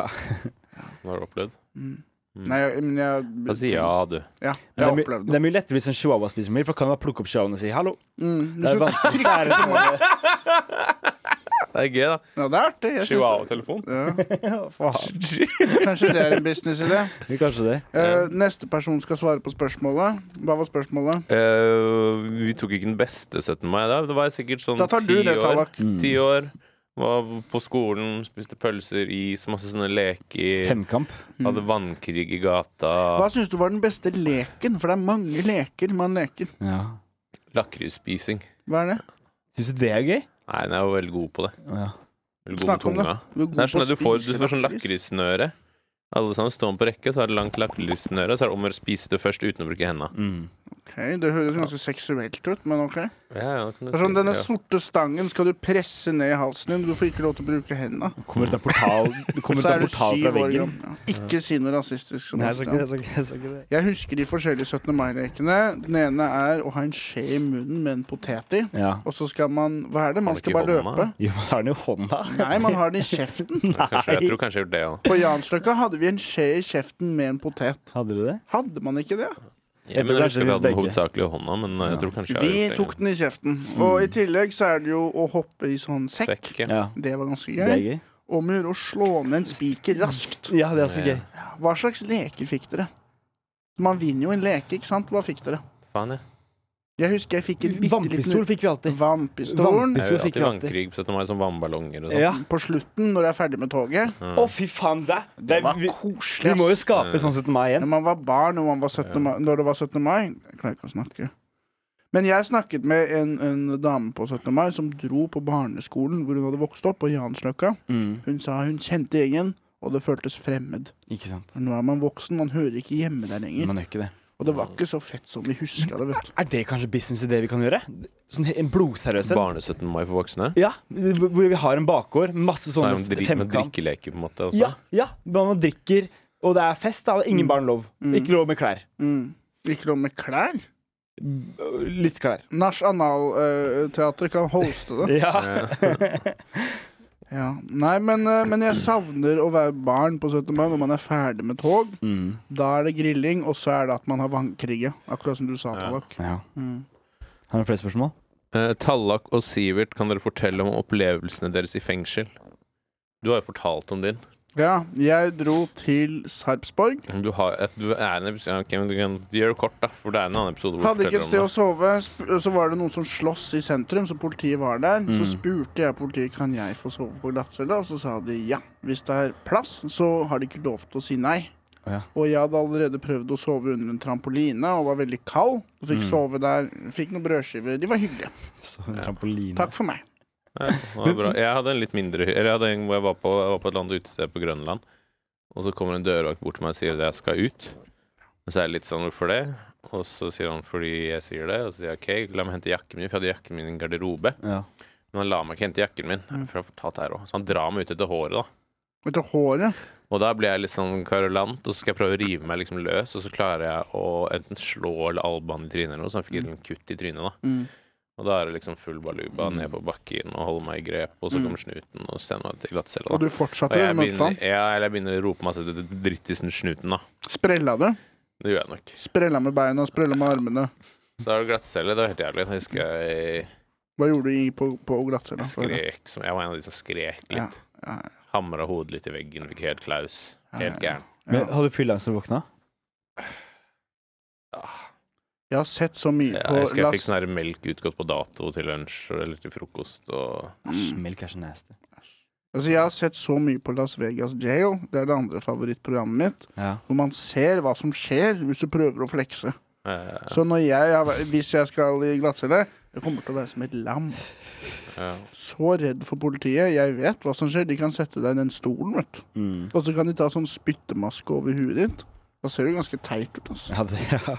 [SPEAKER 3] Hva Har du opplevd?
[SPEAKER 2] Mm.
[SPEAKER 3] Mm.
[SPEAKER 2] Nei, jeg- men jeg
[SPEAKER 3] Jeg sier ja, du.
[SPEAKER 2] Ja, jeg
[SPEAKER 4] Men
[SPEAKER 2] har
[SPEAKER 4] det, er mye,
[SPEAKER 2] opplevd
[SPEAKER 4] det
[SPEAKER 2] det.
[SPEAKER 4] er mye lettere hvis en chihuahua spiser mye, for da kan du bare plukke opp chihuahuaen og si hallo.
[SPEAKER 2] Mm.
[SPEAKER 4] Det er
[SPEAKER 2] Så-
[SPEAKER 4] vanskelig å stære på det.
[SPEAKER 3] Det er gøy, da.
[SPEAKER 2] *laughs* Ja, det er artig. Jeg synes det.
[SPEAKER 3] Chihuahua-telefon.
[SPEAKER 2] Ja,
[SPEAKER 4] *laughs* Faen.
[SPEAKER 2] kanskje det er en businessidé.
[SPEAKER 4] Kanskje det.
[SPEAKER 2] Eh, neste person skal svare på spørsmålet. Hva var spørsmålet?
[SPEAKER 3] Eh, vi tok ikke den beste 17. mai. Da Det var jeg sikkert sånn
[SPEAKER 2] Da tar du
[SPEAKER 3] ti
[SPEAKER 2] det,
[SPEAKER 3] år.
[SPEAKER 2] Tallak.
[SPEAKER 3] Ti år. Var på skolen, spiste pølser, is, masse sånne leker.
[SPEAKER 4] Femkamp.
[SPEAKER 3] Hadde vannkrig i gata.
[SPEAKER 2] Mm. Hva syns du var den beste leken? For det er mange leker man leker.
[SPEAKER 4] Ja.
[SPEAKER 3] Lakrisspising.
[SPEAKER 2] Hva er det?
[SPEAKER 4] Syns du det er gøy?
[SPEAKER 3] Nei, den er jo veldig god på det.
[SPEAKER 4] Ja.
[SPEAKER 3] Veldig god med
[SPEAKER 2] Snakk om
[SPEAKER 3] tunga.
[SPEAKER 2] det. Du er god
[SPEAKER 3] Det er sånn
[SPEAKER 2] på
[SPEAKER 3] at du
[SPEAKER 2] å
[SPEAKER 3] får,
[SPEAKER 2] spise
[SPEAKER 3] du får sånn
[SPEAKER 2] lakris.
[SPEAKER 3] lakrissnøre. Alle sammen står på rekke, så er det langt lakrissnøre. Så er det om å gjøre å spise det først uten å bruke henda.
[SPEAKER 4] Mm.
[SPEAKER 2] Ok, det høres ganske seksuelt ut, men OK.
[SPEAKER 3] Ja, ja, kan
[SPEAKER 2] Det
[SPEAKER 3] du
[SPEAKER 2] er sånn,
[SPEAKER 3] si.
[SPEAKER 2] denne
[SPEAKER 3] Ja.
[SPEAKER 2] sorte stangen skal du presse ned i halsen din. Du får ikke lov til å bruke hendene.
[SPEAKER 4] Kommer ut av *laughs* portal Du kommer ut
[SPEAKER 2] Så
[SPEAKER 4] av
[SPEAKER 2] er du
[SPEAKER 4] portal fra
[SPEAKER 2] syv år
[SPEAKER 4] veggen.
[SPEAKER 2] gammel. Ja. Ikke si noe rasistisk. Som
[SPEAKER 4] Nei, jeg
[SPEAKER 2] oss,
[SPEAKER 4] sa
[SPEAKER 2] da.
[SPEAKER 4] ikke det. Jeg sa ikke- jeg sa ikke det.
[SPEAKER 2] jeg husker de forskjellige 17. mai-lekene. Den ene er å ha en skje i munnen med en potet i.
[SPEAKER 4] Ja.
[SPEAKER 2] Og så skal man Hva er det? Man
[SPEAKER 3] det
[SPEAKER 2] skal
[SPEAKER 3] ikke i
[SPEAKER 2] bare
[SPEAKER 3] hånda?
[SPEAKER 2] løpe.
[SPEAKER 4] Jo, man har den i hånda.
[SPEAKER 2] Nei, man har den i kjeften.
[SPEAKER 3] Kanskje, jeg tror kanskje jeg har gjort det òg.
[SPEAKER 2] På Jansløkka hadde vi en skje i kjeften med en potet.
[SPEAKER 4] Hadde du det?
[SPEAKER 2] Hadde man ikke det?
[SPEAKER 3] Jeg, mener
[SPEAKER 4] tror
[SPEAKER 3] jeg
[SPEAKER 4] kanskje
[SPEAKER 3] husker at jeg hadde den
[SPEAKER 4] begge.
[SPEAKER 3] hovedsakelig i hånda, men eh, jeg tror kanskje jeg har
[SPEAKER 2] Vi
[SPEAKER 3] gjort det.
[SPEAKER 2] tok den i kjeften.
[SPEAKER 4] Mm.
[SPEAKER 2] Og i tillegg så er det jo å hoppe i sånn sekk.
[SPEAKER 3] Sekk, ja.
[SPEAKER 4] Ja.
[SPEAKER 2] Det var ganske
[SPEAKER 4] Det er
[SPEAKER 2] gøy.
[SPEAKER 4] gøy.
[SPEAKER 2] Om å gjøre å slå ned en spiker raskt.
[SPEAKER 4] Ja, det er også gøy.
[SPEAKER 2] Hva slags leker fikk dere? Man vinner jo en leke, ikke sant? Hva fikk dere?
[SPEAKER 3] Faen, jeg.
[SPEAKER 2] Jeg husker jeg fikk en bitte
[SPEAKER 4] Vannpistol
[SPEAKER 2] liten
[SPEAKER 4] fikk vi alltid.
[SPEAKER 2] Vannpistolen.
[SPEAKER 3] Jeg
[SPEAKER 4] Vannpistol
[SPEAKER 3] har alltid
[SPEAKER 4] fikk vi alltid.
[SPEAKER 3] vannkrig på 17. mai, som vannballonger og sånn. Mm.
[SPEAKER 4] Ja.
[SPEAKER 2] På slutten, når jeg er ferdig med toget.
[SPEAKER 4] Å, fy faen, det, det
[SPEAKER 2] Det
[SPEAKER 4] er-
[SPEAKER 2] var
[SPEAKER 4] vi,
[SPEAKER 2] koselig.
[SPEAKER 4] vi må jo
[SPEAKER 2] ass.
[SPEAKER 4] skape sånn 17. mai
[SPEAKER 2] Når
[SPEAKER 4] igjen.
[SPEAKER 2] man var barn og man var 17. Mai, når det var 17. mai Jeg klarer ikke å snakke. Men jeg snakket med en, en dame på 17. mai som dro på barneskolen hvor hun hadde vokst opp, på Jansløkka.
[SPEAKER 4] Mm.
[SPEAKER 2] Hun sa hun kjente gjengen, og det føltes fremmed.
[SPEAKER 4] Ikke sant.
[SPEAKER 2] For nå er man voksen, man hører ikke hjemme der lenger.
[SPEAKER 4] Man gjør ikke det.
[SPEAKER 2] Og det var ikke så fett som vi huska det, vet du.
[SPEAKER 4] Er det kanskje businessidé vi kan gjøre? Sånn he- en blodseriøshet?
[SPEAKER 3] Barne 17. mai for voksne.
[SPEAKER 4] Ja, hvor hvor vi har en bakgård, masse
[SPEAKER 3] Så
[SPEAKER 4] sånne
[SPEAKER 3] er det drit med
[SPEAKER 4] femkamp.
[SPEAKER 3] drikkeleker, på en måte. Også.
[SPEAKER 4] Ja, ja, man drikker, og det er fest. Da. Ingen barn lov. Ikke lov med klær.
[SPEAKER 2] Mm. Ikke noe med klær.
[SPEAKER 4] Litt klær.
[SPEAKER 2] Nasjonalteatret kan hoste
[SPEAKER 4] *laughs*
[SPEAKER 2] det.
[SPEAKER 4] Ja.
[SPEAKER 2] Ja. Nei, men, eh, men jeg savner å være barn på 17. mai når man er ferdig med tog.
[SPEAKER 4] *laughs* Mm.
[SPEAKER 2] Da er det grilling, og så er det at man har vannkriget. Akkurat som du sa, Tallak.
[SPEAKER 4] ja.
[SPEAKER 2] Mm.
[SPEAKER 4] Har du flere spørsmål?
[SPEAKER 3] Eh, Tallak og Sivert, kan dere fortelle om opplevelsene deres i fengsel? Du har jo fortalt om din.
[SPEAKER 2] Ja, jeg dro til Sarpsborg.
[SPEAKER 3] Du har et, du er en episode, ok, men du kan gjøre det kort, da, for det er en annen episode hvor du
[SPEAKER 2] Hadde ikke et sted
[SPEAKER 3] forteller
[SPEAKER 2] å
[SPEAKER 3] om det.
[SPEAKER 2] sove. sp- Så var det noen som sloss i sentrum, så politiet var der.
[SPEAKER 3] Mm.
[SPEAKER 2] Så spurte jeg politiet kan jeg få sove på glattcella, og så sa de ja. Hvis det er plass, så har de ikke lov til å si nei.
[SPEAKER 4] Ja.
[SPEAKER 2] Og jeg hadde allerede prøvd å sove under en trampoline og var veldig kald. Og
[SPEAKER 3] Mm.
[SPEAKER 2] fikk sove der. Fikk noen brødskiver. De var hyggelige.
[SPEAKER 4] Så en
[SPEAKER 3] Mm.
[SPEAKER 4] trampoline.
[SPEAKER 2] Takk for meg.
[SPEAKER 3] Ja, det var bra. Jeg hadde en litt mindre Eller jeg hadde en hvor jeg var på, jeg var på et eller annet utested på Grønland, og så kommer en dørvakt bort til meg og sier at jeg skal ut. Og så er jeg litt sånn hvorfor det? Og så sier han fordi jeg sier det, og så sier jeg OK, la meg hente jakken min, for jeg hadde jakken min i en garderobe.
[SPEAKER 4] Ja.
[SPEAKER 3] Men han la meg ikke hente jakken min,
[SPEAKER 2] Mm.
[SPEAKER 3] for jeg har fortalt det her også. Så han drar meg ut etter håret, da.
[SPEAKER 2] Etter håret.
[SPEAKER 3] Og da blir jeg litt sånn karolant, og så skal jeg prøve å rive meg liksom løs, og så klarer jeg å enten slå eller albue han i trynet eller noe, så han fikk et lite kutt i trynet, da.
[SPEAKER 2] Mm.
[SPEAKER 3] Og da er det liksom full baluba
[SPEAKER 4] Mm.
[SPEAKER 3] ned på bakken og holde meg i grep, og så
[SPEAKER 2] Mm.
[SPEAKER 3] kommer snuten og sender meg til glattcella,
[SPEAKER 2] Og
[SPEAKER 3] da.
[SPEAKER 2] du fortsatte
[SPEAKER 3] Og jeg
[SPEAKER 2] med
[SPEAKER 3] begynner,
[SPEAKER 2] motstand.
[SPEAKER 3] ja, eller jeg begynner å rope masse til dritt i snu- snuten, da.
[SPEAKER 2] Sprella det.
[SPEAKER 3] Det gjør jeg nok.
[SPEAKER 2] Sprella med beina, sprella med armene.
[SPEAKER 3] Så er det glattcelle, det var helt jævlig. Jeg husker jeg
[SPEAKER 2] Hva gjorde du i- på, på glattcella?
[SPEAKER 3] jeg skrek som Jeg var en av de som skrek
[SPEAKER 2] Ja,
[SPEAKER 3] litt.
[SPEAKER 2] ja,
[SPEAKER 3] Hamra hodet litt i veggen, fikk helt klaus. Helt
[SPEAKER 2] ja.
[SPEAKER 3] gæren.
[SPEAKER 4] Men hadde du fylla angst når du våkna?
[SPEAKER 2] Jeg har sett så mye
[SPEAKER 3] Ja,
[SPEAKER 2] på
[SPEAKER 3] jeg husker jeg fikk
[SPEAKER 2] glass...
[SPEAKER 3] sånn her melk utgått på dato til lunsj eller til frokost og
[SPEAKER 4] Æsj,
[SPEAKER 2] Mm.
[SPEAKER 4] melk er så nasty.
[SPEAKER 2] Altså, jeg har sett så mye på Las Vegas Jail. Det er det andre favorittprogrammet mitt.
[SPEAKER 4] Ja.
[SPEAKER 2] Hvor man ser hva som skjer hvis du prøver å flekse.
[SPEAKER 3] eh,
[SPEAKER 2] Så når jeg, har- hvis jeg skal i glattcelle Jeg kommer til å være som et lam.
[SPEAKER 3] ja.
[SPEAKER 2] Så redd for politiet. Jeg vet hva som skjer. De kan sette deg i den stolen, vet du.
[SPEAKER 4] Mm.
[SPEAKER 2] Og så kan de ta sånn spyttemaske over huet ditt. Da ser du ganske teit ut, altså.
[SPEAKER 4] *laughs* Ja, det, ja.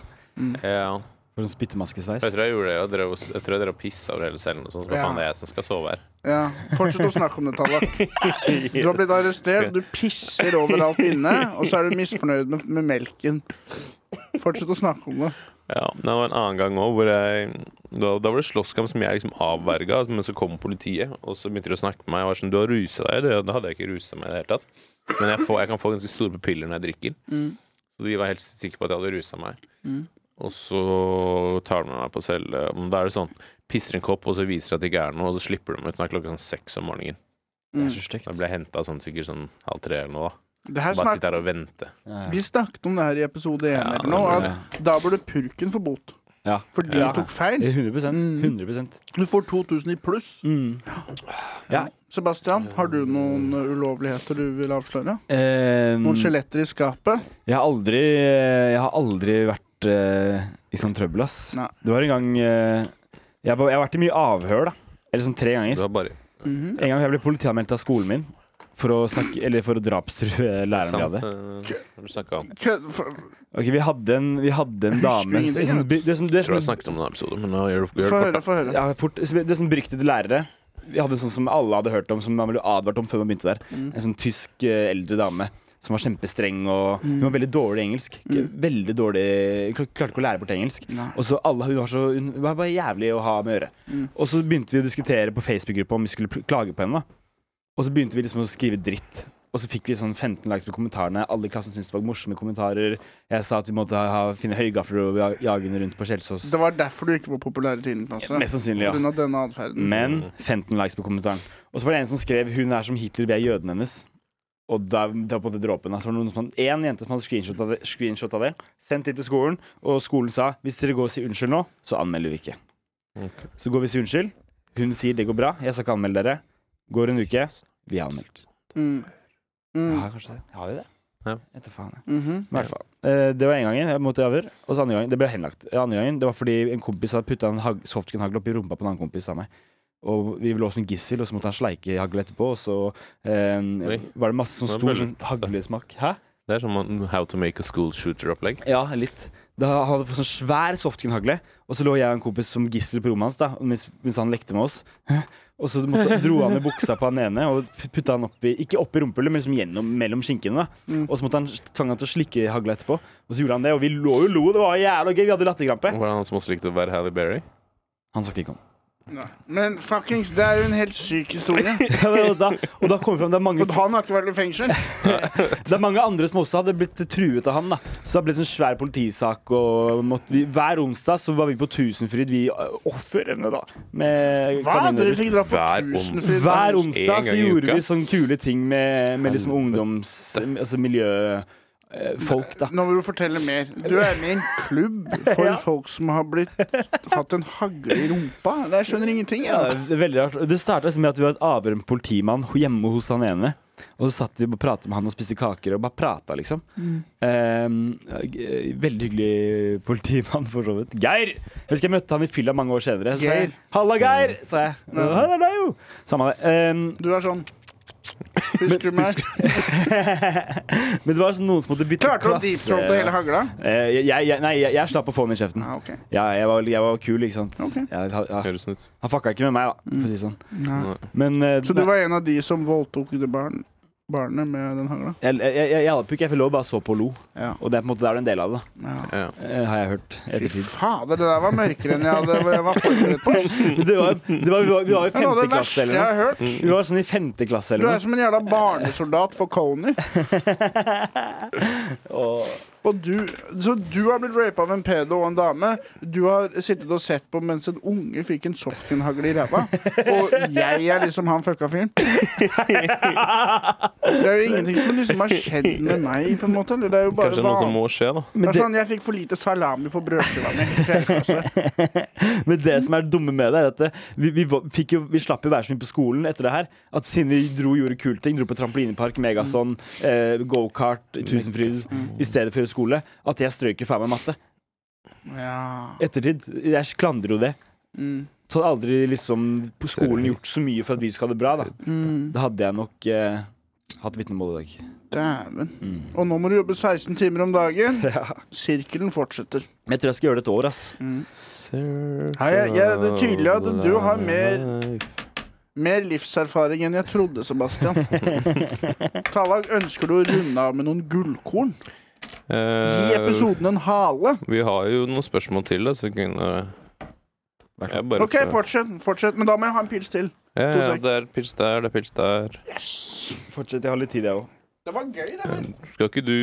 [SPEAKER 3] Ja.
[SPEAKER 4] For en spyttemaskesveis.
[SPEAKER 3] Jeg tror jeg gjorde det. Jeg, drev, og- jeg tror jeg drev og pissa over hele cellen. og sånn, Så hva
[SPEAKER 2] Ja.
[SPEAKER 3] faen, det er jeg som skal sove her.
[SPEAKER 2] Ja, Fortsett å snakke om det, Tallak. Du har blitt arrestert, du pisser overalt inne, og så er du misfornøyd med, med melken. Fortsett å snakke om det.
[SPEAKER 3] Ja, men Det var en annen gang òg hvor jeg da, da var det slåsskamp som jeg liksom avverga, altså, men så kom politiet, og så begynte de å snakke med meg. Jeg var sånn, du har rusa deg, det, da hadde jeg ikke rusa meg i det hele tatt. Men jeg, får, jeg kan få ganske store pupiller når jeg drikker.
[SPEAKER 2] Mm.
[SPEAKER 3] Så de var helt sikre på at jeg hadde rusa meg.
[SPEAKER 2] Mm.
[SPEAKER 3] Og så tar de med meg på celle. Men Da er det sånn Pisser en kopp, og så viser de at det ikke er noe, og så slipper de meg ut. Nå er klokka sånn seks om morgenen.
[SPEAKER 4] Det
[SPEAKER 2] Mm.
[SPEAKER 4] er så stygt.
[SPEAKER 3] Da ble jeg henta sånn, sikkert sånn halv tre eller noe. da
[SPEAKER 2] det her
[SPEAKER 3] Bare
[SPEAKER 2] snak
[SPEAKER 3] sitte her og vente.
[SPEAKER 4] Ja.
[SPEAKER 2] Vi snakket om det her i episode én
[SPEAKER 3] Ja,
[SPEAKER 2] eller
[SPEAKER 3] det
[SPEAKER 2] noe.
[SPEAKER 3] burde
[SPEAKER 2] At da burde purken få bot.
[SPEAKER 4] Ja.
[SPEAKER 2] For de
[SPEAKER 4] Ja.
[SPEAKER 2] tok feil.
[SPEAKER 4] 100
[SPEAKER 2] Mm.
[SPEAKER 4] 100
[SPEAKER 2] Du får 2000 i pluss.
[SPEAKER 4] Mm. Ja.
[SPEAKER 2] Sebastian, har du noen uh, ulovligheter du vil avsløre?
[SPEAKER 4] Eh,
[SPEAKER 2] Noen skjeletter i skapet?
[SPEAKER 4] jeg, har aldri, eh, jeg har aldri vært eh, i sånn trøbbel, ass.
[SPEAKER 2] Nei.
[SPEAKER 4] Det var en gang eh, jeg, ba- jeg har vært i mye avhør, da. Eller sånn tre
[SPEAKER 3] Du
[SPEAKER 4] ganger.
[SPEAKER 3] har bare
[SPEAKER 2] Mhm.
[SPEAKER 4] En gang jeg ble politianmeldt av skolen min for å, snakke, eller for å drapstrue læreren vi
[SPEAKER 3] Sant,
[SPEAKER 4] hadde.
[SPEAKER 3] eh, har du snakket om.
[SPEAKER 2] Kø- for-
[SPEAKER 4] Ok, vi hadde en, vi hadde en
[SPEAKER 2] Jeg husker
[SPEAKER 4] dame
[SPEAKER 2] ingenting,
[SPEAKER 4] en sånn by- det er sånn- det er
[SPEAKER 3] Jeg tror jeg
[SPEAKER 4] sånn-
[SPEAKER 3] snakket om den episoden, men nå gjør du gjør
[SPEAKER 2] Få
[SPEAKER 3] det
[SPEAKER 2] høre,
[SPEAKER 3] kort.
[SPEAKER 2] få høre.
[SPEAKER 4] ja, fort- Det er sånn beryktede lærere. Vi hadde en sånn som alle hadde hørt om, som man ble advart om før man begynte der.
[SPEAKER 2] Mm.
[SPEAKER 4] En sånn tysk eh, eldre dame som var kjempestreng og
[SPEAKER 2] Mm.
[SPEAKER 4] Hun var veldig dårlig i engelsk. Ikke- Veldig dårlig kl- Klarte ikke å lære bort engelsk.
[SPEAKER 2] Nei.
[SPEAKER 4] Og så alle, Hun var så Hun var bare jævlig å ha med å gjøre.
[SPEAKER 2] Mm.
[SPEAKER 4] Og så begynte vi å diskutere på Facebook-gruppa om vi skulle pl- klage på henne. da. Og så begynte vi liksom å skrive dritt. Og så fikk vi sånn 15 likes på kommentarene. Alle i klassen syntes det var morsomme kommentarer. Jeg sa at vi måtte ha, ha, finne høygafler og ja- jage henne rundt på Kjelsås.
[SPEAKER 2] Det var derfor du ikke var populær i tiende klasse.
[SPEAKER 4] Mest sannsynlig, ja.
[SPEAKER 2] På grunn av denne atferden.
[SPEAKER 4] Men 15 likes på kommentaren. Og så var det en som skrev 'Hun er som Hitler, vi er jøden hennes'. Og da, da på det dråpen, da. Så var det noen som hadde, en jente som hadde screenshot av, det, screenshot av det, sendt det til skolen, og skolen sa 'Hvis dere går og sier unnskyld nå, så anmelder vi ikke'.
[SPEAKER 3] Ok.
[SPEAKER 4] Så går vi og sier unnskyld. Hun sier 'det går bra, jeg skal ikke anmelde dere'. Går en uke, vi er anmeldt.
[SPEAKER 2] Mm. Mm.
[SPEAKER 4] Ja, kanskje det. Har vi det?
[SPEAKER 3] Ja.
[SPEAKER 4] Etter faen, jeg.
[SPEAKER 2] Mhm.
[SPEAKER 4] I hvert fall. Eh, Det var en gangen jeg måtte i avhør. Og så andre gangen, det ble henlagt. Eh, Andre gangen, det var fordi en kompis hadde putta en hag- softgun-hagle oppi rumpa på en annen kompis av meg. Og vi lå som en gissel, og så måtte han sleike hagl etterpå, og så eh,
[SPEAKER 3] Oi.
[SPEAKER 4] var det masse sånn
[SPEAKER 3] Det var
[SPEAKER 4] stor sånn
[SPEAKER 3] bøllet.
[SPEAKER 4] haglesmak. Hæ?
[SPEAKER 3] Det er som en How to make a school shooter-opplegg.
[SPEAKER 4] Ja, litt. Da hadde jeg fått sånn svær softgun-hagle, og så lå jeg og en kompis som gissel på rommet hans, da, mens, mens han lekte med oss. *laughs* Og så måtte, dro han i buksa på han ene og pu- putta han oppi, ikke oppi rumpehullet, men liksom gjennom, mellom skinkene. da. Og så måtte han tvang han til å slikke hagla etterpå. Og så gjorde han det, og vi lå jo og lo, det var jævla gøy, vi hadde latterkrampe.
[SPEAKER 3] Var det han som også likte å være Halle Berry?
[SPEAKER 4] Han snakket ikke om.
[SPEAKER 2] Men fuckings, det er jo en helt syk
[SPEAKER 4] *laughs*
[SPEAKER 2] historie.
[SPEAKER 4] *laughs* Ja, men og, da, og da kommer det fram det er, mange,
[SPEAKER 2] Og han har ikke vært i fengsel.
[SPEAKER 4] det er mange andre som også hadde blitt truet av han. da Så det har blitt en sånn svær politisak. Og måtte vi, hver onsdag så var vi på Tusenfryd, vi øh, ofrene, da. Med
[SPEAKER 2] Hva? Dere
[SPEAKER 4] kaniner.
[SPEAKER 2] fikk dra på
[SPEAKER 3] Hver
[SPEAKER 2] tusenfryd.
[SPEAKER 3] onsdag.
[SPEAKER 4] Hver
[SPEAKER 3] En gang
[SPEAKER 4] onsdag så
[SPEAKER 3] i
[SPEAKER 4] gjorde
[SPEAKER 3] uka.
[SPEAKER 4] vi sånn sånne kule ting med, med liksom ungdoms... Altså miljøfolk, da.
[SPEAKER 2] Nå må du fortelle mer. Du er med i en klubb *laughs* for folk som har blitt hatt en hagle i rumpa. Jeg skjønner ingenting.
[SPEAKER 4] Ja,
[SPEAKER 2] Jeg.
[SPEAKER 4] det er veldig rart. Det starta med at vi var et avhør med en politimann hjemme hos han ene. Og så satt vi og pratet med han og spiste kaker og bare prata, liksom. Eh, g- veldig hyggelig politimann, for så vidt. Geir! Jeg husker jeg møtte han i fylla mange år senere. Så sa jeg,
[SPEAKER 2] Geir.
[SPEAKER 4] 'Halla, Geir!' Mm. sa jeg. Og, «Hei, det er deg, jo!» Samme det. Eh,
[SPEAKER 2] Du er sånn Husker du meg?
[SPEAKER 4] *laughs* men det var sånn noen som måtte bytte
[SPEAKER 2] Klarte du å deepthroate hele hagla?
[SPEAKER 4] Eh, jeg, jeg, nei, jeg, jeg slapp å få den i kjeften.
[SPEAKER 2] Ja, ok.
[SPEAKER 4] Ja, jeg var, jeg var kul, ikke sant.
[SPEAKER 2] Ok.
[SPEAKER 4] Jeg, ja,
[SPEAKER 3] Høres ut.
[SPEAKER 4] han fucka ikke med meg, da, for å si det sånn.
[SPEAKER 2] Ja.
[SPEAKER 4] Men eh,
[SPEAKER 2] Så du var en av de som voldtok det barn, barnet med den hagla?
[SPEAKER 4] Jeg, jeg, jeg, jeg hjalp jo ikke, jeg fikk lov, bare så på og lo.
[SPEAKER 2] Ja.
[SPEAKER 4] Og det er på en måte der det er en del av det, da.
[SPEAKER 2] ja.
[SPEAKER 3] Ja.
[SPEAKER 4] Eh, har jeg hørt.
[SPEAKER 2] Fy
[SPEAKER 4] ettertid.
[SPEAKER 2] fader, det der var mørkere enn jeg hadde jeg var forberedt på. Det
[SPEAKER 4] Men *laughs* Det var, det var, vi, var, vi var i
[SPEAKER 2] var
[SPEAKER 4] femte
[SPEAKER 2] det
[SPEAKER 4] klasse
[SPEAKER 2] verste
[SPEAKER 4] eller
[SPEAKER 2] jeg
[SPEAKER 4] noe.
[SPEAKER 2] har hørt.
[SPEAKER 4] Vi var sånn i femte klasse
[SPEAKER 2] Du
[SPEAKER 4] eller
[SPEAKER 2] er
[SPEAKER 4] noe.
[SPEAKER 2] som en jævla barnesoldat for Coney. Og du, så du har blitt rapa av en pedo og en dame. Du har sittet og sett på mens en unge fikk en softgunhagle i ræva. Og jeg er liksom han fucka fyren. Det er jo ingenting som liksom har skjedd med meg, på en måte. Eller det er jo bare
[SPEAKER 3] Kanskje noe som
[SPEAKER 2] vanlig.
[SPEAKER 3] må skje, da.
[SPEAKER 2] Det er sånn, jeg fikk for lite salami på brødskiva mi. i fjerde klasse.
[SPEAKER 4] *laughs* Men det som er det dumme med det, er at det, vi, vi, var- fikk jo, vi slapp jo være så mye på skolen etter det her. At siden vi dro og gjorde kule ting, dro på trampolinepark, megason, eh, gokart, tusenfryd
[SPEAKER 2] Mm,
[SPEAKER 4] i stedet for skole, at jeg strøyker faen meg matte.
[SPEAKER 2] Ja.
[SPEAKER 4] Ettertid. Jeg klandrer jo det.
[SPEAKER 2] Mm.
[SPEAKER 4] Så hadde aldri liksom på skolen gjort så mye for at vi skulle ha det bra, da.
[SPEAKER 2] Mm.
[SPEAKER 4] Da hadde jeg nok eh, hatt vitnemål i dag.
[SPEAKER 2] Dæven.
[SPEAKER 4] Mm. *laughs*
[SPEAKER 2] Og nå må du jobbe 16 timer om dagen. Sirkelen fortsetter.
[SPEAKER 4] Men jeg tror jeg skal gjøre det et år, ass.
[SPEAKER 2] Hei, jeg- jeg- det er tydelig at du har mer- Mer livserfaring enn jeg trodde, Sebastian. Tallag, ønsker du å runde av med noen gullkorn? Gi
[SPEAKER 3] Eh,
[SPEAKER 2] episoden en hale.
[SPEAKER 3] Vi har jo noen spørsmål til, da, så vi kunne Jeg bare
[SPEAKER 2] OK, fortsett. fortsett, Men da må jeg ha en pils til.
[SPEAKER 3] ja,
[SPEAKER 2] to
[SPEAKER 3] ja,
[SPEAKER 2] sek.
[SPEAKER 3] det er pils der, det er pils der.
[SPEAKER 4] *laughs* Fortsett, jeg har litt tid, jeg òg.
[SPEAKER 2] Det var gøy, det. her.
[SPEAKER 3] Skal ikke du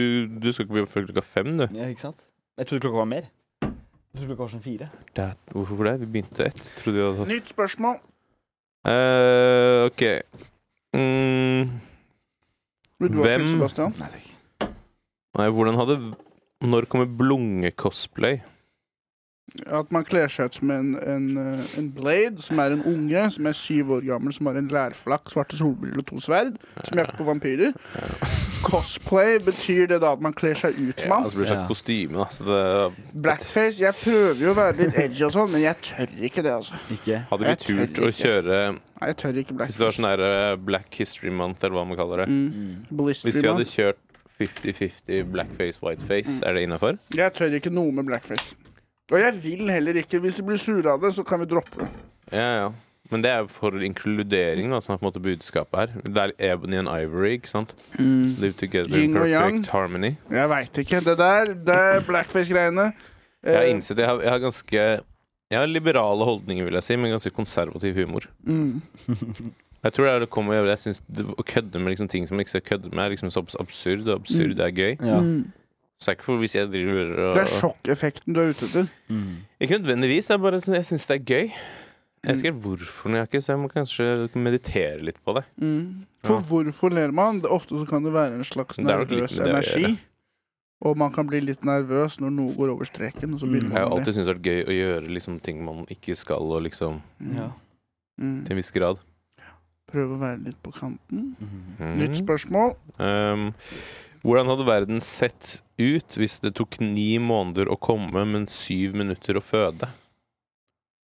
[SPEAKER 3] Du skal ikke bli opp før klokka fem, du.
[SPEAKER 4] Ja, ikke sant? Jeg trodde klokka var mer. Jeg trodde klokka var sånn fire.
[SPEAKER 3] Det- Hvorfor det? Vi begynte ett. Trodde vi hadde
[SPEAKER 2] Nytt spørsmål.
[SPEAKER 3] Eh, OK. Mm,
[SPEAKER 2] Vil du ha
[SPEAKER 3] Hvem-
[SPEAKER 2] pils, Sebastian?
[SPEAKER 4] Nei takk.
[SPEAKER 3] nei, hvordan hadde Når kommer blunge-cosplay?
[SPEAKER 2] At man kler seg ut som en, en, eh, en blade, som er en unge som er syv år gammel, som har en lærflakk, svarte solbriller og to sverd, som jakter på vampyrer. Cosplay betyr det da at man kler seg ut som
[SPEAKER 3] Ja,
[SPEAKER 2] han.
[SPEAKER 3] altså, det blir
[SPEAKER 4] Ja.
[SPEAKER 3] sagt kostyme, da. Så det
[SPEAKER 2] Blackface, jeg prøver jo å være litt edgy og sånn, men jeg tør ikke det, altså.
[SPEAKER 4] Ikke?
[SPEAKER 3] Hadde vi
[SPEAKER 2] Jeg tør
[SPEAKER 3] turt å
[SPEAKER 2] ikke.
[SPEAKER 3] kjøre
[SPEAKER 2] Nei, jeg tør ikke
[SPEAKER 3] Hvis det var
[SPEAKER 2] blackface.
[SPEAKER 3] sånn der eh, Black History Month, eller hva man kaller det.
[SPEAKER 2] Mm.
[SPEAKER 3] Hvis vi
[SPEAKER 2] Ballistery
[SPEAKER 3] hadde
[SPEAKER 2] man.
[SPEAKER 3] kjørt 50-50 blackface, whiteface,
[SPEAKER 2] Mm.
[SPEAKER 3] er det innafor?
[SPEAKER 2] Jeg tør ikke noe med blackface. Og jeg vil heller ikke. Hvis de blir sure av det, så kan vi droppe det.
[SPEAKER 3] Ja, ja. Men det er for inkludering, da, som er på en måte budskapet her. Det er Ebony and Ivory, ikke sant?
[SPEAKER 4] Mm.
[SPEAKER 3] Live together in
[SPEAKER 2] Yin og yang.
[SPEAKER 3] perfect harmony.
[SPEAKER 2] Jeg veit ikke. Det der, det er blackface-greiene.
[SPEAKER 3] Jeg har
[SPEAKER 2] Eh,
[SPEAKER 3] innsett jeg har, jeg har ganske Jeg har liberale holdninger, vil jeg si, men ganske konservativ humor.
[SPEAKER 2] mm.
[SPEAKER 3] Jeg tror det er det kommer Jeg synes det, å kødde med liksom ting som man ikke skal kødde med, er liksom så absurd, og absurd er gøy.
[SPEAKER 4] Ja.
[SPEAKER 2] Mm.
[SPEAKER 3] Så det er ikke for hvis jeg driver og
[SPEAKER 2] Det er sjokkeffekten du er ute etter.
[SPEAKER 4] Mm.
[SPEAKER 3] Ikke nødvendigvis, det er bare sånn- jeg syns det er gøy. Jeg
[SPEAKER 2] Mm.
[SPEAKER 3] vet ikke helt hvorfor, men jeg, har ikke, så jeg må kanskje meditere litt på det.
[SPEAKER 2] Mm. For
[SPEAKER 3] Ja.
[SPEAKER 2] hvorfor ler man? Det- Ofte så kan det være en slags
[SPEAKER 3] Det er nok
[SPEAKER 2] nervøs
[SPEAKER 3] litt med det å
[SPEAKER 2] energi.
[SPEAKER 3] gjøre.
[SPEAKER 2] Og man kan bli litt nervøs når noe går over streken, og så
[SPEAKER 4] Mm.
[SPEAKER 2] begynner
[SPEAKER 3] Jeg har
[SPEAKER 2] man
[SPEAKER 3] jo
[SPEAKER 2] å le.
[SPEAKER 3] alltid syntes det har vært gøy å gjøre liksom, ting man ikke skal, og liksom
[SPEAKER 2] Mm.
[SPEAKER 4] Ja.
[SPEAKER 2] Mm.
[SPEAKER 3] til en viss grad.
[SPEAKER 2] Prøve å være litt på kanten.
[SPEAKER 3] Mm.
[SPEAKER 2] Nytt spørsmål.
[SPEAKER 3] Um, hvordan hadde verden sett ut hvis det tok ni måneder å komme, men syv minutter å føde?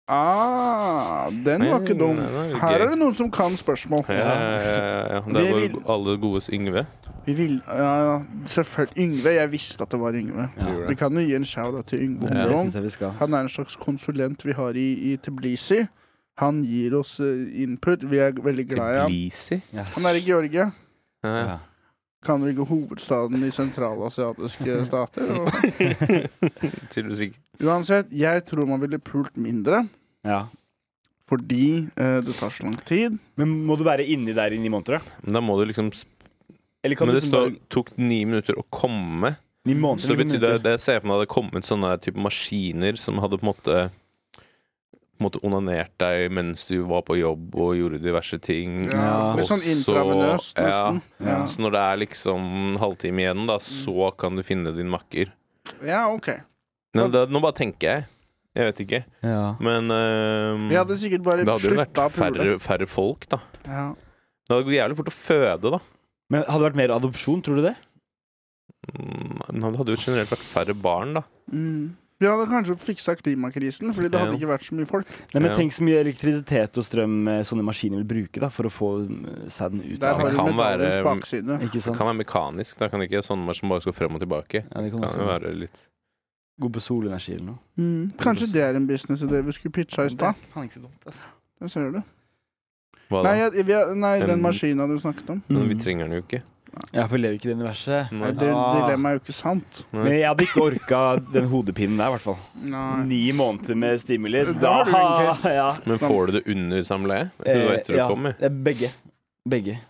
[SPEAKER 2] Ah, den var ikke dum.
[SPEAKER 3] Nei, nei, det er
[SPEAKER 2] Her
[SPEAKER 3] gøy.
[SPEAKER 2] er det noen som kan spørsmål.
[SPEAKER 3] Ja, ja, ja, ja. Det
[SPEAKER 2] Vi
[SPEAKER 3] var
[SPEAKER 2] vil-
[SPEAKER 3] jo alle godes Yngve.
[SPEAKER 2] Vi vil, ja, ja, selvfølgelig. Yngve. Jeg visste at det var Yngve.
[SPEAKER 4] Ja.
[SPEAKER 3] Gjorde
[SPEAKER 2] Vi
[SPEAKER 3] det.
[SPEAKER 2] kan jo gi en shout til Yngve
[SPEAKER 4] Det
[SPEAKER 2] Omdrom.
[SPEAKER 4] syns jeg vi skal.
[SPEAKER 2] Han er en slags konsulent vi har i, i Tbilisi. Han gir oss eh, input. Vi er veldig glad i ham.
[SPEAKER 3] Tbilisi?
[SPEAKER 4] Ja.
[SPEAKER 2] Han er i Georgia.
[SPEAKER 3] Ja, ja.
[SPEAKER 4] Ja.
[SPEAKER 2] Kan jo ikke hovedstaden i
[SPEAKER 3] *laughs*
[SPEAKER 2] sentralasiatiske stater. Og...
[SPEAKER 3] Tydeligvis ikke.
[SPEAKER 2] Uansett, jeg tror man ville pult mindre.
[SPEAKER 4] ja.
[SPEAKER 2] Fordi eh, det tar så lang tid.
[SPEAKER 4] Men må du være inni der inni måneder? da?
[SPEAKER 3] Men da må du liksom
[SPEAKER 4] Eller kan
[SPEAKER 3] Men
[SPEAKER 4] du
[SPEAKER 3] det
[SPEAKER 4] liksom
[SPEAKER 3] står,
[SPEAKER 4] bare
[SPEAKER 3] tok ni minutter å komme.
[SPEAKER 4] Ni måneder?
[SPEAKER 3] Så det
[SPEAKER 4] eller
[SPEAKER 3] betyr det,
[SPEAKER 4] minutter?
[SPEAKER 3] det ser jeg for meg hadde kommet sånne type maskiner som hadde på en måte på en måte onanert deg mens du var på jobb og gjorde diverse ting.
[SPEAKER 4] Ja.
[SPEAKER 2] Litt sånn
[SPEAKER 3] Og så-
[SPEAKER 2] intravenøst, nesten. Ja,
[SPEAKER 3] Så når det er liksom en halvtime igjen, da, så kan du finne din makker.
[SPEAKER 2] ja OK.
[SPEAKER 3] Nå, det, nå bare tenker jeg. Jeg vet ikke.
[SPEAKER 4] Ja.
[SPEAKER 3] Men øhm,
[SPEAKER 2] Vi hadde sikkert bare
[SPEAKER 3] det Mm. hadde jo
[SPEAKER 2] slutta
[SPEAKER 3] vært
[SPEAKER 2] å pule.
[SPEAKER 3] færre, færre folk, da.
[SPEAKER 2] Ja.
[SPEAKER 3] Det hadde gått jævlig fort å føde, da.
[SPEAKER 4] Men hadde det vært mer adopsjon, tror du det?
[SPEAKER 3] Mm, Men det hadde jo generelt vært færre barn, da.
[SPEAKER 2] Mm. Vi hadde kanskje fiksa klimakrisen, fordi det hadde
[SPEAKER 3] Ja.
[SPEAKER 2] ikke vært så mye folk.
[SPEAKER 4] Nei, men
[SPEAKER 3] Ja.
[SPEAKER 4] Tenk så mye elektrisitet og strøm eh, sånne maskiner vil bruke da, for å få eh, sæden ut
[SPEAKER 2] Der
[SPEAKER 4] av
[SPEAKER 2] har
[SPEAKER 3] det
[SPEAKER 2] du
[SPEAKER 3] kan
[SPEAKER 2] medaljens
[SPEAKER 3] være-
[SPEAKER 2] bakside.
[SPEAKER 4] Ikke
[SPEAKER 3] Det
[SPEAKER 4] sant?
[SPEAKER 3] kan være mekanisk. Da kan det ikke sånne som bare skal frem og tilbake.
[SPEAKER 4] Ja, det kan
[SPEAKER 3] Kan
[SPEAKER 4] også
[SPEAKER 3] jo
[SPEAKER 4] være.
[SPEAKER 3] være litt
[SPEAKER 4] Gå på solenergi eller noe.
[SPEAKER 2] Mm. Kanskje det er en businessidé vi skulle pitcha i stad.
[SPEAKER 4] faen ikke så dumt, ass.
[SPEAKER 2] Det ser du.
[SPEAKER 3] Hva da? Um,
[SPEAKER 2] Nei, jeg, vi, nei
[SPEAKER 3] En-
[SPEAKER 2] den maskina du snakket om.
[SPEAKER 3] Men vi
[SPEAKER 4] Mm.
[SPEAKER 3] trenger den jo ikke.
[SPEAKER 4] Ja, for vi lever ikke i det universet.
[SPEAKER 3] Nei.
[SPEAKER 2] Nei, det
[SPEAKER 4] Ah.
[SPEAKER 2] dilemmaet er jo ikke sant.
[SPEAKER 4] Men jeg hadde ikke orka den hodepinen der, i hvert fall.
[SPEAKER 2] Nei.
[SPEAKER 4] Ni måneder med stimuli.
[SPEAKER 2] Da har du en kris.
[SPEAKER 4] ja.
[SPEAKER 3] Men får du det under samleie? Jeg tror det var etter
[SPEAKER 4] Eh, ja,
[SPEAKER 3] du kom. jeg.
[SPEAKER 4] eh, Begge. Begge.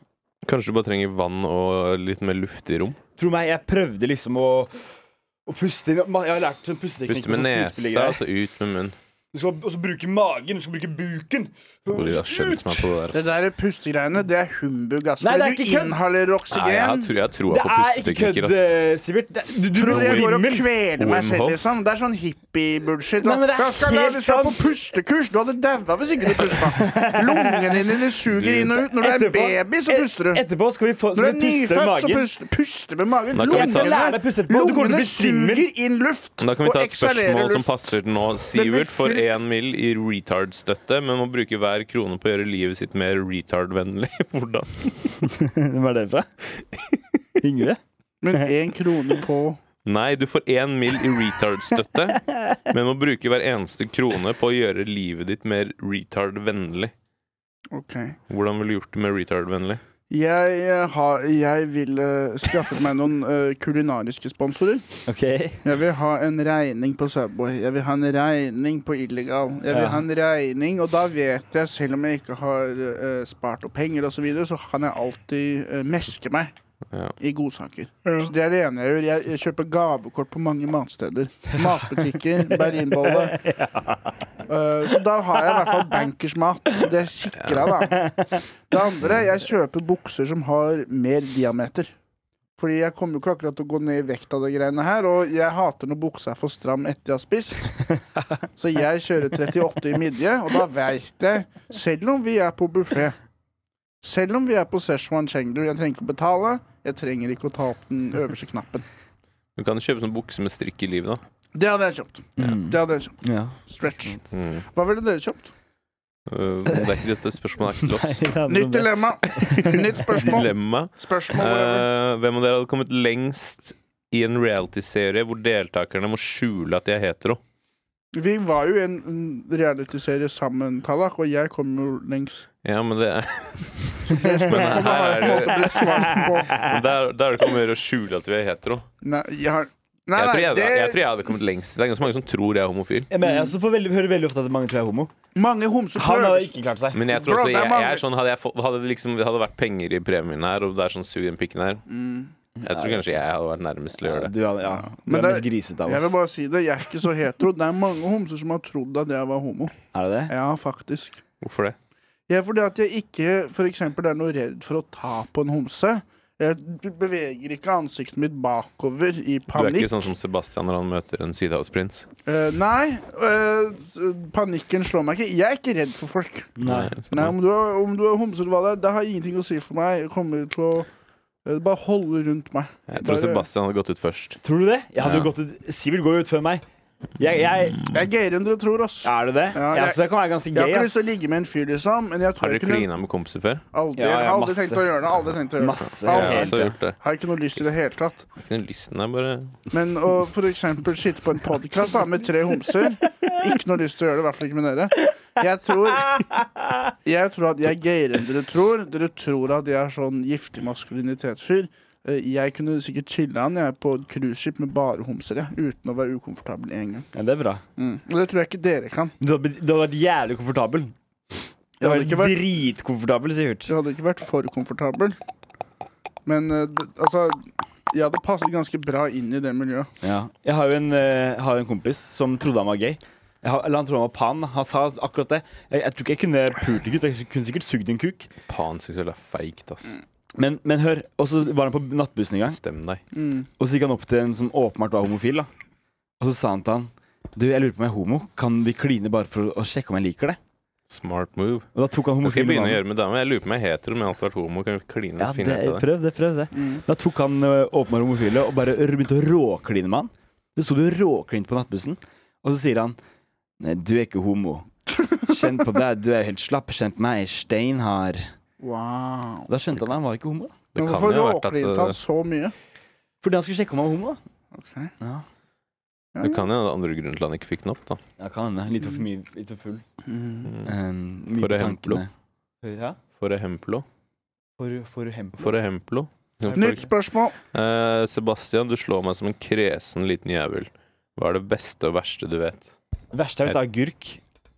[SPEAKER 3] Kanskje du bare trenger vann og litt mer luft i rom?
[SPEAKER 4] Tro meg, jeg prøvde liksom å å puste inn Jeg har lært en pusteteknikk.
[SPEAKER 3] Puste med
[SPEAKER 4] sånn
[SPEAKER 3] nesa,
[SPEAKER 4] skuespillergreier.
[SPEAKER 3] og så ut med munnen.
[SPEAKER 4] Du skal også bruke magen, du skal bruke buken.
[SPEAKER 3] Hvor de har skjønt meg på det der.
[SPEAKER 2] Det
[SPEAKER 3] ass.
[SPEAKER 2] der pustegreiene, det er humbug, ass.
[SPEAKER 4] Nei, det er
[SPEAKER 2] Fordi
[SPEAKER 4] ikke
[SPEAKER 2] du
[SPEAKER 4] kødd.
[SPEAKER 2] inhalerer
[SPEAKER 3] Nei, jeg har
[SPEAKER 2] oksygen.
[SPEAKER 3] tro- jeg har troa
[SPEAKER 4] Det
[SPEAKER 3] på
[SPEAKER 4] er ikke kødd,
[SPEAKER 3] pusteteknikker, ass.
[SPEAKER 4] eh, Sivert. Det er- Du, du
[SPEAKER 2] Tror
[SPEAKER 4] blir
[SPEAKER 2] du jeg går og
[SPEAKER 4] svimmel.
[SPEAKER 2] kveler meg selv,
[SPEAKER 3] Wim Hof.
[SPEAKER 2] liksom? Det er sånn hippie-bullshit.
[SPEAKER 4] Nei, men det er
[SPEAKER 2] Da skal jeg
[SPEAKER 4] helt
[SPEAKER 2] du skal på
[SPEAKER 4] sant.
[SPEAKER 2] pustekurs! Du hadde daua hvis ikke du pusta.
[SPEAKER 4] *laughs*
[SPEAKER 2] Lungene dine de suger inn og ut. Når du er
[SPEAKER 4] Etterpå-
[SPEAKER 2] baby, så puster du.
[SPEAKER 4] Etterpå skal vi, få,
[SPEAKER 2] Når du er
[SPEAKER 4] skal vi puste
[SPEAKER 2] nyfødt, så
[SPEAKER 4] magen.
[SPEAKER 2] Altså, puster, puster med magen.
[SPEAKER 3] Da kan vi ta-
[SPEAKER 4] Jeg skal lære deg å puste etterpå. Du kommer til
[SPEAKER 2] lungene
[SPEAKER 4] å bli svimmel. *laughs*
[SPEAKER 2] suger inn luft
[SPEAKER 3] Da kan vi
[SPEAKER 2] og
[SPEAKER 3] ta et
[SPEAKER 2] eksalerer
[SPEAKER 3] spørsmål som
[SPEAKER 2] luft.
[SPEAKER 3] passer til nå.
[SPEAKER 2] blir
[SPEAKER 3] Sivert får
[SPEAKER 2] fylt.
[SPEAKER 3] én mill. i retard-støtte, men må bruke hver krone på å gjøre livet sitt mer retard-vennlig. *laughs* Hvordan?
[SPEAKER 4] Hvem er det fra? Yngve?
[SPEAKER 2] Men én krone på
[SPEAKER 3] Nei, du får én mill. i retard-støtte, men må bruke hver eneste krone på å gjøre livet ditt mer retard-vennlig.
[SPEAKER 2] OK.
[SPEAKER 3] Hvordan ville du gjort det med retard-vennlig?
[SPEAKER 2] Jeg, eh, har, jeg vil eh, skaffe meg noen eh, kulinariske sponsorer.
[SPEAKER 4] OK.
[SPEAKER 2] Jeg vil ha en regning på Subway. Jeg vil ha en regning på Illegal. Jeg vil
[SPEAKER 4] Ja.
[SPEAKER 2] ha en regning, og da vet jeg, selv om jeg ikke har eh, spart opp penger osv., så, videre, så kan jeg alltid eh, meske meg
[SPEAKER 3] Ja.
[SPEAKER 2] i godsaker. Så det er det ene jeg gjør. Jeg, jeg kjøper gavekort på mange matsteder. Matbutikker, berlinbolle. Eh, så da har jeg i hvert fall bankersmat. Det sikrer jeg, da. Det andre, jeg kjøper bukser som har mer diameter. Fordi jeg kommer jo ikke akkurat til å gå ned i vekt av det greiene her, og jeg hater når buksa er for stram etter jeg har spist.
[SPEAKER 3] *laughs*
[SPEAKER 2] Så jeg kjører 38 i midje, og da veit jeg, selv om vi er på buffé Selv om vi er på Szechuan Chengdu, jeg trenger ikke å betale, jeg trenger ikke å ta opp den øverste knappen.
[SPEAKER 3] Du kan kjøpe sånn bukse med strikk i livet, da.
[SPEAKER 2] Det hadde jeg kjøpt.
[SPEAKER 4] Mm.
[SPEAKER 2] Det hadde jeg kjøpt.
[SPEAKER 4] Ja.
[SPEAKER 2] Stretch. Hva ville dere kjøpt?
[SPEAKER 3] Øh, det er ikke dette spørsmålet er ikke til oss.
[SPEAKER 2] Nytt dilemma.
[SPEAKER 4] *laughs*
[SPEAKER 2] Nytt
[SPEAKER 3] *laughs*
[SPEAKER 2] spørsmål.
[SPEAKER 3] Dilemma.
[SPEAKER 2] Spørsmål, whatever.
[SPEAKER 3] Eh, hvem av dere hadde kommet lengst i en reality-serie hvor deltakerne må skjule at de er hetero?
[SPEAKER 2] Vi var jo i en en realityserie sammen, Tallak, og jeg kom jo
[SPEAKER 3] *laughs*
[SPEAKER 2] lengst.
[SPEAKER 3] Ja, men det er
[SPEAKER 2] Det spørsmålet har jeg på en måte blitt svart på.
[SPEAKER 3] men der, der er det ikke om å gjøre å skjule at vi er hetero.
[SPEAKER 2] Nei, jeg har Nei,
[SPEAKER 3] jeg, tror
[SPEAKER 2] nei,
[SPEAKER 3] jeg,
[SPEAKER 2] det
[SPEAKER 3] jeg tror jeg hadde kommet lengst. Det er ganske mange som tror jeg er homofil.
[SPEAKER 4] Jeg, mener, jeg også får veldig, hører veldig ofte at mange tror jeg er homo.
[SPEAKER 2] Mange homser
[SPEAKER 4] Han har
[SPEAKER 2] prøver.
[SPEAKER 4] ikke klart seg.
[SPEAKER 3] Men jeg
[SPEAKER 2] Bro,
[SPEAKER 3] tror også
[SPEAKER 2] det er
[SPEAKER 3] jeg, jeg
[SPEAKER 2] mange.
[SPEAKER 3] er sånn, hadde, jeg fått, hadde, det liksom, hadde det vært penger i premien her, og det er sånn sug den pikken her
[SPEAKER 2] Mm.
[SPEAKER 3] Jeg tror kanskje jeg hadde vært nærmest til å gjøre det.
[SPEAKER 4] Du, er- ja. du
[SPEAKER 2] Men
[SPEAKER 4] er
[SPEAKER 2] det-
[SPEAKER 4] mest grisete av
[SPEAKER 2] Jeg vil
[SPEAKER 4] oss.
[SPEAKER 2] bare si det, jeg er ikke så hetero. Det er mange homser som har trodd at jeg var homo.
[SPEAKER 4] Er det det?
[SPEAKER 2] Ja, faktisk.
[SPEAKER 3] Hvorfor det?
[SPEAKER 2] Jeg er fordi at jeg ikke for eksempel, er noe redd for å ta på en homse. Jeg beveger ikke ansiktet mitt bakover i
[SPEAKER 3] Du er
[SPEAKER 2] panikk.
[SPEAKER 3] ikke sånn som Sebastian når han møter en sydhavsprins?
[SPEAKER 2] Eh, nei, eh, s- panikken slår meg ikke. Jeg er ikke redd for folk.
[SPEAKER 4] Nei.
[SPEAKER 3] Sånn,
[SPEAKER 2] Nei, Om du er, om du er homse eller hva det er, det har ingenting å si for meg. Jeg kommer til å eh, bare holde rundt meg.
[SPEAKER 3] Jeg tror
[SPEAKER 2] Bare-
[SPEAKER 3] Sebastian hadde gått ut først.
[SPEAKER 4] Tror du det? Jeg hadde jo
[SPEAKER 3] Ja.
[SPEAKER 4] gått ut Sivert går jo ut før meg. Jeg, jeg,
[SPEAKER 3] Mm.
[SPEAKER 2] Jeg er gayere enn dere tror, ass.
[SPEAKER 4] er det det? Ja,
[SPEAKER 2] Ja, jeg-
[SPEAKER 4] så jeg kan være ganske
[SPEAKER 2] Jeg har
[SPEAKER 4] gay,
[SPEAKER 2] ikke lyst til
[SPEAKER 4] ass.
[SPEAKER 2] å ligge med en fyr, liksom. Men jeg
[SPEAKER 3] Har
[SPEAKER 2] tror
[SPEAKER 3] dere
[SPEAKER 2] jeg kunne
[SPEAKER 3] klina med kompiser før?
[SPEAKER 2] aldri,
[SPEAKER 4] Ja, ja,
[SPEAKER 2] jeg har aldri
[SPEAKER 4] masse.
[SPEAKER 2] tenkt å gjøre det. Aldri tenkt å gjøre det.
[SPEAKER 4] Masse.
[SPEAKER 2] Ja,
[SPEAKER 3] Jeg har
[SPEAKER 4] helt,
[SPEAKER 3] også
[SPEAKER 4] ja.
[SPEAKER 3] gjort det.
[SPEAKER 2] Har ikke noe lyst i det hele tatt.
[SPEAKER 3] Ikke noe lysten er bare
[SPEAKER 2] Men å for eksempel sitte på en podkast med tre homser Ikke noe lyst til å gjøre det, i hvert fall ikke med dere. Jeg tror, jeg tror at jeg er gayere enn dere tror. Dere tror at jeg er sånn giftig maskulinitetsfyr. Eh, Jeg kunne sikkert chilla han jeg er på et cruiseskip med bare homser, jeg, uten å være ukomfortabel én gang.
[SPEAKER 4] Ja, det er bra.
[SPEAKER 2] Mm. Og det tror jeg ikke dere kan.
[SPEAKER 4] Du hadde, blitt- du hadde vært jævlig komfortabel. Det var
[SPEAKER 2] hadde ikke vært-
[SPEAKER 4] dritkomfortabel, sikkert.
[SPEAKER 2] Jeg hadde ikke vært for komfortabel. Men eh, det, altså Jeg hadde passet ganske bra inn i det miljøet.
[SPEAKER 4] Ja. Jeg har jo en, eh, har en kompis som trodde han var gay. Jeg har, eller han trodde han var pan. Han sa akkurat det. Jeg, jeg tror ikke jeg kunne pult en gutt. Jeg kunne sikkert sugd en kuk.
[SPEAKER 3] Panseksuell er feigt, ass.
[SPEAKER 4] Mm. Men, men hør, og så var han på nattbussen en gang.
[SPEAKER 3] Stem deg.
[SPEAKER 2] Mm.
[SPEAKER 4] Og så gikk han opp til en som åpenbart var homofil. da Og så sa han til han Du, jeg lurer på om jeg er homo. Kan vi kline bare for å sjekke om jeg liker det?
[SPEAKER 3] Smart move.
[SPEAKER 4] Og da tok han
[SPEAKER 3] Det skal jeg
[SPEAKER 4] homofile
[SPEAKER 3] begynne å
[SPEAKER 4] mannen.
[SPEAKER 3] gjøre med damer. Jeg lurer på om jeg er hetero, men jeg har alltid vært homo. Kan vi kline
[SPEAKER 4] Ja,
[SPEAKER 3] og finne
[SPEAKER 4] det,
[SPEAKER 3] ut av det?
[SPEAKER 4] prøv det, prøv det.
[SPEAKER 2] Mm.
[SPEAKER 4] Da tok han ø, åpenbart homofile og bare r- begynte å råkline med han. Det sto det råklint på nattbussen, og så sier han Nei, du er ikke homo. Kjenn på deg, du er helt slapp. Kjenn på meg, jeg er steinhard.
[SPEAKER 2] Wow.
[SPEAKER 4] Da skjønte han at han var ikke homo. da
[SPEAKER 3] Det
[SPEAKER 2] Men
[SPEAKER 3] kan
[SPEAKER 2] hvorfor
[SPEAKER 3] jo ha vært at
[SPEAKER 2] råklinte han
[SPEAKER 3] eh,
[SPEAKER 2] så mye?
[SPEAKER 4] Fordi han skulle sjekke om han var homo. da
[SPEAKER 2] Ok.
[SPEAKER 4] Ja,
[SPEAKER 2] Ja,
[SPEAKER 3] eh, Det
[SPEAKER 2] ja.
[SPEAKER 3] kan jo ha vært andre grunnen til han ikke fikk den opp, da.
[SPEAKER 4] ja kan hende. Litt for mye, litt for full.
[SPEAKER 2] Mm.
[SPEAKER 3] Mm.
[SPEAKER 4] Um, mye
[SPEAKER 3] For
[SPEAKER 4] på
[SPEAKER 3] eksempel.
[SPEAKER 4] tankene. Ja?
[SPEAKER 3] For hemplo.
[SPEAKER 4] For, for hemp.
[SPEAKER 3] For hemplo.
[SPEAKER 2] Nytt spørsmål.
[SPEAKER 3] Eh, Sebastian, du slår meg som en kresen liten jævel. Hva er det beste og verste du vet?
[SPEAKER 4] Verste jeg vet, er agurk.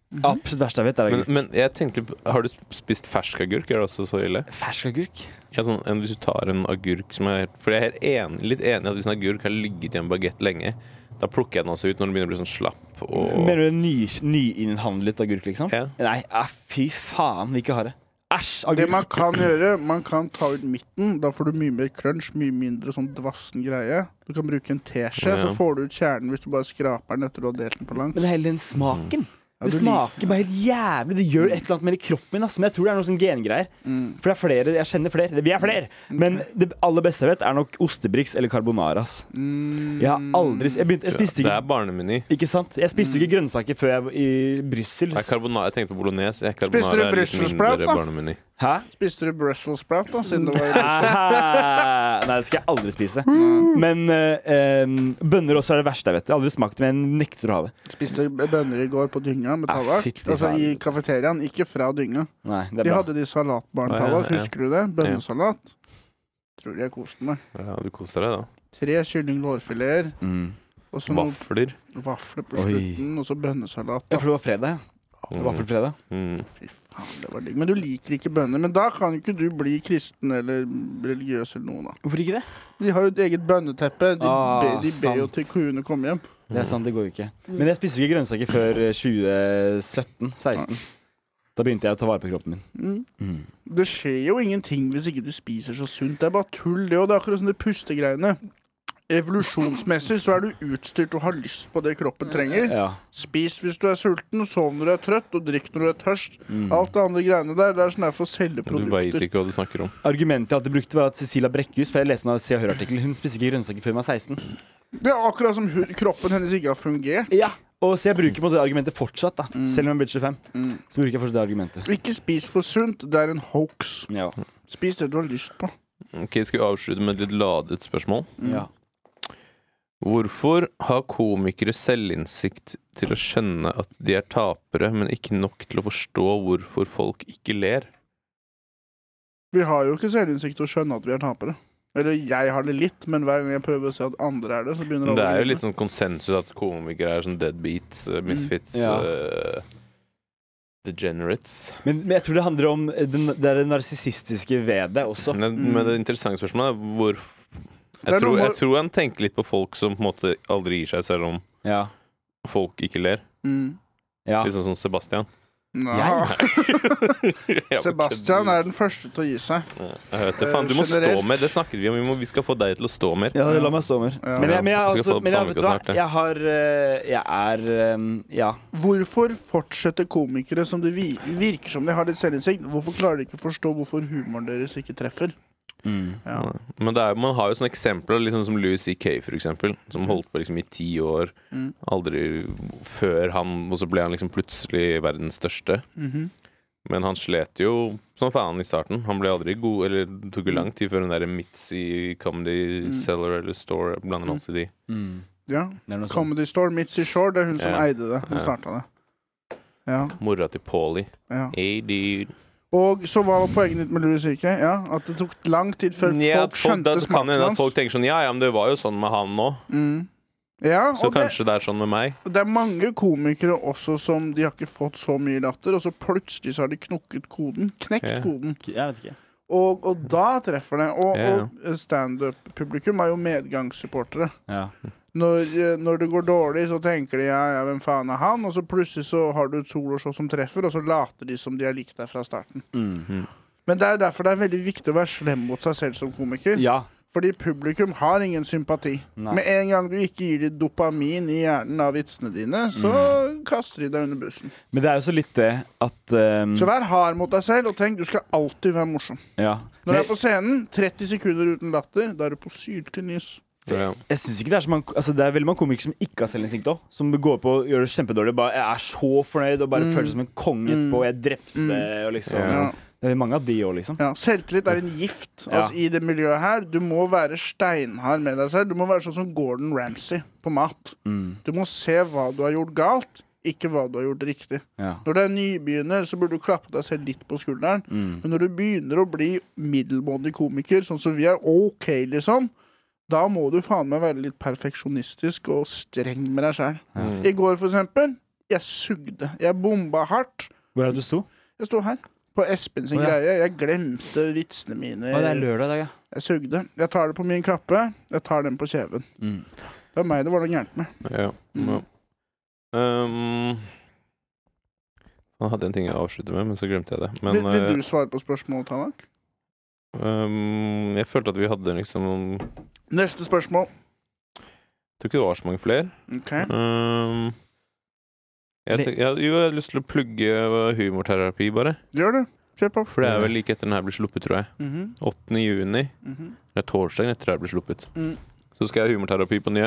[SPEAKER 2] Mhm.
[SPEAKER 4] Absolutt verste jeg vet, er
[SPEAKER 3] Men,
[SPEAKER 4] agurk.
[SPEAKER 3] men jeg tenkte, litt på- har du spist fersk agurk? Er det også så ille?
[SPEAKER 4] Fersk agurk?
[SPEAKER 3] Ja, sånn, en- hvis du tar en agurk som er For jeg er helt enig, litt enig i at hvis en agurk har ligget i en bagett lenge, da plukker jeg den også ut når den begynner å bli sånn slapp og
[SPEAKER 4] Mener du en ny, nyinnhandlet agurk, liksom?
[SPEAKER 3] ja.
[SPEAKER 4] Nei, ah, fy faen, vil ikke ha det. Æsj,
[SPEAKER 2] Det
[SPEAKER 4] agurk.
[SPEAKER 2] man kan gjøre, man kan ta ut midten. Da får du mye mer crunch, mye mindre sånn dvassen greie. Du kan bruke en teskje,
[SPEAKER 3] Ja.
[SPEAKER 2] så får du ut kjernen hvis du bare skraper den etter du har delt den på langs.
[SPEAKER 4] Men det er hele den smaken.
[SPEAKER 3] Mm.
[SPEAKER 2] Ja,
[SPEAKER 4] Det
[SPEAKER 2] du
[SPEAKER 4] smaker bare helt jævlig. Det gjør et eller annet med det i kroppen min. ass. Men jeg tror det er noe sånn gengreier. For det er flere, jeg kjenner flere. Vi er flere. Men det aller beste jeg vet, er nok ostebriks eller carbonara. ass. Jeg
[SPEAKER 2] Mm.
[SPEAKER 4] har aldri Jeg, begynte, jeg spiste
[SPEAKER 3] Det er
[SPEAKER 4] ikke
[SPEAKER 3] barnemeny.
[SPEAKER 4] Ikke sant? Jeg spiste jo ikke grønnsaker før jeg var i Brussel.
[SPEAKER 3] Jeg, jeg tenkte på bolognese. Jeg
[SPEAKER 2] Spiste du
[SPEAKER 3] carbonara er litt
[SPEAKER 2] Brussels
[SPEAKER 3] mindre
[SPEAKER 2] sprout, da?
[SPEAKER 3] barnemeny.
[SPEAKER 4] Hæ?
[SPEAKER 2] Spiste du Brussels sprout, da? Siden det var
[SPEAKER 4] *laughs* Ah, Nei, det skal jeg aldri spise.
[SPEAKER 2] Mm.
[SPEAKER 4] Men eh, eh, bønner også er det verste jeg vet. Jeg har aldri smakt det, men jeg nekter å ha det.
[SPEAKER 2] Spiste bønner i går på dynga med
[SPEAKER 4] Ah,
[SPEAKER 2] tallak.
[SPEAKER 4] fytti
[SPEAKER 2] Altså i
[SPEAKER 4] faen.
[SPEAKER 2] kafeteriaen, ikke fra dynga.
[SPEAKER 4] Nei, det er
[SPEAKER 2] De
[SPEAKER 4] bra.
[SPEAKER 2] hadde de
[SPEAKER 3] Ah,
[SPEAKER 2] salatbarntallak,
[SPEAKER 3] ja, ja.
[SPEAKER 2] husker du det? Bønnesalat. Tror jeg koste meg.
[SPEAKER 3] Ja, du koser deg, da.
[SPEAKER 2] Tre kyllinglårfileter,
[SPEAKER 4] Mm.
[SPEAKER 2] og så noen
[SPEAKER 3] Vafler.
[SPEAKER 2] vafler på
[SPEAKER 4] Oi.
[SPEAKER 2] slutten, og så bønnesalat.
[SPEAKER 4] Ja, for det var fredag. ja. Det var Vaffelfredag.
[SPEAKER 3] Mm.
[SPEAKER 2] Fy faen, det var digg. Men du liker ikke bønner. Men da kan ikke du bli kristen eller religiøs eller noe, da.
[SPEAKER 4] Hvorfor ikke det?
[SPEAKER 2] De har jo et eget bønneteppe. De,
[SPEAKER 4] Ah,
[SPEAKER 2] be, de
[SPEAKER 4] sant.
[SPEAKER 2] ber jo til kuene komme hjem.
[SPEAKER 4] Det er sant, det går jo ikke. Men jeg spiste jo ikke grønnsaker før eh, 2017-16. Da begynte jeg å ta vare på kroppen min.
[SPEAKER 2] Mm.
[SPEAKER 4] Mm.
[SPEAKER 2] Det skjer jo ingenting hvis ikke du spiser så sunt. Det er bare tull, det. Og det er akkurat som de pustegreiene. Evolusjonsmessig så er du utstyrt og har lyst på det kroppen trenger.
[SPEAKER 4] Ja.
[SPEAKER 2] Spis hvis du er sulten, sov når du er trøtt, og drikk når du er tørst.
[SPEAKER 4] Mm.
[SPEAKER 2] Alt det andre greiene der, det er sånn der for å selge
[SPEAKER 3] Du veit
[SPEAKER 2] produkter.
[SPEAKER 3] ikke hva du snakker om.
[SPEAKER 4] Argumentet jeg alltid brukte, var at Cecilia Brekkhus For jeg leste en Se og Hør-artikkel. Hun spiste ikke grønnsaker før hun var 16.
[SPEAKER 2] Det er akkurat som hu- kroppen hennes ikke har fungert.
[SPEAKER 4] Ja. Og Så jeg bruker på det argumentet fortsatt, da. Selv om jeg er blitt 25.
[SPEAKER 2] Mm.
[SPEAKER 4] Så bruker jeg fortsatt det argumentet.
[SPEAKER 2] Ikke spis for sunt, det er en hoax.
[SPEAKER 4] Ja.
[SPEAKER 2] Spis det du har lyst på.
[SPEAKER 3] Ok, Skal vi avslutte med et litt ladet spørsmål?
[SPEAKER 4] ja.
[SPEAKER 3] Hvorfor har komikere selvinnsikt til å skjønne at de er tapere, men ikke nok til å forstå hvorfor folk ikke ler?
[SPEAKER 2] Vi har jo ikke selvinnsikt til å skjønne at vi er tapere. Eller jeg har det litt, men hver gang jeg prøver å se at andre er det, så begynner
[SPEAKER 3] Men det er
[SPEAKER 2] å
[SPEAKER 3] jo litt sånn konsensus at komikere er sånn deadbeats, eh, misfits,
[SPEAKER 4] Mm, ja.
[SPEAKER 3] eh, degenerates.
[SPEAKER 4] Men, men jeg tror det handler om eh, den, det er det narsissistiske ved det også.
[SPEAKER 3] Men,
[SPEAKER 2] Mm.
[SPEAKER 3] men det interessante spørsmålet er hvorfor
[SPEAKER 2] Det er
[SPEAKER 3] jeg tror,
[SPEAKER 2] noe-
[SPEAKER 3] jeg tror han tenker litt på folk som på en måte aldri gir seg, selv om
[SPEAKER 4] Ja.
[SPEAKER 3] folk ikke ler.
[SPEAKER 2] mm.
[SPEAKER 4] ja.
[SPEAKER 3] Litt sånn som Sebastian. *laughs*
[SPEAKER 2] Nja.
[SPEAKER 3] Ja,
[SPEAKER 2] Sebastian
[SPEAKER 3] men
[SPEAKER 2] er den første til å gi seg.
[SPEAKER 3] kødder du? Jeg vet det, faen, du må stå
[SPEAKER 2] Generelt.
[SPEAKER 3] mer. Det snakket vi om. Vi, må, vi skal få deg til å stå mer.
[SPEAKER 4] Ja, la meg stå mer.
[SPEAKER 2] Ja.
[SPEAKER 4] Men jeg,
[SPEAKER 3] Vi
[SPEAKER 4] men jeg,
[SPEAKER 3] skal
[SPEAKER 4] altså,
[SPEAKER 3] få opp
[SPEAKER 4] men jeg,
[SPEAKER 3] Sandvika
[SPEAKER 4] vet du hva?
[SPEAKER 3] snart, ja.
[SPEAKER 4] jeg har eh, Jeg er eh, Ja.
[SPEAKER 2] Hvorfor fortsetter komikere som det vi- virker som de har litt selvinnsikt? Hvorfor klarer de ikke å forstå hvorfor humoren deres ikke treffer?
[SPEAKER 4] Mm.
[SPEAKER 2] Ja.
[SPEAKER 3] Men det er, man har jo sånne eksempler, liksom som Louis C.K., for eksempel, som holdt på liksom i ti år,
[SPEAKER 2] Mm.
[SPEAKER 3] aldri før han Og så ble han liksom plutselig verdens største.
[SPEAKER 2] Mhm.
[SPEAKER 3] Men han slet jo som faen i starten. Han ble aldri god, eller det tok jo lang tid før den der Mitzy Comedy
[SPEAKER 2] Mm.
[SPEAKER 3] Cellar eller Store jeg blander alltid de.
[SPEAKER 4] Mm.
[SPEAKER 2] ja.
[SPEAKER 4] Det er noe sånt.
[SPEAKER 2] Comedy Store, Mitzi Shore, det er hun som
[SPEAKER 3] Altså- Ja.
[SPEAKER 2] eide det. Hun
[SPEAKER 3] Ja.
[SPEAKER 2] starta det. Ja,
[SPEAKER 3] Mora til Paulie.
[SPEAKER 2] ja.
[SPEAKER 3] Hey, dude.
[SPEAKER 2] Og så hva var poenget ditt med Louis Cirke? Ja, at det tok lang tid før
[SPEAKER 3] Ja,
[SPEAKER 2] folk skjønte
[SPEAKER 3] da kan det
[SPEAKER 2] smaken
[SPEAKER 3] hende at
[SPEAKER 2] hans.
[SPEAKER 3] folk tenker sånn Ja, ja, men det var jo sånn med han nå.
[SPEAKER 2] Mm. Ja,
[SPEAKER 3] Så
[SPEAKER 2] og det,
[SPEAKER 3] kanskje det er sånn med meg.
[SPEAKER 2] det er mange komikere også som de har ikke fått så mye latter, og så plutselig så har de knokket koden. Knekt
[SPEAKER 3] Ja.
[SPEAKER 2] koden.
[SPEAKER 4] Jeg vet ikke.
[SPEAKER 2] Og, og da treffer det. Og,
[SPEAKER 3] Ja, ja.
[SPEAKER 2] og standup-publikum er jo medgangssupportere.
[SPEAKER 4] Ja.
[SPEAKER 2] Når, eh, når det går dårlig, så tenker de ja, ja, hvem faen er han? Og så plutselig så har du et soloshow som treffer, og så later de som de har likt deg fra starten.
[SPEAKER 3] Mm.
[SPEAKER 2] Men det er derfor det er veldig viktig å være slem mot seg selv som komiker.
[SPEAKER 4] ja.
[SPEAKER 2] Fordi publikum har ingen sympati.
[SPEAKER 4] Nei.
[SPEAKER 2] Med en gang du ikke gir dem dopamin i hjernen av vitsene dine, så kaster de deg under bussen.
[SPEAKER 4] Men det er jo så litt det at ehm,
[SPEAKER 2] Så vær hard mot deg selv, og tenk du skal alltid være morsom.
[SPEAKER 4] Ja.
[SPEAKER 2] Når du er på scenen, 30 sekunder uten latter, da er du på syltynnis.
[SPEAKER 3] Ja.
[SPEAKER 4] Jeg synes ikke Det er så mange Altså det er veldig mange komikere som ikke har selvinnsikt òg. Som går på og gjør det kjempedårlig. Bare, jeg er så fornøyd og bare føler seg som en konge etterpå. Jeg drepte det, og liksom
[SPEAKER 3] Mm. Ja.
[SPEAKER 4] Det er mange av de òg, liksom.
[SPEAKER 2] Ja, selvtillit er en gift
[SPEAKER 4] Ja.
[SPEAKER 2] altså, i det miljøet her. Du må være steinhard med deg selv. Du må være sånn som Gordon Ramsay på mat.
[SPEAKER 4] Mm.
[SPEAKER 2] Du må se hva du har gjort galt, ikke hva du har gjort riktig.
[SPEAKER 4] Ja.
[SPEAKER 2] Når du er nybegynner, så burde du klappe deg selv litt på skulderen.
[SPEAKER 4] Mm.
[SPEAKER 2] Men når du begynner å bli middelmådig komiker, sånn som vi er, OK, liksom, da må du faen meg være litt perfeksjonistisk og streng med deg sjæl. I går, for eksempel, jeg sugde. Jeg bomba hardt.
[SPEAKER 4] Hvor er det du sto?
[SPEAKER 2] Jeg sto her. På Espen sin
[SPEAKER 4] Å, ja.
[SPEAKER 2] greie. Jeg glemte vitsene mine.
[SPEAKER 4] Å, det er lørdag i dag, ja.
[SPEAKER 2] Jeg sugde. Jeg tar det på min kappe. Jeg tar den på kjeven.
[SPEAKER 4] Mm.
[SPEAKER 2] Det var meg det var noe gærent med.
[SPEAKER 3] Ja.
[SPEAKER 2] Mm.
[SPEAKER 3] Mm. ja. Um, jeg hadde en ting jeg avslutter med, men så glemte jeg det. Men
[SPEAKER 2] vil, vil du svare på spørsmålet, Tanak?
[SPEAKER 3] eh, um, jeg følte at vi hadde liksom Jeg
[SPEAKER 2] Neste spørsmål.
[SPEAKER 3] tror ikke det var så mange flere.
[SPEAKER 2] OK.
[SPEAKER 3] Um, jeg, tenk- jeg, jo, jeg hadde lyst til å plugge eh, humorterapi, bare.
[SPEAKER 2] Gjør det. Kjør på.
[SPEAKER 3] For det er vel like etter den her blir sluppet, tror jeg.
[SPEAKER 2] Mhm,
[SPEAKER 3] 8. juni.
[SPEAKER 2] mhm,
[SPEAKER 3] Det er torsdagen etter det her blir sluppet.
[SPEAKER 4] mhm.
[SPEAKER 2] Mm.
[SPEAKER 3] Så skal jeg ha humorterapi på Njø.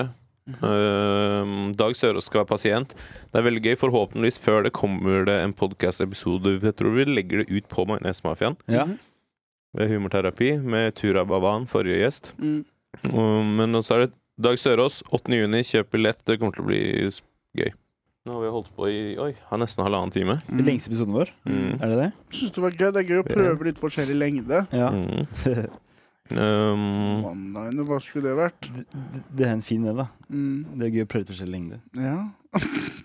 [SPEAKER 2] mhm.
[SPEAKER 3] Ehm, Dag Sørås skal være pasient. Det er veldig gøy. Forhåpentligvis før det kommer det en podkast-episode. Jeg tror vi legger det ut på Majones-mafiaen.
[SPEAKER 4] Ja.
[SPEAKER 2] Mhm,
[SPEAKER 3] Ved humorterapi med Tura Bavan, forrige gjest.
[SPEAKER 2] mhm.
[SPEAKER 3] Og, men så er det Dag Sørås, 8. juni. Kjøp billett. Det kommer til å bli s- gøy. Nå har vi holdt på i oi, har nesten halvannen time.
[SPEAKER 4] Den lengste episoden vår.
[SPEAKER 3] Mm.
[SPEAKER 4] Er det det?
[SPEAKER 2] Syns det var gøy. Det er gøy å prøve litt forskjellig lengde.
[SPEAKER 4] Ja.
[SPEAKER 3] Mm.
[SPEAKER 4] *laughs* det,
[SPEAKER 3] Ehm,
[SPEAKER 2] One-liner, hva skulle det vært?
[SPEAKER 4] det- det er en fin del, da.
[SPEAKER 2] Mm.
[SPEAKER 4] Det er gøy å prøve ut forskjellig lengde.
[SPEAKER 2] Ja,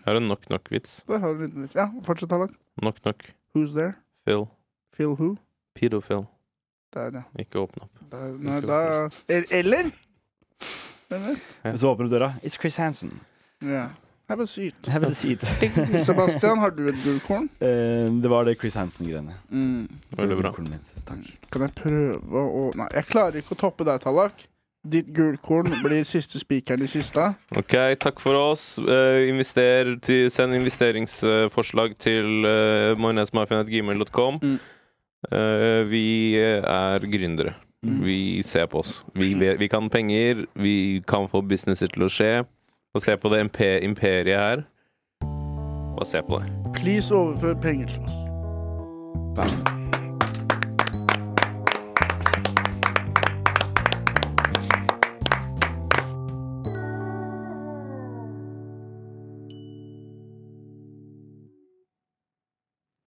[SPEAKER 3] er det nok nok-vits?
[SPEAKER 2] der har du en liten vits. Ja, fortsett, Tanak.
[SPEAKER 3] Nok nok.
[SPEAKER 2] Who's there?
[SPEAKER 3] Phil.
[SPEAKER 2] Feel who?
[SPEAKER 3] Pedofil.
[SPEAKER 2] Der, ja.
[SPEAKER 3] Ikke åpne opp.
[SPEAKER 2] Der, nei, da el- Eller? Eller?
[SPEAKER 4] Så åpner du døra. It's Chris Hansen.
[SPEAKER 2] Ja. Have a seat.
[SPEAKER 4] Jeg
[SPEAKER 3] *laughs*
[SPEAKER 4] vil si det.
[SPEAKER 2] Sebastian, har du et gullkorn?
[SPEAKER 4] Eh, det var det Chris Hansen-greiene.
[SPEAKER 2] Mm.
[SPEAKER 3] Veldig bra.
[SPEAKER 4] Gullkornet mitt. Takk.
[SPEAKER 2] Kan jeg prøve å Nei, jeg klarer ikke å toppe deg, Tallak. Ditt gulkorn blir siste spikeren i kista.
[SPEAKER 3] Ok, takk for oss. Eh, invester til, send investeringsforslag til uh, majonesmafian.gmail.com.
[SPEAKER 2] Mm.
[SPEAKER 3] Eh, vi er gründere.
[SPEAKER 2] Mm.
[SPEAKER 3] Vi ser på oss. Vi, vet, vi kan penger, vi kan få businesser til å skje. Og se på det impe- imperiet her. Bare se på det.
[SPEAKER 2] Please overfør penger til oss.
[SPEAKER 4] Vær så god.